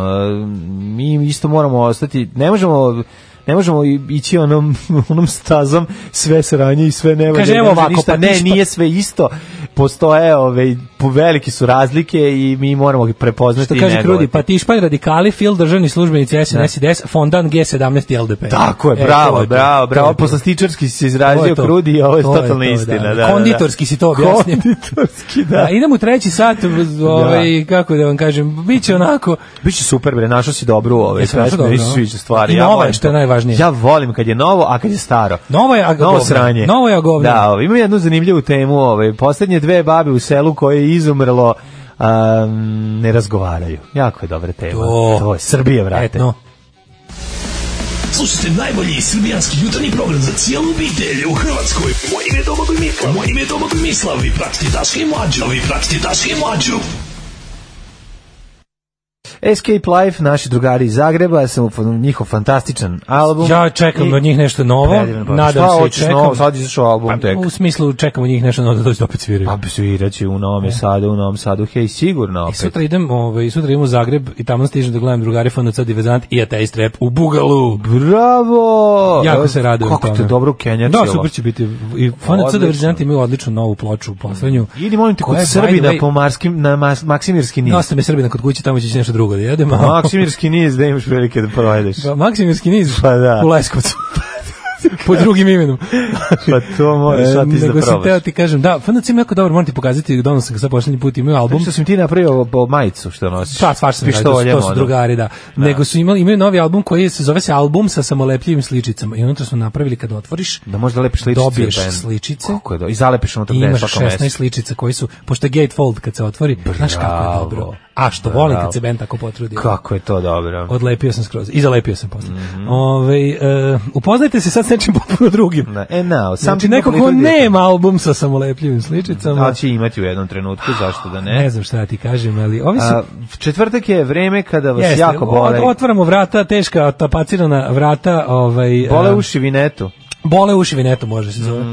S6: mi isto moramo ostati, ne možemo ne možemo i- ići onom, onom stazom sve sranje i sve nevalje.
S5: Kaže,
S6: ne
S5: evo
S6: može
S5: ovako,
S6: ništa.
S5: pa ti
S6: ne,
S5: šta-
S6: nije sve isto. Postoje, ove, po velike su razlike i mi moramo ih prepoznati
S5: Što
S6: i
S5: kaže
S6: negovati.
S5: Krudi, pa tišpanj radikali, fil državni službenici SNS i DS, fondan G17 i LDP.
S6: Da. Tako je,
S5: E, to
S6: bravo,
S5: je to.
S6: bravo,
S5: To
S6: bravo.
S5: je to.
S6: Poslastičarski si se
S5: To
S6: izrazio
S5: to.
S6: krudi i ovo je
S5: To
S6: totalna
S5: to,
S6: istina. Da, da, da.
S5: Konditorski si to objasnio.
S6: Konditorski, da.
S5: Da, idemo u treći sat, ovaj, kako da vam kažem, bit će onako,
S6: Biće super, bre, našao si dobru ove
S5: Jesam našao
S6: pesme,
S5: dobru,
S6: mi se
S5: no?
S6: sviđa stvari.
S5: I novo je,
S6: volim
S5: što je
S6: to.
S5: najvažnije.
S6: Ja volim kad je novo, a kad je staro.
S5: Novo je, a
S6: Novo
S5: govno.
S6: sranje.
S5: Novo je, a govno.
S6: Da, ovaj, imam jednu zanimljivu temu. Ovaj. Poslednje dve babe u selu koje je izumrlo um, ne razgovaraju. Jako je dobra tema.
S5: To.
S6: To je Srbije, vrate.
S5: etno.
S9: Slušajte najbolji srbijanski jutarnji program za cijelu obitelj u Hrvatskoj. Moje ime je Domagoj Mislav. Moje ime je Domagoj Mislav. Vi pratite Daška i Mlađu. Vi pratite Daška i Mlađu.
S6: Escape Life, naši drugari iz Zagreba, sam u fazonu, njihov fantastičan album.
S5: Ja čekam
S6: I-
S5: od njih nešto novo,
S6: Predivan band.
S5: nadam
S6: Šta
S5: se i
S6: hoćeš
S5: čekam. Pa,
S6: novo, sad je izašao album tek.
S5: U smislu čekamo njih nešto novo da dođe da opet sviraju.
S6: Pa sviraće u Novom Sadu, u Novom Sadu, hej, sigurno
S5: E. I
S6: opet.
S5: sutra idem, ovaj, sutra idem u Zagreb i tamo stižem da gledam drugari Fanut sad i Vezant i Ateist Rap u Bugalu.
S6: Bravo!
S5: Jako
S6: Evo,
S5: se radujem
S6: Kako te
S5: tome.
S6: dobro kenjačilo.
S5: Da, super će biti. I Fanut sad i
S6: Odlično. Mm.
S5: Vezant imaju odličnu novu ploču u poslednju.
S6: Idi molim te kod
S5: koja je, by the
S6: Srbina
S5: way,
S6: po Marskim, na Mas, Maksimirski niz.
S5: Nosta me Srbina kod kuće, tamo će ići nešto drugo da jedem.
S6: Pa,
S5: a-
S6: Maksimirski niz da imaš prilike da provedeš.
S5: Pa, Maksimirski niz
S6: Pa da.
S5: u Leskovcu. Pod drugim imenom.
S6: Pa to moraš
S5: E,
S6: sad ti da
S5: nego sam teo
S6: probaš.
S5: ti kažem, da, FNC ima jako dobar, moram ti pokazati, donao sam ga sad poslednji put, imaju album.
S6: Što sam ti napravio ovo- ovo majicu što nosiš?
S5: Pa, stvar sam radio, to su- to su
S6: ono.
S5: drugari, da. Nego su imali, imaju novi album koji se zove se album sa samolepljivim sličicama i unutra su napravili kad otvoriš
S6: Da možda lepiš sličice.
S5: Dobiješ
S6: band.
S5: sličice.
S6: Kako je do... I zalepiš unutra
S5: i
S6: gde da je
S5: imaš 16
S6: svako mesto.
S5: sličica koji su, pošto je gatefold kad se otvori, znaš kako je
S6: Bravo.
S5: dobro. A što volim
S6: Bravo.
S5: kad se band tako potrudi.
S6: Kako Mhm. je to dobro.
S5: Odlepio sam skroz i zalepio sam posle. Ovaj, e, upoznajte se sad s nečim potpuno drugim.
S6: Da, E, now,
S5: Znači,
S6: something
S5: neko ko
S6: completely different.
S5: nema album sa samolepljivim sličicama,
S6: Ali će imati u jednom trenutku, zašto da ne?
S5: ne znam šta da ti kažem, ali ovi su
S6: A, četvrtak je vreme kada vas
S5: Jeste,
S6: jako bole.
S5: ot- otvaramo vrata, teška, tapacirana vrata, ovaj,
S6: Bole
S5: em,
S6: uši Mhm. vinetu.
S5: bole uši vinetu može se zove.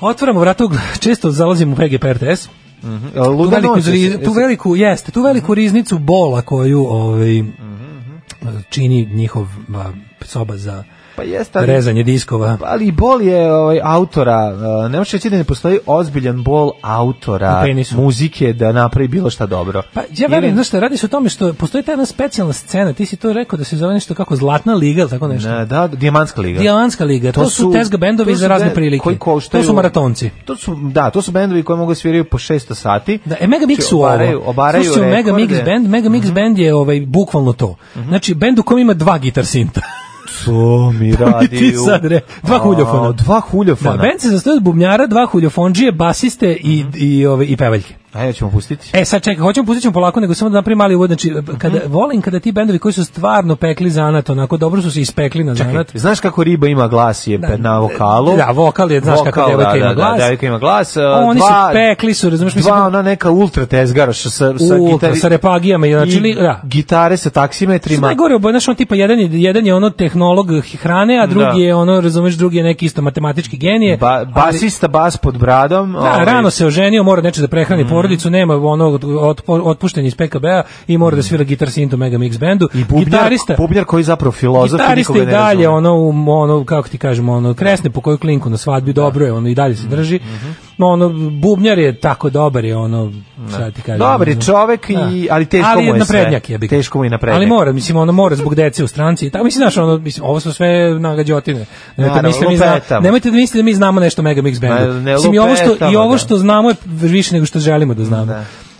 S5: Otvaramo vrata, ugl- često zalazim u PGP RTS, tu
S6: Mhm. E, Luda
S5: veliku,
S6: noć.
S5: zri-
S6: jesi- Mhm.
S5: tu veliku, jeste, tu veliku riznicu bola koju ovaj,
S6: mhm.
S5: čini njihov a, soba za
S6: Pa jeste, ali,
S5: rezanje diskova.
S6: ali i bol je ovaj, autora. Uh, ne možeš reći da ne postoji ozbiljan bol
S5: U
S6: autora
S5: penisu.
S6: muzike da napravi bilo šta dobro.
S5: Pa ja verujem, znaš šta, radi se o tome što postoji ta jedna specijalna scena, ti si to rekao da se zove nešto kako Zlatna liga ili tako nešto.
S6: Ne, da, Dijamantska liga.
S5: Dijamantska liga, to,
S6: E, To
S5: su
S6: su-
S5: tezga bendovi
S6: to su
S5: za razne
S6: bend-
S5: prilike.
S6: koji koštaju-
S5: To su maratonci.
S6: To su, da, to su bendovi koji mogu da sviraju po 600 sati.
S5: Da, e, Megamix
S6: Znači,
S5: su ovo.
S6: obaraju- obaraju
S5: Slušaj, Mega Mix
S6: rekorde. Mhm.
S5: band, Mega Mix band je ovaj, bukvalno to. Znači, band u kojem ima dva gitar sinta.
S6: To mi radi.
S5: Pa ti sad re- dva
S6: A,
S5: huljofona.
S6: Dva
S5: Da,
S6: huljofona.
S5: band se sastoji od bubnjara, dva huljofonđije, basiste i,
S6: Mhm.
S5: i, ove, i pevaljke.
S6: Ajde, ćemo pustiti.
S5: E, sad čekaj, hoćemo, pustit ćemo polako, nego samo da napravim mali uvod. Znači,
S6: Mhm.
S5: kada, volim kada ti bendovi koji su stvarno pekli zanat, onako dobro su se ispekli na zanat.
S6: Da, Znaš kako riba ima glas je pe- na vokalu?
S5: Da, vokal je, znaš kako devojka
S6: da,
S5: ima
S6: da,
S5: glas.
S6: Da, devojka ima glas.
S5: Oni su
S6: dva-
S5: pekli su, razumeš,
S6: Dva,
S5: mislim-
S6: ona neka ultra tezgara što sa, sa,
S5: U,
S6: gitari,
S5: sa repagijama, i, znači,
S6: i
S5: li- da.
S6: gitare sa taksimetrima.
S5: Najgore oboje, znaš, on tipa jedan je, jedan je ono tehnolog hrane, a drugi
S6: Da.
S5: je ono, razumeš, drugi je neki isto matematički genije.
S6: Ba,
S5: ali-
S6: basista bas pod bradom.
S5: Da,
S6: ovaj,
S5: rano se oženio, mora neče da prehrani
S6: Mhm.
S5: porodicu, nema onog otpo- otpušten iz PKB-a i mora da svira gitar synth u Mega Mix bendu.
S6: I bubnjar,
S5: gitarista,
S6: bubnjar koji je zapravo filozof i
S5: gitarista
S6: nikoga
S5: i
S6: ne razume.
S5: dalje ono, u- ono, kako ti kažemo, ono, kresne po koju klinku na svadbi,
S6: Da.
S5: dobro je, ono, i dalje se drži.
S6: Mhm.
S5: No, ono, bubnjar je tako dobar je, ono, šta ti kažem.
S6: Dobar je
S5: ono,
S6: čovek i- ali teško
S5: Da. ali
S6: mu je sve.
S5: naprednjak, jebi ga.
S6: Teško mu je naprednjak.
S5: Ali mora, mislim, ono, mora zbog dece u stranci. Tako, mislim, znaš, ono, mislim, ovo su sve nagađotine. Nemojte, da
S6: Naravno,
S5: mislite, mi zna,
S6: lupetamo.
S5: nemojte da mislite da mi znamo nešto o Mega Mix bendu.
S6: Ma, ne
S5: Mislim, i ovo što, i
S6: lupetamo,
S5: ovo
S6: da.
S5: što što znamo je više nego što želimo da znamo.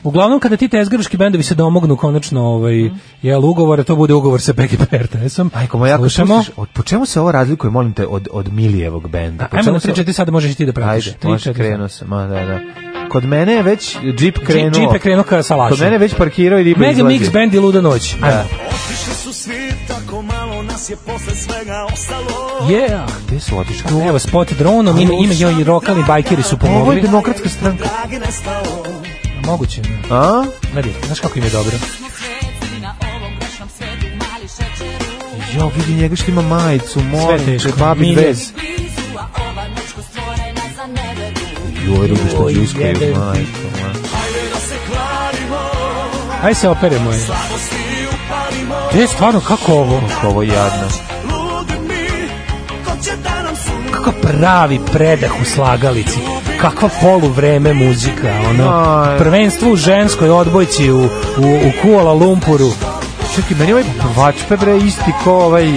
S5: Uglavnom kada ti tezgaroški bendovi se domognu konačno ovaj jel ugovore, to bude ugovor sa PGP RTS-om.
S6: Majko moja, Mhm. ako
S5: Slušamo.
S6: slušaš, od, po čemu se ovo razlikuje, molim te, od, od Milijevog benda? Po
S5: Ajmo
S6: čemu
S5: na
S6: se-
S5: 3 4 sada možeš i ti da pratiš.
S6: Ajde,
S5: Tri,
S6: može,
S5: četiri,
S6: krenuo sam, ma, da, da. Kod mene je već džip
S5: sad.
S6: krenuo.
S5: Džip Jeep je krenuo ka salašu.
S6: Kod mene je već parkirao i riba
S5: Mega
S6: izlazi. Da.
S5: Mix band i Luda noć. Ajmo.
S9: Otišli su svi, tako malo nas je posle svega ostalo.
S5: Yeah.
S6: Gde su otišli?
S5: Evo spot dronom, ima, ima joj i rokali bajkeri su
S6: Ovo je
S5: pomogli.
S6: demokratska stranka.
S9: Dragi nestalo.
S5: Moguće. ne.
S6: A?
S5: Gledaj, znaš kako im je dobro.
S6: Jo, vidi njega što ima majicu, molim
S5: teško.
S6: te, babi
S5: Milje.
S6: bez. Joj, rubi što
S5: Joj,
S6: džuskaju,
S5: jebe.
S6: majko, ma.
S5: Aj se operemo je. Gde stvarno, kako ovo?
S6: Kako ovo je jadno.
S5: Kako pravi predah u slagalici. Kakva poluvreme muzika, ono.
S6: Aj.
S5: Prvenstvo u ženskoj odbojci u, u, u Kuala Lumpuru.
S6: Čekaj, meni ovaj vačpe, bre, isti ko ovaj...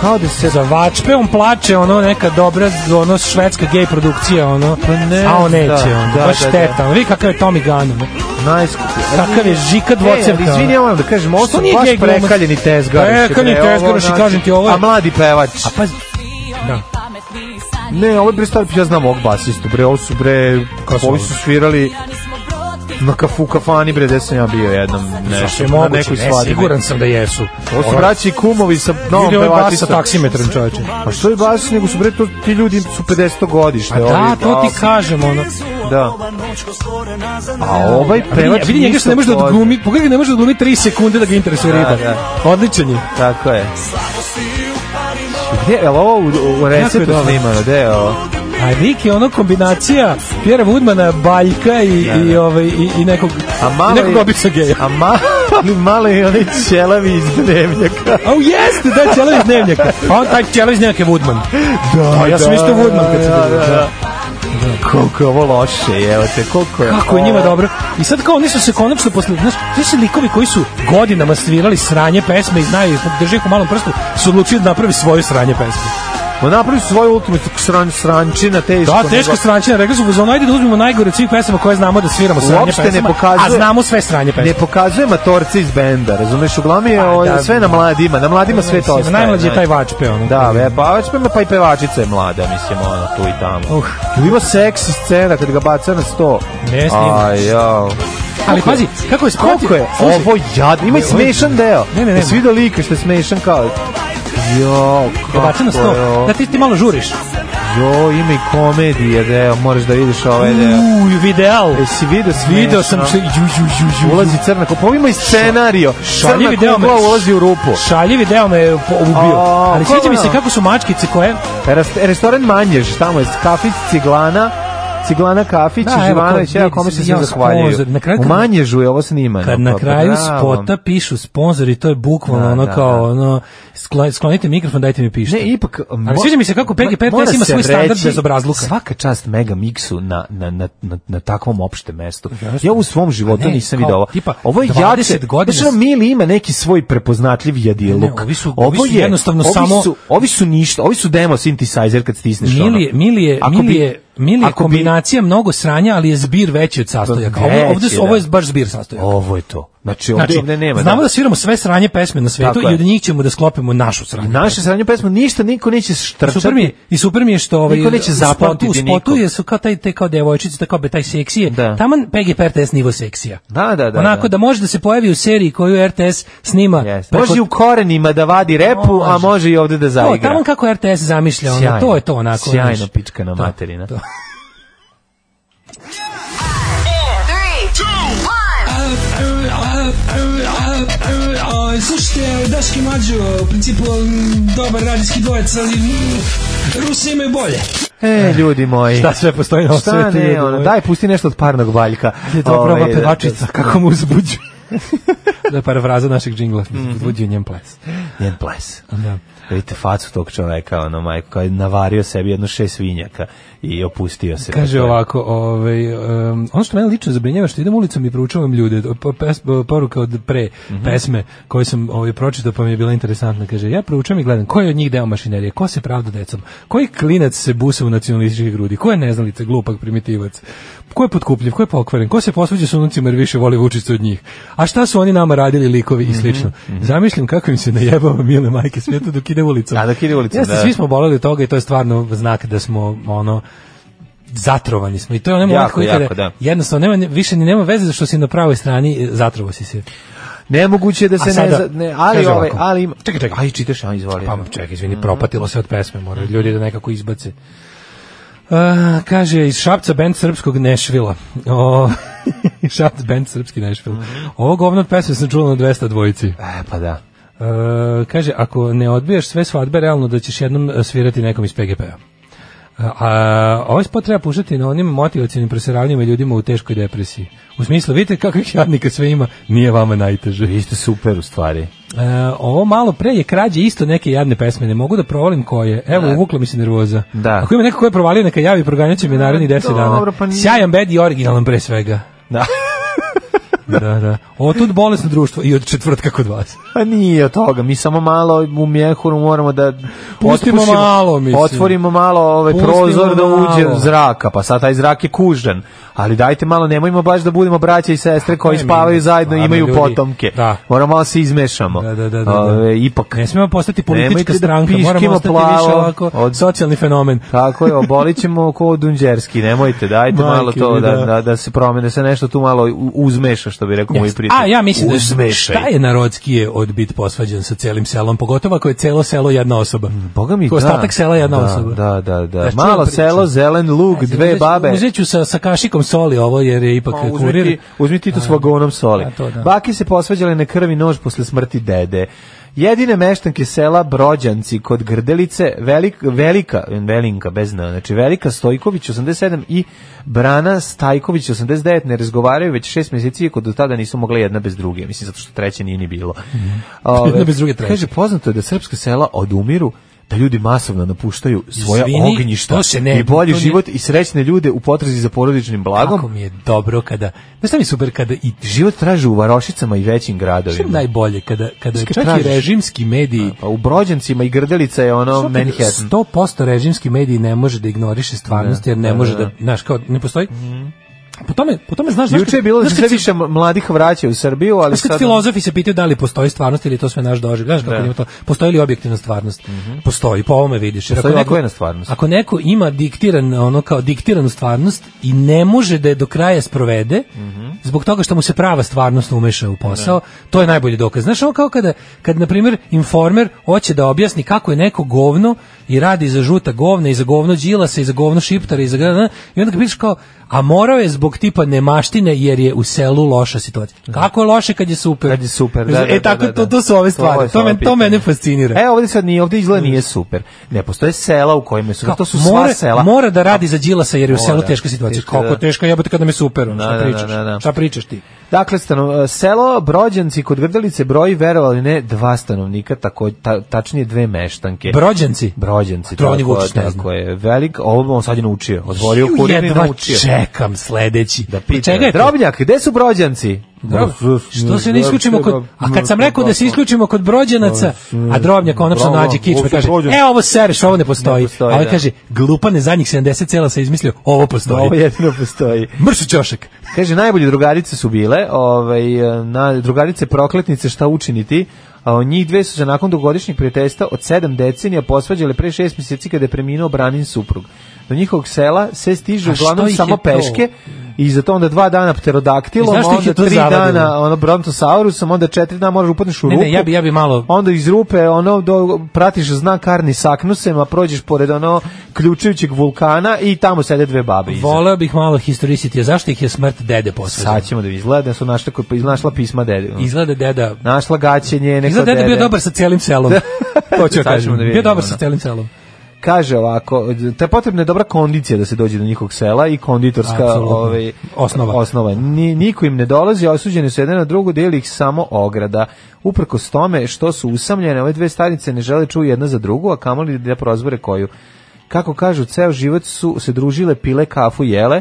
S6: Kao da se...
S5: Za vačpe on plače, ono neka dobra, ono švedska gej produkcija, ono.
S6: Pa ne
S5: A on
S6: znam,
S5: neće,
S6: da,
S5: ono.
S6: da,
S5: baš
S6: da, da.
S5: šteta. ono. Vidi kakav je Tommy Gunn, ono.
S6: Najskuplji.
S5: Kakav je Žika dvocevka,
S6: E, ali izvini,
S5: ono.
S6: ja moram da kažem, ovo
S5: Što
S6: su
S5: nije
S6: baš
S5: gej glumac?
S6: prekaljeni tezgaroši. bre,
S5: Prekaljeni
S6: ovo,
S5: tezgaroši,
S6: znači-
S5: kažem ti, ovo je-
S6: A mladi pevač.
S5: A pa, da.
S6: Ne, ovo je bre stari, ja znam ovog basistu, bre, ovo su bre,
S5: Ko su
S6: ovi
S5: ovo?
S6: su svirali na kafu kafani, bre, gde sam ja bio jednom, nešto,
S5: Sve
S6: na
S5: moguće,
S6: nekoj
S5: ne,
S6: svadbi.
S5: siguran sam da jesu.
S6: Ovo su braći i kumovi sa novom
S5: Vidi ovaj bas sa
S6: pevačicom.
S5: taksimetrom, čoveče.
S6: Pa što
S5: da,
S6: je bas, nego su bre, to, ti ljudi su 50 godište.
S5: Pa da, to ti kažem, ono.
S6: Da. A ovaj
S5: Vidi,
S6: pevač
S5: vidi njega što ne može da
S6: ništa
S5: odglumi, pogledaj ne može da odglumi 3 sekunde da ga interesuje
S6: Da,
S5: riba.
S6: da.
S5: Odličan je.
S6: poznaje. Tako je. Gde je jel ovo u, u
S5: Jako je
S6: receptu
S5: dobro.
S6: snimano? Gde je ovo?
S5: A Rick je ono kombinacija Pjera Woodmana, Baljka i,
S6: Da, da.
S5: i, ovaj, i, i nekog,
S6: A malo
S5: i nekog
S6: je-
S5: običnog geja.
S6: A ma, malo je onaj ćelavi iz Drevnjaka.
S5: A oh, jeste, da, ćelav iz dnevnjaka. A on taj ćelav iz dnevnjaka je Woodman.
S6: Da,
S5: A Pa ja sam
S6: da,
S5: isto Woodman kad
S6: da,
S5: sam
S6: da,
S5: vidio,
S6: da. Koliko je ovo loše, evo te, koliko je
S5: Kako je njima da
S6: ovo-
S5: dobro. I sad kao oni su se konačno posle, znaš, to su likovi koji su godinama svirali sranje pesme i znaju, drže ih u malom prstu, su odlučili da napravi svoju sranje pesme.
S6: Ma napravi svoju ultimu sran, srančina, teško.
S5: Da, teško srančina, rekli su, ono, ajde da uzmemo najgore od svih pesama koje znamo da sviramo sranje
S6: Uopšte ne
S5: pesama,
S6: pokazuje-
S5: a znamo sve sranje
S6: Ne
S5: pesme.
S6: pokazuje matorce iz benda, razumeš? Uglavnom je o,
S5: da.
S6: sve na mladima, na mladima sve
S5: Mislim,
S6: to ostaje.
S5: Najmlađi je taj
S6: znaš.
S5: vač peo. ono.
S6: Da, ve, pavač pa, pa i pevačica je mlada, mislim, ona tu i tamo.
S5: Uh.
S6: Jel ima seksi scena kad ga baca na sto?
S5: Ne, snima.
S6: Aj, jao.
S5: Ali pazi, kako je spratio?
S6: Koliko je?
S5: Slušaj,
S6: Ovo jadno. Ima i
S5: Ne, ovo je-
S6: smešan deo.
S5: Ne, ne, ne.
S6: Svi do lika što je smešan kao... Jo,
S5: ga baca
S6: kako
S5: na
S6: je
S5: sto.
S6: ovo?
S5: Da ti, ti malo žuriš.
S6: Jo, ima i komedije deo, moraš da vidiš ovaj deo.
S5: Uj, videal.
S6: Jesi vidio smešno?
S5: Mm. Video sam što... Ju, ju, ju, ju.
S6: E, Ulazi crna kugla, ovo ima i scenario. Crna
S5: Šaljivi deo me...
S6: kugla ulazi u rupu.
S5: Šaljivi deo me po- ubio.
S6: A, pa
S5: Ali sviđa mi se
S6: kako?
S5: kako su mačkice koje...
S6: Rast- restoran Manjež, tamo je kafić Ciglana, Ciglana Kafić
S5: Da, evo,
S6: i Živanović,
S5: kao,
S6: evo
S5: vidi,
S6: kome se
S5: ja
S6: sve
S5: sam
S6: zahvaljuju.
S5: sponzor. Na kraju
S6: U
S5: kad-
S6: Manježu je ovo snimano.
S5: Kad na
S6: pa
S5: kraju
S6: bravo.
S5: spota pišu sponzori, to je bukvalno
S6: Da,
S5: ono
S6: da,
S5: kao
S6: da.
S5: ono skla- sklonite mikrofon, dajte mi pišta.
S6: Ne, ipak...
S5: Ali sviđa mi se kako PGP
S6: mora
S5: ima
S6: se
S5: svoj standard
S6: reći,
S5: bez obrazluka.
S6: Svaka čast mega miksu na, na, na, na, na takvom opštem mestu. Ja u svom životu
S5: A Pa ne,
S6: nisam
S5: kao,
S6: vidio ovo.
S5: tipa,
S6: ovo je
S5: 20
S6: jače-
S5: godina-
S6: Znaš, ono, Mili ima neki svoj prepoznatljiv
S5: Ne,
S6: jadiluk.
S5: ne, ovi su- ovi su jednostavno
S6: ovi
S5: samo-
S6: Su, ovi su ništa, ovi su demo synthesizer kad stisneš ono.
S5: Milije, Milije,
S6: Ako bi-
S5: Milije, Milije
S6: ako bi-
S5: kombinacija mnogo sranja, ali je zbir veći od sastojaka. Ovo, ovde
S6: Veći,
S5: su, ovo je
S6: da.
S5: baš zbir sastojaka.
S6: Ovo je to. Znači, ovde,
S5: Znači,
S6: ovde nema.
S5: znamo da. sviramo sve sranje pesme na svetu
S6: Tako je.
S5: i od njih ćemo da sklopimo našu sranje.
S6: Naše sranje pesme, ništa niko neće štrčati.
S5: Super mi je, i super mi je što ovaj
S6: Niko neće
S5: u spotu- u
S6: zapamtiti
S5: spotu
S6: niko.
S5: je su kao taj te kao devojčice tako be taj seksije.
S6: Da.
S5: Taman PG RTS nivo seksija.
S6: Da, da, da,
S5: Onako da.
S6: da.
S5: može da se pojavi u seriji koju RTS snima.
S6: Yes.
S5: preko-
S6: Može i u korenima da vadi repu, a
S5: Može.
S6: može i ovde da
S5: To,
S6: zaigra.
S5: taman kako RTS zamišlja, ono, to je to onako.
S6: Sjajno
S5: znaš.
S6: pička na
S5: To,
S6: materina.
S5: to.
S9: Slušajte, Daški Mađo, u principu mm, dobar radijski dvojec, ali mm, Rusi imaju bolje.
S6: E, ljudi moji.
S5: Šta sve postoji na ovom
S6: Šta
S5: svetu, ljudi
S6: ne, ono,
S5: moji.
S6: daj, pusti nešto od parnog valjka.
S5: Je to No,
S6: Ovaj,
S5: proba
S6: da-
S5: pevačica, kako mu uzbuđuje. da je parafraza našeg džingla, uzbuđuje njen ples.
S6: Njen ples.
S5: Da.
S6: Vidite facu tog čoveka, ono, majko, koji je navario sebi jedno šest vinjaka i opustio se.
S5: Kaže
S6: Dakle,
S5: ovako, ovaj, um, ono što mene lično zabrinjava što idem ulicom i proučavam ljude, pa pes, poruka od pre
S6: Mhm.
S5: pesme koju sam ovaj, pročitao pa mi je bila interesantna, kaže, ja proučavam i gledam ko je od njih deo mašinerije, ko se pravda decom, koji klinac se busa u nacionalističke grudi, ko je neznalica, glupak, primitivac, ko je potkupljiv, ko je pokvaren, ko se posvađa s unucima jer više voli vučicu od njih, a šta su oni nama radili likovi
S6: Mhm,
S5: i slično. Zamišljam kako im se najebava mile majke svijetu dok ide ulicom.
S6: Da, dok ide ulicom,
S5: Jeste,
S6: da.
S5: svi smo boleli od toga i to je stvarno znak da smo ono, zatrovani smo i to je onaj moment
S6: Jako,
S5: koji kada
S6: jako, da.
S5: jednostavno nema više ni nema veze što si na pravoj strani e, zatrovao si se.
S6: Nemoguće je da se
S5: A sada-
S6: ne, za- ne... Ali,
S5: Kaže
S6: ovaj,
S5: ovako.
S6: ali ima...
S5: Čekaj, čekaj.
S6: Aj, čitaš, aj, izvoli.
S5: Pa čekaj, izvini,
S6: Mhm.
S5: propatilo se od pesme, moraju ljudi da nekako izbace. Uh, kaže iz Šapca bend srpskog Nešvila. O, Šapca bend srpski Nešvil.
S6: Mhm.
S5: Ovo govno od pesme sam čuo na 200 dvojici.
S6: E, pa da.
S5: E, kaže, ako ne odbijaš sve svadbe, realno da ćeš jednom e, svirati nekom iz PGP-a. E, A, a ovaj spot treba puštati na onim motivacijenim preseravanjima ljudima u teškoj depresiji. U smislu, vidite kakvih jadnika sve ima, nije vama najteže.
S6: Vi ste super, u stvari.
S5: E, ovo malo pre je krađe isto neke jadne pesme, ne mogu da provalim koje. Evo, uvukla mi se nervoza.
S6: Da.
S5: Ako ima neko ko je provalio, neka javi, proganjaće me narednih 10 dana.
S6: Dobro, pa nije-
S5: Sjajan bed i originalan pre svega.
S6: Da.
S5: Da, da. O, tu bolesno društvo i od četvrtka kod vas.
S6: Pa nije od toga, mi samo malo u mjehuru moramo da
S5: Pustimo
S6: otpušimo-
S5: malo, mislim.
S6: Otvorimo malo ovaj
S5: Pustimo
S6: prozor da uđe
S5: malo.
S6: zraka, pa sad taj zrak je kužan. Ali dajte malo, nemojmo baš da budemo braća i sestre koji
S5: Ne, mi-
S6: spavaju zajedno i
S5: stvarno,
S6: imaju
S5: ljudi,
S6: potomke.
S5: da.
S6: Moramo malo se izmešamo.
S5: Da, da, da, da, da.
S6: Ove, ipak.
S5: Ne smemo postati
S6: Nemojte
S5: politička
S6: da
S5: stranka,
S6: piškimo
S5: moramo ostati više
S6: plavo
S5: ovako
S6: od-
S5: socijalni fenomen.
S6: Tako je, obolit ćemo ko Dunđerski, nemojte, dajte malo
S5: Majke
S6: to
S5: mi,
S6: da,
S5: da.
S6: da, da se promene, da se nešto tu malo u- uzmeša što bi rekao moj
S5: Jeste.
S6: prijatelj.
S5: A ja mislim da
S6: Uzmešaj.
S5: šta je narodskije od bit posvađan sa celim selom, pogotovo ako je celo selo jedna osoba.
S6: Boga mi,
S5: Ako je
S6: da.
S5: ostatak sela jedna
S6: Da,
S5: osoba.
S6: da, da, da.
S5: Znaš,
S6: Malo
S5: čujem priču.
S6: selo, zelen luk,
S5: Znači,
S6: dve
S5: uzet-
S6: babe.
S5: Uzet ću sa, sa kašikom soli ovo jer je ipak
S6: Pa, uzmi,
S5: kurir.
S6: ti, uzmi ti to s vagonom soli.
S5: A, to da.
S6: Bake se posvađale na krvi nož posle smrti dede. Jedine meštanke sela Brođanci kod Grdelice, velik, velika, velinka, bez na, znači velika Stojković 87 i Brana Stajković 89 ne razgovaraju već šest mjeseci iako do tada nisu mogle jedna bez druge, mislim zato što treće nije ni bilo. Ove,
S5: Mhm. Jedna bez druge treće.
S6: Kaže, poznato je da srpska sela odumiru da ljudi masovno napuštaju svoja
S5: Izvini,
S6: ognjišta
S5: to se ne-
S6: i bolji
S5: to nije-
S6: život i srećne ljude u potrazi za porodičnim blagom.
S5: Kako mi je dobro kada... Znaš šta mi je super kada i
S6: Život traže u varošicama i većim
S5: Što je
S6: gradovima.
S5: najbolje kada kada
S6: Znaš kad
S5: čak i
S6: tražiš?
S5: režimski mediji
S6: Pa u Brođancima i Grdelica je ono
S5: Što kad
S6: Manhattan.
S5: 100% režimski mediji ne može da ignoriše stvarnost jer ne može da, znaš, kao ne postoji. Po tome, po tome znaš, znaš
S6: Mhm. Juče
S5: kad-
S6: je bilo da
S5: znaš
S6: se
S5: kad
S6: sve
S5: si-
S6: više mladih vraća u Srbiju, ali
S5: Znaš kad
S6: sad...
S5: filozofi se pitaju da li postoji stvarnost ili je to sve naš doživljaj, znaš kako
S6: Da.
S5: njima to, postoji li objektivna stvarnost?
S6: Mhm.
S5: Postoji, po ovome vidiš. Jer
S6: Postoji odvojena stvarnost.
S5: Dakle, Ako neko ima diktiran, ono kao diktiranu stvarnost i ne može da je do kraja sprovede,
S6: Mhm.
S5: zbog toga što mu se prava stvarnost umeša u posao,
S6: Da.
S5: to je najbolji dokaz. Znaš, ovo kao kada, kad, na primjer, informer hoće da objasni kako je neko govno i radi za žuta govna i za govno đilasa i za govno šiptara i za... gra- I onda ga pitaš kao, a morao je zbog tipa nemaštine jer je u selu loša situacija. Kako je loše kad je super?
S6: Da. Kad je super, da,
S5: e,
S6: da, da,
S5: tako,
S6: da,
S5: to,
S6: da.
S5: to su ove stvari. To,
S6: su ova
S5: men- to mene
S6: pitanja.
S5: fascinira.
S6: E, ovdje sad nije, ovdje izgleda nije super. Ne, postoje sela u kojima su, to su
S5: mora,
S6: sva sela.
S5: Mora da radi za Đilasa jer je u
S6: Mora.
S5: selu teška situacija.
S6: Teško,
S5: Kako
S6: da.
S5: teška jebote kad nam je super, ono,
S6: Da,
S5: šta
S6: da, da,
S5: pričaš?
S6: da, da.
S5: Šta pričaš ti?
S6: Dakle, stano, selo Brođanci kod Grdelice broji, verovali ne, dva stanovnika, tako, ta, tačnije dve meštanke.
S5: Brođanci.
S6: Brođanci,
S5: To oni
S6: tako,
S5: Vučić ne zna.
S6: tako je. Velik, ovo on sad je naučio. Otvorio
S5: Ju,
S6: kurir i
S5: jedva
S6: naučio.
S5: čekam sledeći. Pa
S6: Da pita.
S5: Čega je to?
S6: Drobnjak, gde su brođanci? Da,
S5: Dobro. Što se ne isključimo kod A kad sam rekao da se isključimo kod brođanaca, a drobnjak konačno
S6: Bravo,
S5: nađe kič
S6: ovo
S5: pa
S6: su
S5: kaže:
S6: Brođanci.
S5: "E ovo sereš, ovo ne postoji."
S6: Ne postoji,
S5: A on
S6: da.
S5: kaže: "Glupa ne zadnjih 70 cela se izmislio, ovo
S6: Ovo
S5: postoji."
S6: jedino postoji.
S5: Mršu ćošak.
S6: Kaže, najbolje drugarice su bile, ovaj, na, drugarice prokletnice, šta učiniti? A, o, njih dve su se nakon dugodišnjeg prijateljstva od sedam decenija posvađale pre šest mjeseci kada je preminuo Branin suprug. Do njihovog sela se stiže
S5: A što
S6: uglavnom
S5: ih je
S6: samo
S5: to?
S6: peške i za to onda dva dana pterodaktilom,
S5: I zašto ih je
S6: onda
S5: to
S6: tri
S5: zavadilo?
S6: dana ono, brontosaurusom, onda četiri dana moraš upadneš u
S5: Ne,
S6: rupu.
S5: ne, ja bi ja bi malo
S6: onda iz rupe ono do, pratiš znak Arni saknusem, a prođeš pored ono ključajućeg vulkana i tamo sede dve babe. iza.
S5: voleo bih malo historisiti, a zašto ih je smrt dede posvađala?
S6: Sad ćemo da izgleda da su našla, ko- iznašla pisma dede.
S5: Izgleda deda
S6: Našla gaće njene kod
S5: Izgleda deda
S6: dede. Da.
S5: bio dobar sa cijelim selom. to ću ja
S6: Sad ćemo
S5: kažem.
S6: da
S5: bio
S6: vidimo,
S5: dobar sa
S6: ono.
S5: cijelim selom.
S6: Kaže ovako, te potrebna je dobra kondicija da se dođe do njihovog sela i konditorska
S5: Apsolutno.
S6: ovaj,
S5: Osnova.
S6: osnova. Ni, niko im ne dolazi, osuđeni su jedan na drugu, deli ih samo ograda. Uprkos tome što su usamljene, ove dve starice ne žele čuju jedna za drugu, a kamoli da prozbore koju. Kako kažu, ceo život su se družile, pile kafu, jele.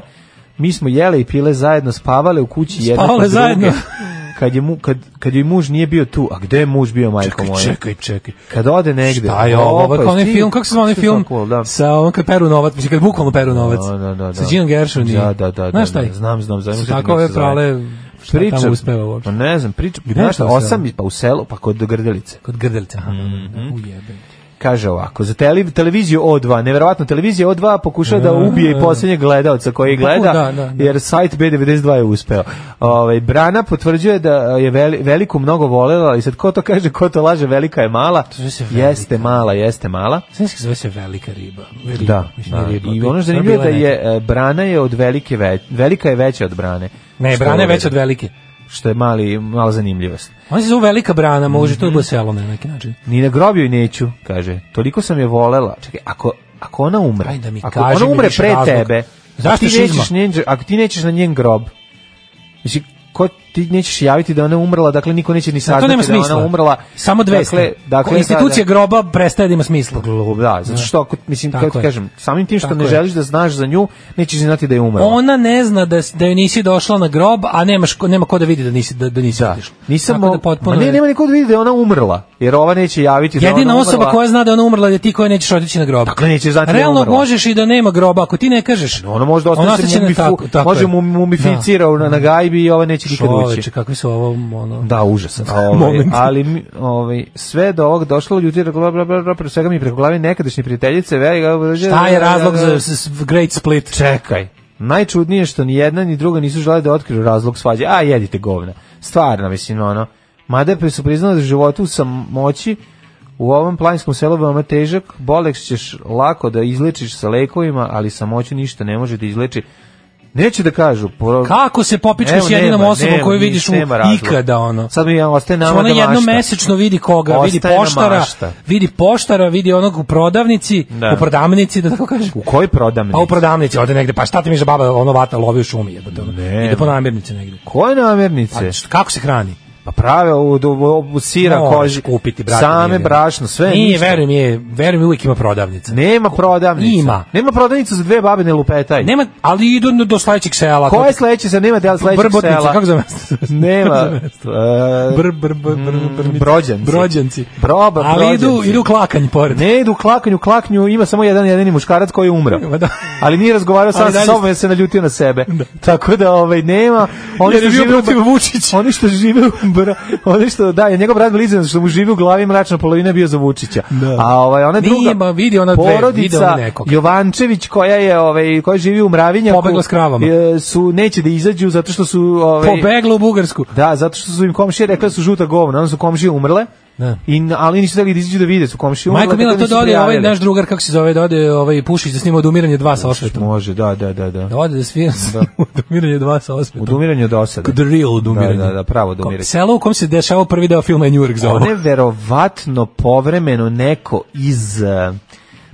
S6: Mi smo jele i pile zajedno, spavale u kući jedna
S5: Spavale
S6: kod druge.
S5: zajedno.
S6: Kad je, mu, kad, kad joj muž nije bio tu, a gde je muž bio, majko moja?
S5: Čekaj, čekaj.
S6: Kad ode negde.
S5: Šta je ovo? Ovo je
S6: Opa,
S5: kao onaj
S6: ti-
S5: film, kako se zove onaj
S6: Šta
S5: film?
S6: cool, da.
S5: Sa onom kad peru novac, mislim kad bukvalno peru novac.
S6: Da, da, da,
S5: Sa
S6: da.
S5: Ginom Gershon i...
S6: Da, da, da,
S5: Znaš
S6: da,
S5: taj?
S6: da, znam, znam, znam,
S5: Su
S6: znam
S5: Tako
S6: kako
S5: ove
S6: se zove.
S5: prale, šta tamo uspeva uopšte.
S6: Pa ne znam, priča,
S5: Gde je
S6: znaš
S5: to
S6: šta,
S5: selo?
S6: osam, pa u selu, pa kod Grdelice.
S5: Kod grdelca.
S6: Mhm,
S5: Aha, Ujebe.
S6: Kaže ovako, za tele, televiziju O2, neverovatno, televizija O2 pokušava da ubije i posljednjeg gledalca koji gleda,
S5: da, da, da.
S6: jer sajt B92 je uspeo. Ovaj, Brana potvrđuje da je veli, veliku mnogo volela, ali sad ko to kaže, ko to laže, velika je mala,
S5: Zove se velika.
S6: jeste mala, jeste mala.
S5: Znaš kako se zove se velika riba? Riba,
S6: Da,
S5: mislim,
S6: da.
S5: ne riba.
S6: i
S5: To
S6: ono
S5: je
S6: što zanimljivo je
S5: bila
S6: da
S5: neka-
S6: je e, Brana je od velike već, velika je veća od Brane.
S5: Ne,
S6: Što
S5: brana je
S6: ovaj-
S5: već od velike.
S6: što je mali, mala zanimljivost.
S5: Ona se zove velika brana, može to je
S6: Mhm.
S5: bilo selo na neki način.
S6: Ni na grobju neću, kaže. Toliko sam je volela. Čekaj, ako, ako ona umre,
S5: Aj da mi
S6: ako
S5: kaži
S6: ona
S5: mi
S6: umre
S5: više
S6: pre
S5: razlog.
S6: tebe,
S5: Zašto
S6: ti
S5: šizma?
S6: nećeš, njen, ako ti nećeš na njen grob, mislim, ko ti nećeš javiti da ona umrla, dakle niko neće ni
S5: Da, to
S6: saznati
S5: nema
S6: da je
S5: smisla.
S6: ona umrla.
S5: Samo dve.
S6: Dakle, dakle,
S5: institucija groba prestaje da ima smisla.
S6: Glup, da, zato što ako, mislim,
S5: Tako
S6: kako ti
S5: je.
S6: kažem, samim tim što
S5: Tako
S6: ne
S5: je.
S6: želiš da znaš za nju, nećeš ni znati da je umrla.
S5: Ona ne zna da s- da joj nisi došla na grob, a nemaš ko, nema ko da vidi da nisi da, da nisi
S6: Da.
S5: otišla.
S6: Nisam
S5: Tako
S6: mo...
S5: da potpuno.
S6: Ma ne,
S5: je-
S6: nema niko da vidi da je ona umrla, jer ova neće javiti da je
S5: Jedina
S6: ona
S5: osoba
S6: umrla.
S5: koja zna da je ona umrla je ti koja nećeš otići na grob.
S6: Dakle, nećeš znati da je
S5: Realno
S6: umrla.
S5: možeš i da nema groba ako ti ne kažeš.
S6: Ono može da
S5: ona
S6: ostane se
S5: ostaće na
S6: mumifu,
S5: tako- tako
S6: može
S5: je.
S6: mu mumificira na, na gajbi i ova neće
S5: Da.
S6: nikad ući.
S5: Čoveče, kakvi su ovo ono.
S6: Da, užasan. A, ovaj,
S5: Moment.
S6: ali mi- ovaj, sve do ovog došlo ljudi, bla, bla, bla, bla, pre svega mi preko glave nekadašnje prijateljice. Veli,
S5: Šta je razlog za s- s- Great Split?
S6: Čekaj. Najčudnije je što ni jedna ni druga nisu žele da otkriju razlog svađe. A jedite govna. Stvarno, mislim ono. Mada pri- su priznali da životu sam moći u ovom planinskom selu veoma težak, boleks ćeš lako da izlečiš sa lekovima, ali samoću ništa ne može da izleči. Neću da kažu. Pro...
S5: Kako se popičkaš
S6: Evo, nema,
S5: jedinom osobom
S6: nema,
S5: koju
S6: niš,
S5: vidiš u
S6: nema razloga.
S5: ikada, ono?
S6: Sad mi ja ostaje nama
S5: Ona
S6: da
S5: jedno
S6: mašta.
S5: mesečno vidi koga, vidi
S6: Ostaje nam
S5: poštara,
S6: mašta.
S5: vidi poštara, vidi onog u prodavnici,
S6: Da.
S5: u prodavnici, da tako kažem.
S6: U kojoj prodamnici?
S5: A Pa u prodavnici, ode negde, pa šta ti mi za baba, ono vata lovi u šumi, jebote, ono. ide po namirnice negde.
S6: Koje namirnice?
S5: Pa, šta- kako se hrani?
S6: Pa prave od, od, od sira,
S5: Moraš
S6: koži,
S5: kupiti, brate,
S6: same,
S5: nije.
S6: brašno, sve
S5: Nije,
S6: ništa.
S5: verujem je, verujem je, uvijek ima prodavnica.
S6: Nema prodavnica.
S5: Ima.
S6: Nema prodavnica za dve babine lupetaj.
S5: Nema, ali idu do sledećeg sela.
S6: Ko je
S5: to-
S6: sledeće se nema del sledećeg
S5: Brbotnica,
S6: sela?
S5: kako zove mesto?
S6: Nema.
S5: Kako zove mesto?
S6: e,
S5: Br, br, br, br, br,
S6: mm, brođanci.
S5: Brođanci.
S6: Broba,
S5: ali idu,
S6: brođanci.
S5: idu u klakanj pored.
S6: Ne idu u klakanju, u klakanju ima samo jedan jedini muškarac koji je umrao.
S5: Ma da.
S6: Ali nije razgovarao sam
S5: Ali
S6: sa
S5: dalje
S6: sobom
S5: ste-
S6: jer se naljutio na sebe. Tako da ovaj nema. Oni
S5: Jer je
S6: što
S5: bio
S6: žive u-
S5: protiv Vučića.
S6: Oni što žive u bra, oni što da, je njegov brat Blizan što mu živi u glavi mračna polovina je bio za Vučića.
S5: Da.
S6: A ovaj ona druga
S5: Nije, ma vidi ona dve, vidi
S6: porodica
S5: ona nekog.
S6: Jovančević koja je ovaj koja živi u Mravinjaku.
S5: Pobegla s kravama.
S6: je, su neće da izađu zato što su ovaj
S5: Pobegla u Bugarsku.
S6: Da, zato što su im komšije rekle da su žuta govna, onda su komšije umrle.
S5: Da.
S6: I, ali nisu hteli da izađu da vide, su komšije umrle.
S5: Majko Mila,
S6: tako
S5: to
S6: nisu
S5: da ode ovaj
S6: prijavili.
S5: naš drugar, kako se zove, da ode ovaj, Pušić da snima odumiranje dva sa osvetom.
S6: Može, da, da, da, da.
S5: Da ode da svira da. odumiranje dva sa osvetom.
S6: Odumiranje od osade.
S5: The real odumiranje.
S6: Da, da, da, pravo odumiranje.
S5: Selo u kom se dešava prvi deo filma je Njurek zove.
S6: One verovatno povremeno neko iz... eh,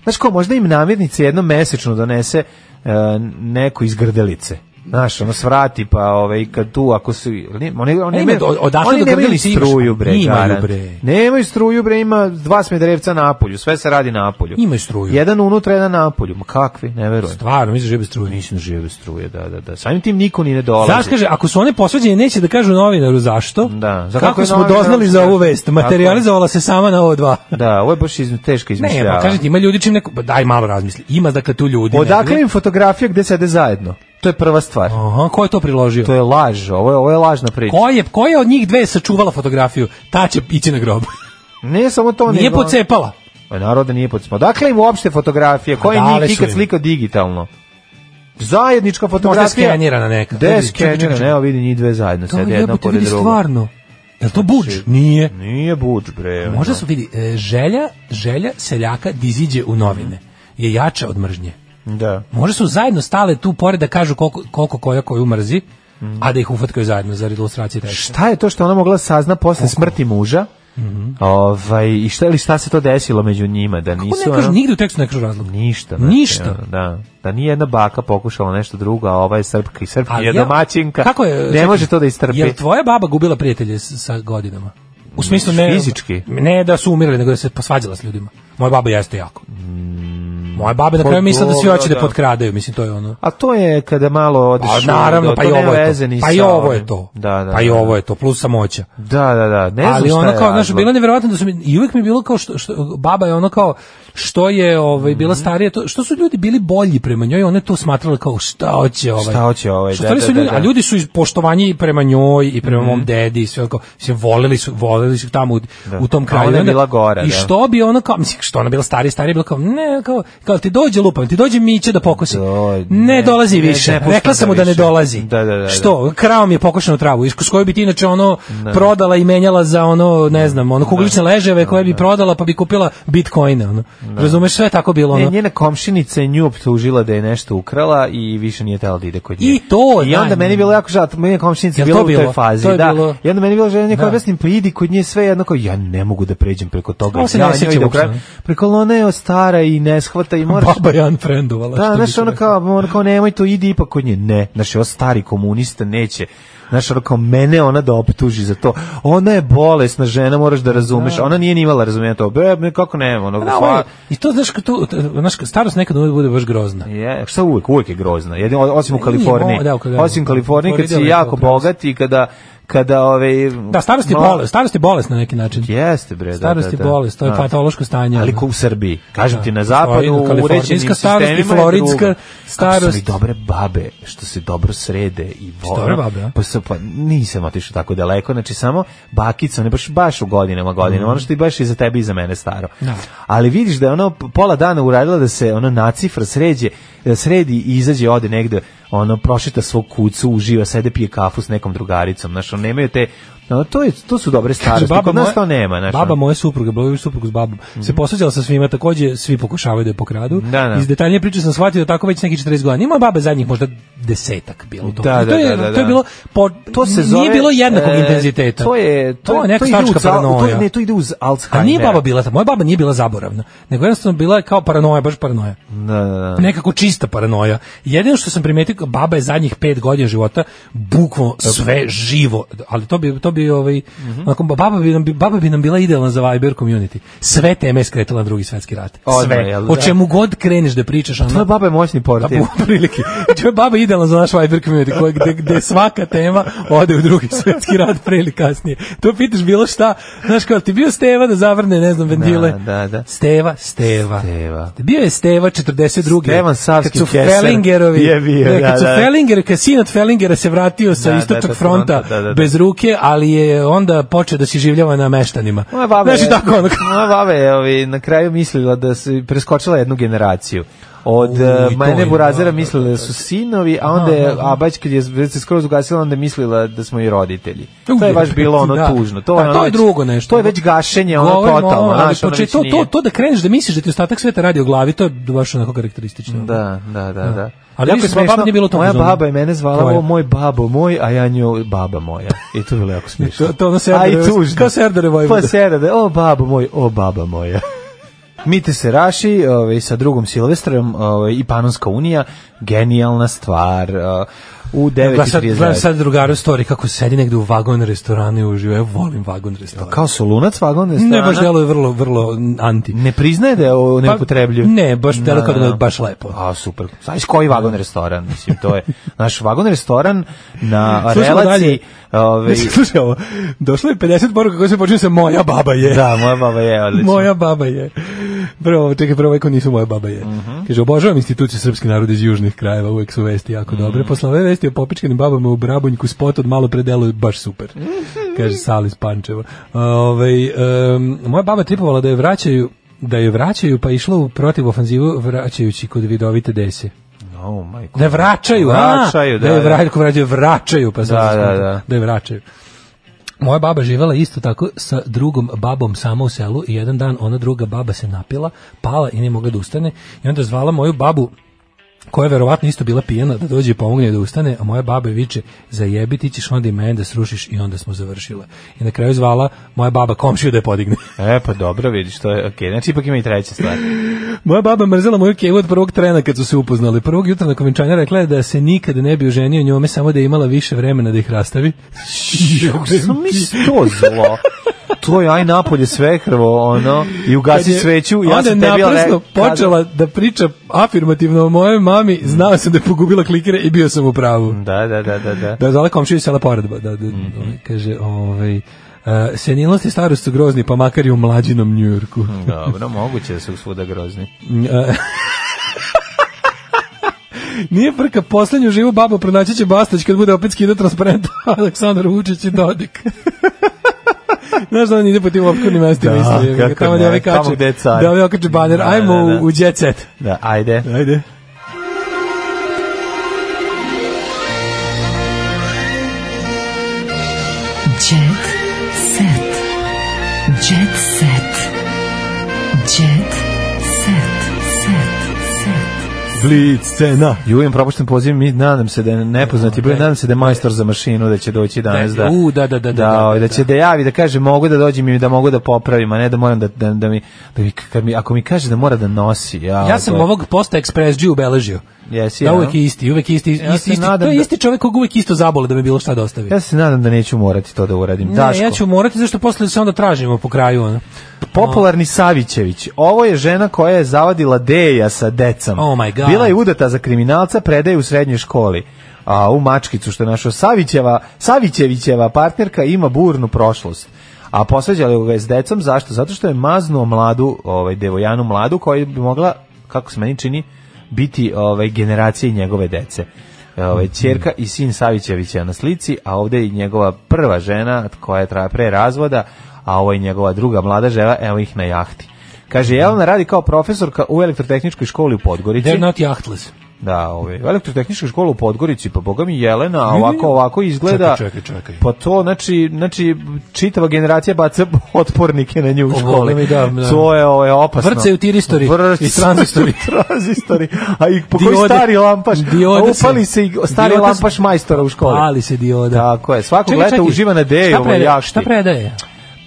S6: Znaš ko, možda im namirnice jednom mesečno donese eh, neko iz grdelice. Znaš, ono svrati, pa ovaj, kad tu, ako su... Oni, oni, oni,
S5: E,
S6: imaju-
S5: od- odakle
S6: oni
S5: do
S6: nemaju ni
S5: grdelice imaš?
S6: struju, bre,
S5: Imaju,
S6: garant.
S5: bre.
S6: Nemaju struju, bre, ima dva smederevca na polju, sve se radi na polju.
S5: Imaju struju.
S6: Jedan unutra, jedan na polju. Ma kakvi, ne verujem.
S5: Stvarno, misliš da žive struje.
S6: Mislim, žive bez struje, da, da, da. Samim tim niko ni ne dolazi.
S5: Znaš, kaže, ako su one posveđene, neće da kažu novinaru zašto.
S6: Da, za
S5: Za
S6: kako
S5: kako,
S6: je
S5: smo
S6: novinar-
S5: doznali za ovu vest?
S6: Tako je.
S5: Materializovala se sama na ovo dva.
S6: Da, ovo je baš iz, teška
S5: Ne,
S6: izmišljava.
S5: pa kažete, ima ljudi čim neko... Pa daj malo razmisli. Ima, dakle, tu ljudi.
S6: Odakle
S5: negde.
S6: im fotografija gde sede zajedno? To je prva stvar.
S5: Aha, ko je to priložio?
S6: To je laž, ovo je, ovo je lažna priča.
S5: Ko je, ko je od njih dve sačuvala fotografiju? Ta će ići na grob.
S6: Ne samo to,
S5: Nije
S6: nego-
S5: pocepala.
S6: Ma narode nije pocepao. Odakle im uopšte fotografije? Ko je
S5: dale
S6: njih
S5: su
S6: ikad
S5: im.
S6: slika digitalno? Zajednička
S5: Možda je
S6: fotografija.
S5: skenirana neka.
S6: Gde je
S5: Vidi, čekaj, čekaj,
S6: skenirana?
S5: čekaj.
S6: Evo vidi njih dve zajedno,
S5: To
S6: sede
S5: je
S6: jedna
S5: Da, jebote,
S6: pored
S5: vidi
S6: drugog. Znači,
S5: stvarno. Jel to buč? Nije.
S6: Nije buč, bre.
S5: Možda su, vidi, e, želja, želja seljaka diziđe u novine je jača od mržnje.
S6: Da.
S5: Možda su zajedno stale tu pored da kažu koliko, koliko koja koju mrzi, a da ih ufatkaju zajedno za ilustracije teksta.
S6: Šta je to što ona mogla da sazna posle smrti muža? Ovaj, i šta, ili šta se to desilo među njima? Da
S5: Kako
S6: nisu,
S5: ne
S6: ono-
S5: kažu, nigde u tekstu ne kažu razlog.
S6: Ništa.
S5: Ništa.
S6: ono, Da, da nije jedna baka pokušala nešto drugo, a ova je srpka i srpka
S5: Ali
S6: je
S5: ja-
S6: domaćinka.
S5: Kako je,
S6: ne
S5: čekaj,
S6: može to da istrpi.
S5: Jel tvoja baba gubila prijatelje s- sa godinama? U smislu ne...
S6: Fizički?
S5: Ne da su umirali, nego da se posvađala s ljudima. Moja baba jeste jako. Moja baba na
S6: pa
S5: kraju mislila da svi
S6: dobro,
S5: hoće da
S6: da.
S5: potkradaju, mislim, to je ono.
S6: A to je kada malo odeš.
S5: Pa naravno,
S6: do-
S5: pa
S6: Da, to
S5: i
S6: nema
S5: ovo je
S6: veze
S5: to.
S6: ni
S5: Pa i
S6: sa
S5: ovo
S6: ovim.
S5: je to.
S6: Da, da,
S5: pa i
S6: da.
S5: ovo je to, plus samoća.
S6: Da, da, da. Ne znam
S5: ali
S6: šta
S5: ono
S6: je
S5: kao, znaš,
S6: razlog.
S5: bilo je neverovatno da su mi, i uvek mi je bilo kao što, što baba je ono kao što je ovaj bila
S6: Mhm.
S5: starija to što su ljudi bili bolji prema njoj ona je to smatrala kao šta hoće ovaj
S6: Šta hoće ovaj,
S5: Što
S6: da,
S5: stvari
S6: da,
S5: su
S6: da, Mhm.
S5: ljudi,
S6: da.
S5: a ljudi su iz poštovanja i prema njoj i prema mom dedi i sve ono kao se voleli su voleli su tamo u, u tom
S6: Da. A
S5: kraju
S6: ona je
S5: Onda-
S6: bila gore,
S5: i
S6: da.
S5: što bi ono kao mislim što ona bila starija starija je bila kao ne kao kao ti dođe lupam ti dođe miće da pokosi
S6: Doj,
S5: ne,
S6: ne,
S5: dolazi
S6: ne,
S5: više
S6: ne puštam
S5: rekla sam
S6: ga
S5: mu da ne
S6: više.
S5: dolazi
S6: Da, da, da, da.
S5: što krao mi je pokošenu travu, iz s koju bi ti inače ono prodala i menjala za ono,
S6: Da.
S5: ne znam, ono kuglične leževe koje bi prodala pa bi kupila bitcoine, ono. Razumeš, sve je tako bilo,
S6: Da. Ne,
S5: ono.
S6: njena komšinica je nju optužila da je nešto ukrala i više nije tela da ide kod nje.
S5: I to,
S6: I onda
S5: da,
S6: meni je bilo jako žao, meni je komšinica
S5: Jel
S6: bila
S5: to
S6: u toj
S5: bilo?
S6: fazi,
S5: To je
S6: da.
S5: bilo-
S6: I onda meni je bilo želja neko
S5: Da.
S6: objasnim, pa idi kod nje sve jednako, ja ne mogu da pređem preko toga.
S5: Ovo se
S6: Ja
S5: ne
S6: njoj
S5: sjeća
S6: idem
S5: uopšte,
S6: krajem.
S5: ne?
S6: Preko ona je stara i ne shvata i moraš
S5: Baba je unfriendovala.
S6: Da,
S5: što bi
S6: znaš,
S5: se
S6: ono
S5: reklo.
S6: kao, ono kao, nemoj to, idi ipak kod nje. Ne, znaš, ovo stari komunista neće. Znaš, ono kao, mene ona da optuži za to. Ona je bolesna žena, moraš da razumeš. Ona nije ni imala razumijena to. Be, ne, kako ne, ono,
S5: Da, ovo je-
S6: hva...
S5: I to, znaš, kao to, znaš, starost nekad uvijek bude baš grozna.
S6: Je, šta uvek, uvek je grozna. Jedino, osim u
S5: Nije,
S6: Kaliforniji.
S5: mo- da, u Kaliforniji.
S6: Osim u Kaliforniji, kad si
S5: Florida je
S6: jako
S5: to grozno.
S6: bogat i kada, kada, ove...
S5: Da, starost je bolest, starost je bolest na neki način.
S6: Jeste, bre, da,
S5: Starost je
S6: da, da.
S5: bolest, to je
S6: Da.
S5: patološko stanje.
S6: Ali
S5: ono.
S6: ko u Srbiji. Kažem ti, na
S5: Da,
S6: zapadu,
S5: Florida,
S6: u uređenim
S5: kalifornijska starost i
S6: sistemima je
S5: floridska,
S6: drugo. Kako su mi
S5: starost.
S6: dobre babe, što se dobro srede i vo-
S5: dobre babe, a?
S6: pa, sa- pa nisam otišao tako daleko, znači samo bakica, ne baš baš u godinama, godinama, ono što je baš i za tebe i za mene staro.
S5: Mhm. Da.
S6: Ali vidiš da je ono pola dana uradila da se ono nacifra sređe, da sredi i izađe ode negde, ono prošeta svog kucu, uživa, sede pije kafu s nekom drugaricom, znači on nemaju te ono, to, je, to su dobre starosti, kod nas to nema. Znaš,
S5: baba
S6: ono. Mhm.
S5: moje supruge, bila je supruga s babom, se posvađala sa svima, takođe svi pokušavaju da je pokradu.
S6: Da, da.
S5: Iz detaljnije priče sam shvatio da tako već neki 40 godina. Ima baba zadnjih možda desetak bilo to.
S6: Da,
S5: I to
S6: da,
S5: je,
S6: da, da,
S5: To je
S6: da.
S5: bilo, po,
S6: to se
S5: nije
S6: zove
S5: bilo jednakog
S6: e,
S5: intenziteta.
S6: To je to,
S5: to je
S6: to
S5: neka
S6: ide uz
S5: stačka
S6: al- To,
S5: paranoja.
S6: je- ne, to ide uz Alzheimer.
S5: A nije baba bila ta, moja baba nije bila zaboravna, nego jednostavno bila je kao paranoja, baš paranoja.
S6: Da, da, da.
S5: Nekako čista paranoja. Jedino što sam primetio, baba je zadnjih pet godina života bukvalno sve živo, ali to bi, to bi ovaj,
S6: Mhm.
S5: onako, baba, bi nam, baba bi nam bila idealna za Viber community. Sve teme je skretala na drugi svetski rat.
S6: Odmah,
S5: Sve.
S6: jel da?
S5: O čemu god kreneš da pričaš, ona...
S6: Tvoja baba je moćni portir.
S5: A, u prilike. To je baba idealna za naš Viber community, koja, gde, gde svaka tema ode u drugi svetski rad pre ili kasnije. To pitaš bilo šta, znaš kao, ti bio Steva da zavrne, ne znam, ventile?
S6: da, da.
S5: Steva, Steva.
S6: Steva.
S5: Bio je Steva 42.
S6: Stevan Savski
S5: Kad su
S6: Keser
S5: Felingerovi,
S6: je bio,
S5: ne, kad
S6: da,
S5: su
S6: da.
S5: Fellinger, kad sin od Fellingera se vratio sa
S6: Da, da,
S5: istočnog
S6: da,
S5: fronta
S6: fronta, da, da, da.
S5: bez ruke, ali je onda počeo da se življava na meštanima.
S6: Moja baba je,
S5: Znaš, i tako ono, kao-
S6: moja baba je ovi, na kraju mislila da se preskočila jednu generaciju. Od
S5: U, i
S6: uh,
S5: to
S6: Majne
S5: je,
S6: Burazera
S5: da, da,
S6: mislila da su sinovi, a onda je, a Bać kad je već se skroz ugasila, onda je mislila da smo i roditelji. To je baš bilo ono
S5: Da.
S6: tužno. To je,
S5: A
S6: ono
S5: to je
S6: već-
S5: drugo nešto.
S6: To je već gašenje, ono
S5: Govorim o ovom,
S6: totalno.
S5: ali
S6: znaš, ono
S5: poče-
S6: već
S5: to, to,
S6: nije.
S5: to da kreneš da misliš da ti ostatak sveta radi o glavi, to je baš onako karakteristično.
S6: Da, da, da, da.
S5: Ali
S6: Jako
S5: vidiš,
S6: je
S5: moja baba
S6: smešno,
S5: nije bila u tom
S6: Moja
S5: fazonu.
S6: baba je
S5: To
S6: mene zvala,
S5: je.
S6: ovo moj babo moj, a ja nju baba moja. I to je bilo jako smiješno.
S5: To- to ono
S6: A i
S5: Serdare-
S6: tužno.
S5: kao Serdare Vojvoda.
S6: Pa Serdare, o babo moj, o baba moja. Mite se raši ovaj, sa drugom Silvestrom ovaj, i Panonska unija, genijalna stvar. eh, U
S5: Gledam sad, gledam
S6: 9.39.
S5: sad drugaru story kako sedi negde u vagon restoranu i uživa. Ja volim vagon restoran.
S6: Da, Kao su lunac vagon
S5: ne,
S6: restorana.
S5: baš deluje vrlo, vrlo anti.
S6: Ne priznaje da je ovo neupotrebljiv.
S5: ne, baš deluje kao da je baš lepo.
S6: Pa, A, super. Znaš koji vagon restoran? Mislim, to je naš vagon restoran na
S5: Slušamo
S6: relaciji...
S5: Ne,
S6: Ovaj,
S5: slušaj ovo, došlo je 50 poruka koje se počinju sa moja baba je.
S6: Da, moja baba je odlična.
S5: Moja baba je. Prvo, čekaj, prvo eko nisu moja baba je.
S6: Mhm.
S5: Kaže, obožavam instituciju srpski narod iz južnih krajeva, uvek su vesti jako
S6: Mhm.
S5: dobre. Posle ove vesti o popičkanim babama u Brabunjku spot od malo predelu je baš super.
S6: Mhm.
S5: Kaže, Salis Pančeva. Ove, moja baba je tripovala da je vraćaju da je vraćaju pa je išla u protiv ofanzivu vraćajući kod vidovite dese.
S6: Oh, majko.
S5: Da je vraćaju, a?
S6: Vraćaju, da,
S5: je
S6: da.
S5: vraćaju, vraćaju, vraćaju, pa sam
S6: Da,
S5: se
S6: da,
S5: skontao,
S6: da.
S5: da je vraćaju. Moja baba živela isto tako sa drugom babom sama u selu i jedan dan ona druga baba se napila, pala i nije mogla da ustane i onda je zvala moju babu koja je verovatno isto bila pijena da dođe i pomogne da ustane, a moja baba je viče zajebi ti ćeš onda i mene da srušiš i onda smo završile. I na kraju je zvala moja baba komšiju da je podigne.
S6: E, pa dobro, vidiš, to je okej. Znači, ipak ima i treća stvar.
S5: Moja baba je mrzela moju kevu od prvog trena kad su se upoznali. Prvog jutra na kovenčanja rekla je da se nikada ne bi oženio njome, samo da je imala više vremena da ih rastavi.
S6: Sam mi to zlo. To je aj napolje svekrvo, ono, i ugasi sveću, ja sam
S5: Onda
S6: tebi
S5: je naprasno
S6: rekao...
S5: počela da priča afirmativno o mojoj mami,
S6: Mm.
S5: znao sam da je pogubila klikere i bio sam u pravu.
S6: Da, da, da, da, da.
S5: Da je zvala komšiju iz sela pored, da, da,
S6: Mm-hmm.
S5: ovaj, kaže, ovaj, Uh, senilnost i starost su grozni, pa makar i u mlađinom Njujorku.
S6: Dobro, moguće da su svuda grozni.
S5: E, Nije prka, poslednju živu babu pronaći će Bastać kad bude opet skidao transparent Aleksandar Vučić i Dodik. Znaš da on ide po tim opkornim mestima
S6: Da,
S5: isto, jebi ga,
S6: kako
S5: tamo
S6: ne,
S5: da ovi
S6: tamo
S5: kače,
S6: gde je car.
S5: da ovi okače baner,
S6: Da,
S5: ajmo
S6: da, da.
S5: u, u jet set.
S6: Da, ajde.
S5: Ajde.
S4: Jet set. Jet set. Jet set. Set. Set.
S5: Blitz scena.
S6: Jujem propušten poziv, mi nadam se da je nepoznati broj, nadam se da je majstor za mašinu da će doći danas da.
S5: u, da, da, da, da,
S6: da,
S5: da,
S6: ovaj, da
S5: da.
S6: će da javi da kaže mogu da dođem i da mogu da popravim, a ne da moram da da, da mi da mi kad mi ako mi kaže da mora da nosi, ja.
S5: Ja sam
S6: to-
S5: ovog posta Express G ubeležio.
S6: Jesi,
S5: Da
S6: ja.
S5: uvek je isti, uvek je isti, isti,
S6: Ja se
S5: isti- to
S6: nadam
S5: je
S6: da-
S5: isti čovjek kog uvek isto zabole da mi bilo šta dostavi.
S6: Ja se nadam da neću morati to da uradim.
S5: Ne,
S6: Daško,
S5: ja ću morati zašto posle se onda tražimo po kraju. Ono.
S6: popularni Savićević. Ovo je žena koja je zavadila Deja sa decom.
S5: Oh my God.
S6: Bila je udata za kriminalca, predaje u srednjoj školi. A u Mačkicu što je našo Savićeva, Savićevićeva partnerka ima burnu prošlost. A posvađali ga je s decom, zašto? Zato što je maznuo mladu, ovaj, devojanu mladu koja bi mogla, kako se meni čini, biti ovaj, generacije njegove dece. Ovaj, čerka i sin Savićevića je na slici, a ovde je i njegova prva žena koja je traja pre razvoda, a ovo je njegova druga mlada žena, evo ih na jahti. Kaže, Jelena radi kao profesorka u elektrotehničkoj školi u Podgorici.
S5: They're not yachtless.
S6: Da, ovaj, u elektrotehničkoj školi u Podgorici, pa boga mi Jelena, a ovako, ovako izgleda.
S5: Čekaj, čekaj, čekaj.
S6: Pa to, znači, znači, čitava generacija baca otpornike na nju u
S5: Ovo,
S6: školi.
S5: mi da, da.
S6: To je ovaj, opasno.
S5: Vrcaju tiristori
S6: Vrcaju
S5: i tranzistori.
S6: tranzistori. A i po koji
S5: Diode.
S6: stari lampaš?
S5: Diode
S6: A upali se i stari
S5: diode se-
S6: lampaš majstora u školi.
S5: Pali se dioda.
S6: Tako je, svakog
S5: Čekaj,
S6: leta
S5: čekaj,
S6: uživa na deju,
S5: šta
S6: ovo,
S5: predaje?
S6: jašti.
S5: Šta predaje?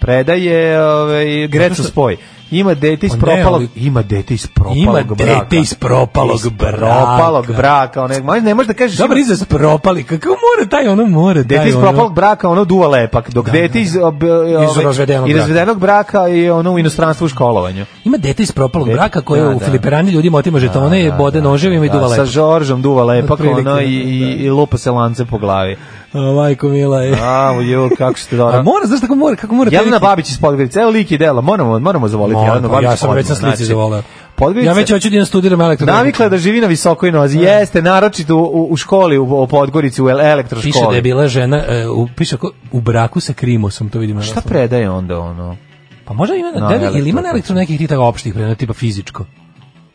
S6: Predaje ovaj, Grecu spoj. Ima dete iz
S5: Pa ne,
S6: propalog,
S5: ali-
S6: ima dete iz propalog
S5: Ima
S6: braka.
S5: dete iz propalog
S6: Iz
S5: braka.
S6: propalog braka. One, ma- ne možeš da kažeš
S5: Dobar
S6: ima-
S5: izraz propali, kako mora taj ono mora taj
S6: Dete iz
S5: ono. Da,
S6: propalog braka, ono duva lepak, dok dete iz, ob, ovaj,
S5: razvedenog
S6: i
S5: braka.
S6: razvedenog braka je ono u inostranstvu u školovanju.
S5: Ima dete iz propalog
S6: Dete-
S5: braka koje
S6: da,
S5: u
S6: da.
S5: Filiperani ljudima otima žetone, bode noževima i duva
S6: Sa
S5: lepo.
S6: Žoržom duva lepak,
S5: Otprilike, da.
S6: ono, i, i, i lupa se lance po glavi.
S5: O, Majko mila je.
S6: A, jo, kako ste
S5: A da
S6: dobro.
S5: mora, znaš tako mora, kako mora? taj
S6: Jelena
S5: lik-
S6: Babić iz Podgorice, evo lik i dela, moramo, moramo zavoliti
S5: Moram,
S6: Jelenu
S5: pa
S6: Babić.
S5: Ja sam već na
S6: odmah,
S5: slici
S6: znači.
S5: zavoleo.
S6: Podgorica,
S5: Ja već hoću da idem studiram elektrotehniku.
S6: Navikla je da živi na visokoj nozi. Jeste, naročito u, u- u školi, u, u Podgorici, u el- elektroškoli.
S5: Piše da je bila žena, e, u, piše ako, u braku sa Krimosom, to vidim. na
S6: Šta
S5: naslovu.
S6: predaje onda ono?
S5: Pa možda ima,
S6: Na
S5: na, da, li- ili ima
S6: elektro-
S5: na elektro nekih tih tako opštih predmeta, tipa fizičko.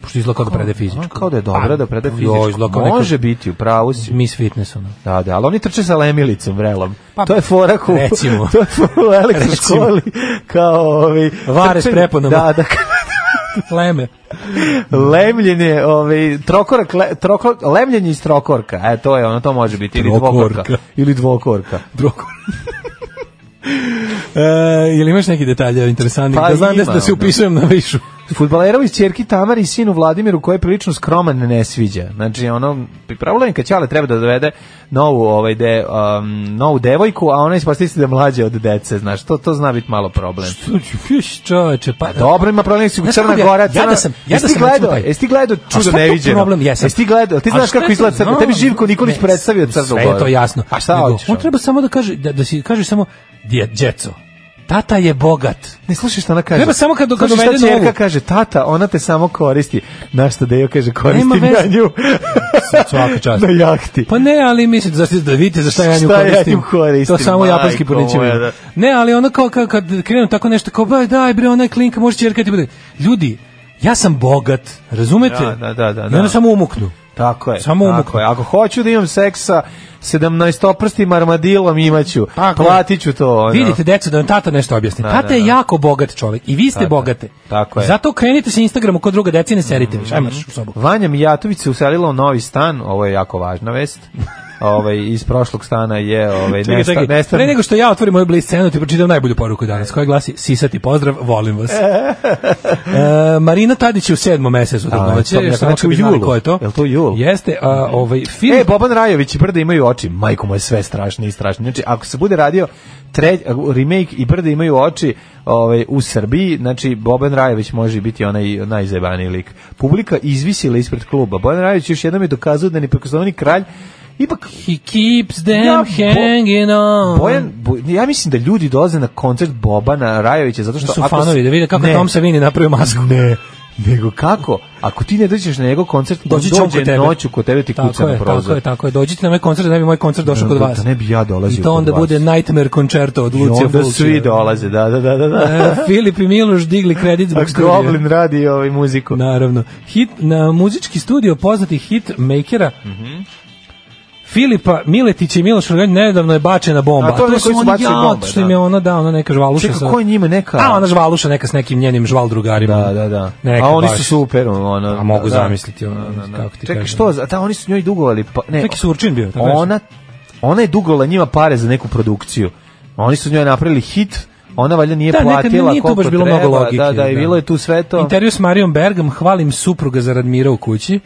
S5: Pošto izgleda kao da prede fizičko.
S6: Kao da je dobra
S5: Pa,
S6: da preda
S5: jo,
S6: fizičko.
S5: izgleda kao neko-
S6: Može biti, u pravu si.
S5: Miss Fitness, ono.
S6: Da, da, ali oni trče sa lemilicom, vrelom.
S5: Pa,
S6: to je fora ku,
S5: recimo.
S6: to je fora u elektroškoli. Kao ovi...
S5: Vare s
S6: trčanje-
S5: preponama.
S6: Da, da,
S5: Leme.
S6: lemljenje, ovaj, trokorak, le, troko, lemljenje iz trokorka. E, to je ono, to može biti. Ili
S5: Trokorka.
S6: dvokorka. Ili dvokorka.
S5: Drugo. e, jel imaš neki detalje interesantni?
S6: Pa
S5: da znam da,
S6: ima,
S5: da se
S6: ono.
S5: upisujem na višu.
S6: Futbalerovi iz Čerki Tamari i sinu Vladimiru koji je prilično skroman ne sviđa. Znači ono pripravljeno kad Ćale treba da dovede novu ovaj de um, novu devojku, a ona ispostavi se da je mlađa od dece, znaš. To to zna biti malo problem.
S5: Fiš, čoveče, pa...
S6: Dobro, ima problem su
S5: Znaš
S6: Crna
S5: kako bi ja-
S6: Gora.
S5: ja
S6: Crna-
S5: da sam- ja da
S6: Jesi ti
S5: sam
S6: gledao?
S5: recimo taj-
S6: Jesi ti gledao
S5: A
S6: čudo
S5: šta je tu
S6: neviđeno?
S5: problem? Jesam.
S6: Jesi ti gledao? Ti
S5: A
S6: znaš
S5: šta
S6: kako
S5: je-
S6: izgleda Crna
S5: znam,
S6: Tebi Živko Nikolić
S5: ne,
S6: predstavio Crnu Goru.
S5: Sve je to jasno.
S6: A šta
S5: Nego,
S6: hoćeš?
S5: On treba samo da kaže, da, da si kaže samo, "Dje- djeco, tata je bogat.
S6: Ne slušaj šta ona kaže.
S5: Treba samo kad- kad
S6: Slušaj
S5: dovede
S6: šta čerka
S5: novu.
S6: kaže, tata, ona te samo koristi. Na što Dejo kaže,
S5: Nema
S6: koristim
S5: veze.
S6: ja nju.
S5: Svaka čast.
S6: Na jahti.
S5: Pa ne, ali mislim da da vidite za šta ja nju
S6: Šta ja
S5: koristim.
S6: nju koristim,
S5: To samo
S6: majko
S5: japanski porniči.
S6: moja, da.
S5: Ne, ali ono kao kad, kad krenu tako nešto kao baj daj bre onaj klinka može ćerka ti bude. Ljudi, ja sam bogat, razumete?
S6: Da, da, da, da,
S5: I onda
S6: da.
S5: samo umuknu.
S6: Tako je.
S5: Samo
S6: tako
S5: umuknu.
S6: je. Ako hoću da imam seksa 17-oprstim armadilom imaću.
S5: Tako je.
S6: Platit ću to. Ono.
S5: Pa Vidite, deco, da vam tata nešto objasni.
S6: Da,
S5: tata
S6: da, da.
S5: je jako bogat čovjek i vi ste
S6: Tako je.
S5: bogate.
S6: Tako je. Mhm.
S5: Zato krenite sa Instagramom kod druga deca i ne serite više. Ajmo marš u sobu.
S6: Vanja Mijatović se uselila u novi stan. Ovo je jako važna vest. ovaj, iz prošlog stana je ovaj,
S5: Čekaj,
S6: nesta-
S5: čekaj.
S6: nestan-
S5: Pre nego što ja otvorim moju bliz scenu, ti pročitam najbolju poruku danas, koja glasi Sisati pozdrav, volim vas. E, Marina Tadić je u sedmom mesecu da
S6: to
S5: trudnoće,
S6: mi je
S5: samo
S6: znači
S5: kad bi
S6: u
S5: znali
S6: julu.
S5: ko je to.
S6: Jel to u julu?
S5: Jeste, a, ovaj, film...
S6: E, Boban Rajović i Brda imaju oči. Majko moje, sve strašnije i strašnije. Znači, ako se bude radio tre, remake i Brda imaju oči ovaj, u Srbiji, znači, Boban Rajović može biti onaj najzajbaniji lik. Publika izvisila ispred kluba. Boban Rajović još jednom je dokazao da je neprikosnoveni kralj Ipak,
S5: He keeps them
S6: Ja, bo-
S5: hanging on.
S6: Bojan, bo, ja mislim da ljudi dolaze na koncert Bobana Rajovića zato što...
S5: Da su
S6: ako
S5: fanovi,
S6: s-
S5: da vide kako
S6: Ne,
S5: Tom Savini napravio masku.
S6: Ne, nego kako? Ako ti ne dođeš na njegov koncert, on
S5: Doći će on kod
S6: dođe
S5: tebe.
S6: noću kod tebe ti kuca
S5: Tako
S6: na
S5: je, tako
S6: prozor.
S5: je, tako je. Dođite na moj koncert, da ne bi moj koncert došao
S6: Da,
S5: kod
S6: da,
S5: vas.
S6: da ne bi ja dolazio
S5: I to
S6: kod
S5: onda
S6: vas.
S5: bude Nightmare Concerto od
S6: I
S5: Lucija
S6: onda
S5: Fulcija.
S6: svi dolaze, da, da, da, da. da.
S5: E, da. Filip i Miloš digli kredit
S6: A
S5: zbog studija.
S6: Goblin radi ovaj muziku.
S5: Naravno. Hit, na muzički studio poznati hit makera Filipa Miletića i Miloš Rogan nedavno je bačena bomba.
S6: A to je
S5: je
S6: oni koji su bacili bombe,
S5: Što
S6: da.
S5: im je ona, da, ona neka žvaluša.
S6: Čekaj,
S5: sa-
S6: ko je njima neka-
S5: A, ona žvaluša neka s nekim njenim žval drugarima.
S6: Da, da, da.
S5: Neka
S6: A oni
S5: baš.
S6: su super, ono.
S5: A mogu
S6: da.
S5: zamisliti, ono, kako ti
S6: Čekaj,
S5: kažem.
S6: što? za- Da, oni su njoj dugovali. Pa, ne,
S5: Neki surčin bio. tako nešto.
S6: ona, ona je dugovala njima pare za neku produkciju. Oni su njoj napravili hit, ona valjda nije
S5: Da, nekad
S6: platila
S5: nije tu
S6: koliko
S5: baš bilo
S6: treba.
S5: mnogo logike,
S6: Da, da, i
S5: da.
S6: bilo je tu sve to.
S5: Intervju s Marijom Bergom, hvalim supruga za Radmira u kući.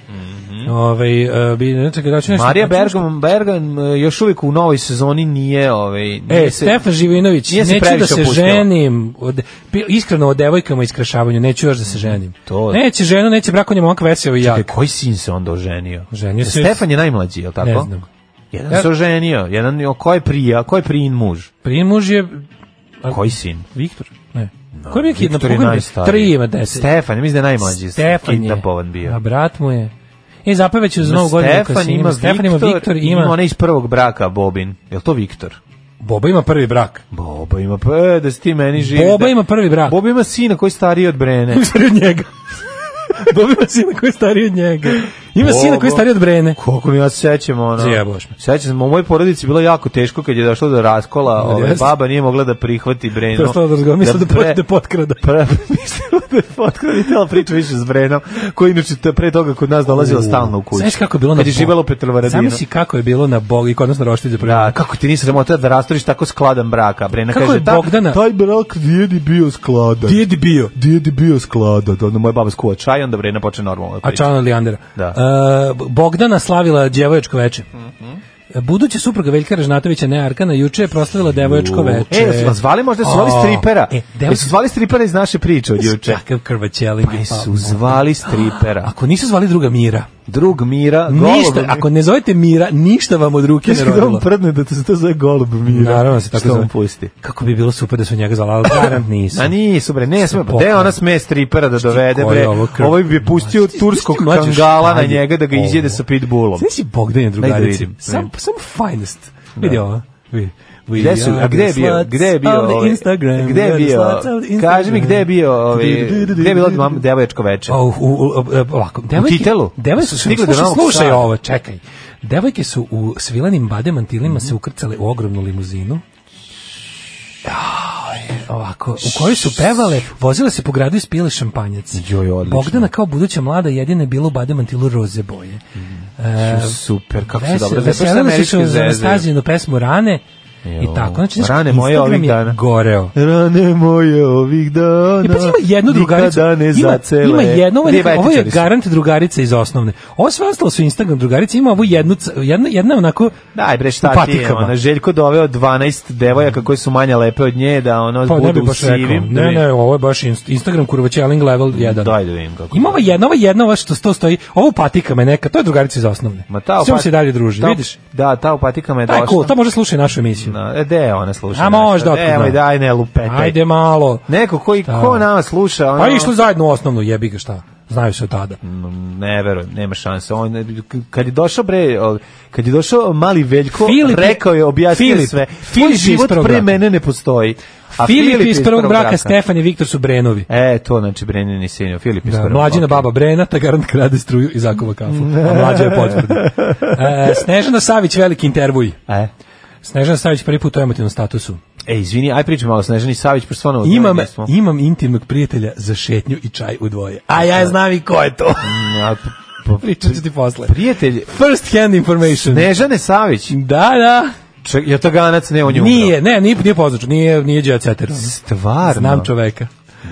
S5: Ovaj, e, bi, ne, čekaj, da ću nešto-
S6: Mhm. Marija
S5: da ću nešto-
S6: Bergam, Bergam e, još uvijek u novoj sezoni nije... Ovaj, nije
S5: E, Stefan Živinović,
S6: nije se
S5: neću da
S6: previše
S5: se
S6: opustila.
S5: ženim. Od, pi- iskreno o devojkama i skrašavanju, neću još da se ženim.
S6: To-
S5: Neće ženu, neće brak, on je momak veseo i
S6: Čekaj,
S5: jak.
S6: koji sin se onda oženio? E,
S5: Oženio se-
S6: Stefan je najmlađi, je li tako?
S5: Ne znam.
S6: Jedan
S5: Ja-
S6: se oženio, jedan, o, ko je prija, ko je prijin muž?
S5: Prijen muž je A-
S6: Koji sin?
S5: Viktor. Ne. Koji je kidnapovan?
S6: Viktor je najstariji.
S5: Tri ima deset.
S6: Stefan, ja mislim da je najmlađi.
S5: Stefan je.
S6: Kidnapovan bio.
S5: A brat mu je. E, zapevaću za
S6: Ima
S5: novu godinu. kad
S6: Stefan,
S5: se
S6: ima
S5: Stefan, ima Viktor,
S6: i ima
S5: ima...
S6: onaj iz prvog braka, Bobin. Je to Viktor?
S5: Boba ima prvi brak.
S6: Boba ima, pa, e, da si ti meni živi.
S5: Boba
S6: da-
S5: ima prvi brak.
S6: Boba ima sina koji je stariji od Brene.
S5: Koji je stariji od njega. Boba ima sina koji je stariji od njega. Ima sina koji je stariji od Brene.
S6: Koliko mi ja se sećam, ono...
S5: Zajebavaš me.
S6: Sećam se, u mojoj porodici bilo jako teško kad je došlo do raskola, ovaj,
S5: Jeste.
S6: baba nije mogla da prihvati Brenu.
S5: To je stalo da razgovara, mislila da potkrada.
S6: pre-
S5: potkrada.
S6: Pre, mislila da je potkraditela priča više s Brenom, koji inače to je pre toga kod nas dolazila stalno u kuću.
S5: Znaš kako je bilo na...
S6: Kad je
S5: Bo-
S6: živela u Petrovaradinu.
S5: Zamisli kako je bilo na Bogu i kod nas na roštilju prvi
S6: Da, kako ti nisi sramota da rastoriš tako skladan braka? Brena
S5: Kako
S6: kaže,
S5: je Bogdana-
S6: Ta, taj brak dijedi bio skladan.
S5: Dijedi bio.
S6: Dijedi bio skladan. Onda moja baba skuva čaj, onda Brena počne normalno.
S5: A Čana Lijandera.
S6: Da.
S5: E, Bogdana slavila djevojačko veče.
S6: Mhm.
S5: Buduća supruga Veljka Ražnatovića, ne Arkana, juče je proslavila devojačko veče.
S6: E, jesu vas zvali možda su zvali
S5: O,
S6: stripera?
S5: E,
S6: Jesu
S5: devojačko
S6: zvali stripera iz naše priče od juče?
S5: Kakav krvaćeli.
S6: Pa jesu zvali stripera.
S5: Ako nisu zvali druga Mira,
S6: Drug Mira,
S5: ništa, ako ne zovete Mira, ništa vam od ruke ne
S6: Kisko da on
S5: rodilo.
S6: prdne da se to zove golub Mira.
S5: Naravno da se tako
S6: Što
S5: zove.
S6: on pusti.
S5: Kako bi bilo super da su njega zvala, ali garant nisu.
S6: A nisu bre, ne sme, pa
S5: pokvareno.
S6: gde ona sme stripera da dovede
S5: Znači, koji
S6: bre.
S5: je ovo krv?
S6: Ovo bi pustio
S5: Znaš ti-
S6: turskog
S5: znaš ti, mlađe,
S6: kangala
S5: šta
S6: na
S5: je
S6: njega da ga
S5: ovo?
S6: izjede sa pitbullom.
S5: Znaš si Bogdan je
S6: Daj da
S5: drugarici?
S6: vidim. Da.
S5: Sam, sam finest. Vidi ovo. Vidi. We
S6: Gde su,
S5: are
S6: a gde je
S5: the
S6: bio,
S5: sluts
S6: gde je bio,
S5: of the
S6: ovaj,
S5: Instagram.
S6: gde
S5: We
S6: je
S5: are the
S6: bio,
S5: sluts of the
S6: kaži mi
S5: Instagram.
S6: gde je bio, ovaj, gde je bilo mam, devojačko veče?
S5: O, u, u, u- ovako, devojke,
S6: e, titelu?
S5: Devojke su
S6: Stigle do
S5: slušaj,
S6: Novog
S5: slušaj
S6: Sada.
S5: ovo, čekaj. Devojke su u svilenim bademantilima se ukrcale u ogromnu limuzinu.
S6: Da,
S5: Aj, Ovako, u kojoj su pevale, vozile se po gradu i spijele šampanjac.
S6: Joj, odlično.
S5: Bodana kao buduća mlada jedina je bila u bademantilu roze boje. E,
S6: Super, Mm. kako se
S5: Vesel-
S6: dobro zove, pa što
S5: Veselile su
S6: američke
S5: se uz
S6: zvezde.
S5: Anastazijinu pesmu Rane i
S6: Jo.
S5: tako. Znači, znaš,
S6: Rane moje
S5: Instagram
S6: ovih
S5: je
S6: dana.
S5: Goreo.
S6: Rane moje ovih dana.
S5: I pa ima jednu drugaricu.
S6: Da. nikada ne
S5: Ima,
S6: zacele.
S5: ima jedno, ovo je,
S6: Gde
S5: neka, ovo ovaj je
S6: Bajtičari su?
S5: garant drugarica iz osnovne. Ovo sve ostalo su Instagram drugarice, ima ovu jednu, c- jedna, jedna onako
S6: Daj bre,
S5: u
S6: šta ti je,
S5: patikama.
S6: ona, Željko doveo 12 devojaka koje su manje lepe od nje, da ono
S5: Pa ne
S6: budu
S5: bih
S6: u
S5: baš rekao.
S6: sivim. da
S5: Ne,
S6: vidim.
S5: ne, ovo je baš inst- Instagram kurvaćeling level 1.
S6: Daj da vidim kako.
S5: Ima ova jedna, ova jedna, ova što sto stoji, ovo u patikama je neka, to je drugarica iz osnovne.
S6: Ma ta
S5: S njom
S6: opat-
S5: se dalje druži,
S6: ta-
S5: vidiš?
S6: Da, ta upatikama je
S5: Taj
S6: došla.
S5: cool, ta može slušaj našu emisiju.
S6: Na, e, de je ona sluša.
S5: A možda, otkud
S6: Evo,
S5: znam.
S6: daj ne lupetaj.
S5: Ajde malo.
S6: Neko koji,
S5: Šta?
S6: ko nama sluša, ono...
S5: Pa išli zajedno u osnovnu, jebi ga šta. Znaju se od tada.
S6: Mm, Ne verujem, nema šanse. On, kad je došao bre, o, kad je došao mali Veljko,
S5: Filip je-
S6: rekao je, objasnio
S5: Filip,
S6: sve.
S5: Filip
S6: Tvoj
S5: iz
S6: život
S5: prvog
S6: pre
S5: braka.
S6: mene ne postoji. A
S5: Filip iz prvog braka,
S6: Stefan.
S5: Stefan i Viktor su Brenovi.
S6: E, to znači Brenini sin, Filip iz
S5: Da,
S6: prvog
S5: mlađina
S6: braka.
S5: baba Brena, ta garant krade struju i zakuva kafu. A mlađa je potvrda. E, Snežana Savić, veliki intervuj.
S6: E.
S5: Snežana Savić prvi put u emotivnom statusu.
S6: E, izvini, aj pričaj malo Snežani Savić, pošto stvarno odvojeni
S5: Imam,
S6: Pa smo.
S5: imam intimnog prijatelja za šetnju i čaj u dvoje. A ja znam i ko je to.
S6: Mm, a, p- p-
S5: Pričat ću ti posle.
S6: Prijatelj,
S5: First hand information.
S6: Snežane Savić,
S5: Da, da.
S6: ček, je to ganac, ne on je umro.
S5: Nije, ne, nije, nije poznačo, nije, nije Jet Setter.
S6: Stvarno.
S5: Znam čoveka.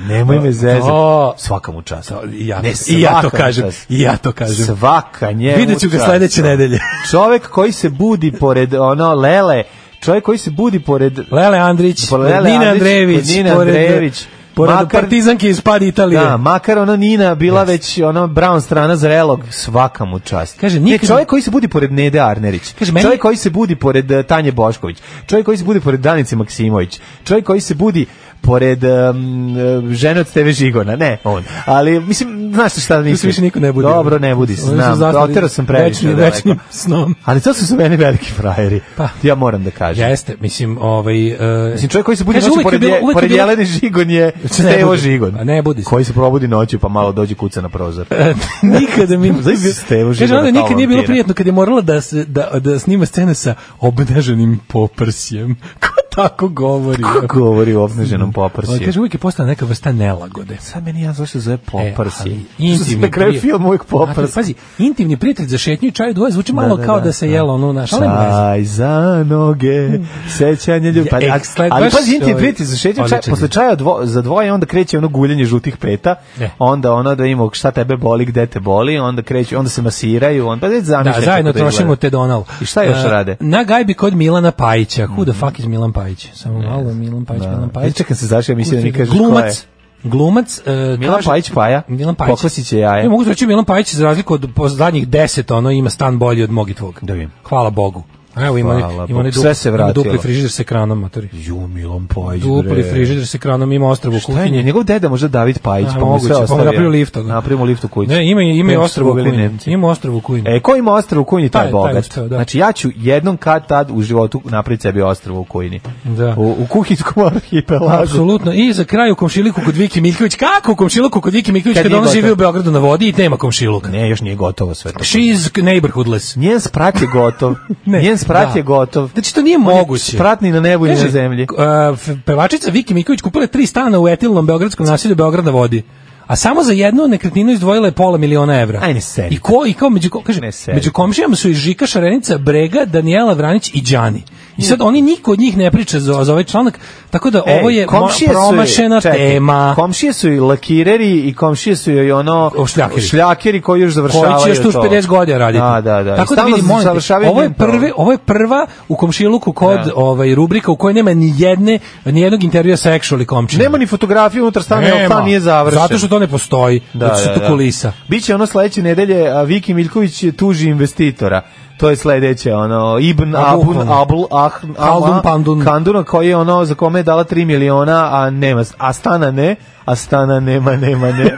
S6: Nemoj me zezati.
S5: O.
S6: Svaka mu čast.
S5: I ja,
S6: Ne,
S5: i ja to
S6: svaka mu
S5: kažem.
S6: čast.
S5: I ja to kažem.
S6: Svaka njemu
S5: Vidjet ću ga
S6: čast.
S5: sledeće nedelje.
S6: Čovek koji se budi pored ono lele, čovek koji se budi pored
S5: Lele Andrić,
S6: Pored Pa Lele
S5: Nina
S6: Andrić,
S5: Andrejević,
S6: pored Nine Andrejević.
S5: pored
S6: Makar-
S5: Partizanke iz Pad Italije.
S6: Da, makar ona Nina bila već ono brown strana zrelog, svaka mu čast.
S5: Kaže,
S6: Ne,
S5: nikad-
S6: čovjek koji se budi pored Nede Arnerić,
S5: Kaže, meni-
S6: čovjek koji se budi pored eh, Tanje Bošković, čovjek koji se budi pored Danice Maksimović, čovjek koji se budi pored um, eh, žene od Steve Žigona, ne on. Ali, mislim, znaš šta
S5: Tu se
S6: mislim?
S5: više niko ne budi.
S6: Dobro, ne budi se,
S5: Oni su
S6: znam,
S5: zastali
S6: oterao sam previše
S5: večnim-
S6: daleko.
S5: večnim snom.
S6: Ali to su su meni veliki frajeri.
S5: Pa.
S6: Ja moram da kažem.
S5: Jeste, mislim, ovaj... Uh,
S6: Mislim, čovjek koji se budi
S5: Kaže,
S6: noću
S5: uvek je
S6: pored,
S5: bilo-
S6: je,
S5: uvek je
S6: pored
S5: bilo-
S6: Jelene Žigon je
S5: Se ne
S6: Stevo
S5: budi.
S6: Žigon.
S5: A ne budi se.
S6: Koji se probudi noću pa malo dođe kuca na prozor.
S5: nikada mi...
S6: Znaš, Stevo
S5: Kaže,
S6: Žigona
S5: onda
S6: kao
S5: nikad nije bilo
S6: vampira.
S5: prijatno kad je morala da, se, da, da snima scene sa obneženim poprsjem. Ko tako govori?
S6: Kako govori o obneženom
S5: Ovaj,
S6: poprsiju?
S5: Kaže, uvijek je postala neka vrsta nelagode.
S6: Sad meni ja zašto se zove
S5: E, ali
S6: poprsije. Što se
S5: intimni
S6: na kraju
S5: prijatelj-
S6: film uvijek
S5: Znate,
S6: poprs.
S5: Pazi, intimni prijatelj za šetnju i čaj u dvoje zvuči malo kao da, se jelo ono naš, ali nema veze.
S6: Čaj za noge, sećanje ljubav.
S5: Ja,
S6: Ali,
S5: ek, sled-
S6: ali
S5: E, baš
S6: pazi, intimni
S5: ovaj,
S6: prijatelj za šetnju čaj,
S5: odličan
S6: posle
S5: je.
S6: čaja dvo, za dvoje, onda kreće ono guljenje žutih peta,
S5: Ne.
S6: onda ono da ima šta tebe boli, gde te boli, onda kreću, onda se masiraju, onda već
S5: Da,
S6: zamišljam.
S5: zajedno
S6: kako to
S5: trošimo
S6: izgleda.
S5: te Donal.
S6: I šta još
S5: E,
S6: rade? Mhm.
S5: Na gajbi kod Milana Pajića. Who the fuck is Milan Pajić? Samo malo, Milan Pajić, Milan
S6: Da. Ja
S5: Pajić.
S6: čekam se zašto ja mislim da mi kažeš ko je.
S5: Pa Glumac, glumac, e,
S6: Milan
S5: kaže-
S6: Pajić Paja?
S5: Milan Pajić.
S6: Kokosić je jaje.
S5: Ne mogu reći Milan Pajić za razliku od po zadnjih 10 ono ima stan bolji od mog i tvog.
S6: Da vidim.
S5: Hvala Bogu. Evo ima,
S6: Hvala
S5: ima,
S6: Bogu,
S5: ima,
S6: sve se vratilo.
S5: dupli frižider sa ekranom, matori.
S6: Ju, Milom Pojić, bre.
S5: Dupli frižider sa ekranom, ima ostrvo u
S6: Šta je
S5: kuhinji.
S6: nje- njegov deda možda David Pajić,
S5: A,
S6: pa mu
S5: moguće,
S6: sve
S5: pa mu
S6: ostavio.
S5: napravio lift, ono.
S6: Napravio mu lift u kući.
S5: Ne, ima, ima i
S6: Kojim su
S5: ostrvo u
S6: ubili
S5: kuhinji.
S6: Nemci.
S5: Ima ostrvo u kuhinji.
S6: E, ko ima ostrvo u kujni, taj
S5: Taj- taj
S6: je bogat.
S5: uspeo, da.
S6: Znači, ja ću jednom kad tad u životu napraviti sebi ostrvo u kujni.
S5: Da.
S6: U, u kuhinskom arhipelagu.
S5: Apsolutno. I za kraj u komšiluku kod Viki Miljković. Kako u komšiluku kod Viki Miljković
S6: Kad
S5: kad
S6: nije
S5: ona živi
S6: gotovo.
S5: u Beogradu na vodi i nema komšiluka?
S6: Ne, još nije gotovo sve to.
S5: She's neighborhoodless.
S6: Njen sprat je gotov.
S5: Ne,
S6: Njen sprat
S5: da.
S6: je gotov.
S5: Znači, to nije
S6: On je
S5: moguće.
S6: Sprat ni na nebu, ni
S5: Kaže,
S6: na zemlji.
S5: a, f- pevačica Viki Miljković kupila je tri stana u etilnom beogradskom naselju Beograd na vodi. A samo za jednu nekretninu izdvojila je pola miliona evra.
S6: Aj, ne seri.
S5: I ko i kao među ko- kaže
S6: Ne seri.
S5: među komšijama su i Žika Šarenica, Brega, Danijela Vranić i Đani. I sad oni niko od njih ne priča za, za ovaj članak, tako da ovo je mo-
S6: komšije su joj-
S5: promašena
S6: čekaj,
S5: tema.
S6: Komšije su i lakireri i komšije su joj ono
S5: O, šljakeri.
S6: šljakeri koji još završavaju
S5: koji će još tu
S6: to.
S5: 50 godina raditi.
S6: Da, da, da.
S5: Tako
S6: I
S5: da
S6: stalno
S5: vidimo,
S6: završavaju
S5: ovo je
S6: mentalno.
S5: prvi, ovo je prva u komšiluku kod
S6: Da.
S5: ovaj rubrika u kojoj nema ni jedne ni jednog intervjua sa actually komčinom.
S6: Nema ni fotografije unutar stana,
S5: Nema.
S6: jer stan nije završen.
S5: Zato što to ne postoji, da, zato što to kulisa.
S6: Biće ono sledeće nedelje, a Viki Miljković tuži investitora. To je sledeće, ono, Ibn
S5: A,
S6: Abun,
S5: bukvalno.
S6: Abl, Ah,
S5: Haldun Pandun.
S6: Kanduna, koji je ono, za kome je dala 3 miliona, a nema, a stana ne, a stana nema, nema, ne.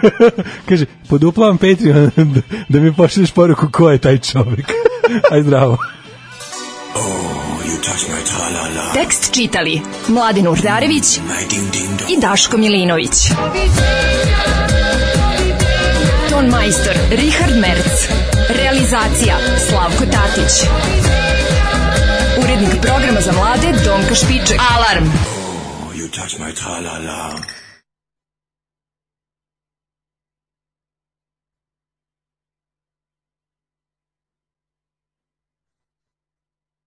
S5: Kaže, poduplavam Patreon da, da mi pošliš poruku ko je taj čovjek. Aj zdravo.
S10: Tekst čitali Mladin Urdarević i Daško Milinović. Ton majstor Richard Merc. Realizacija Slavko Tatić. Urednik programa za mlade Donka Špiček. Alarm!
S9: You touch my tra-la-la.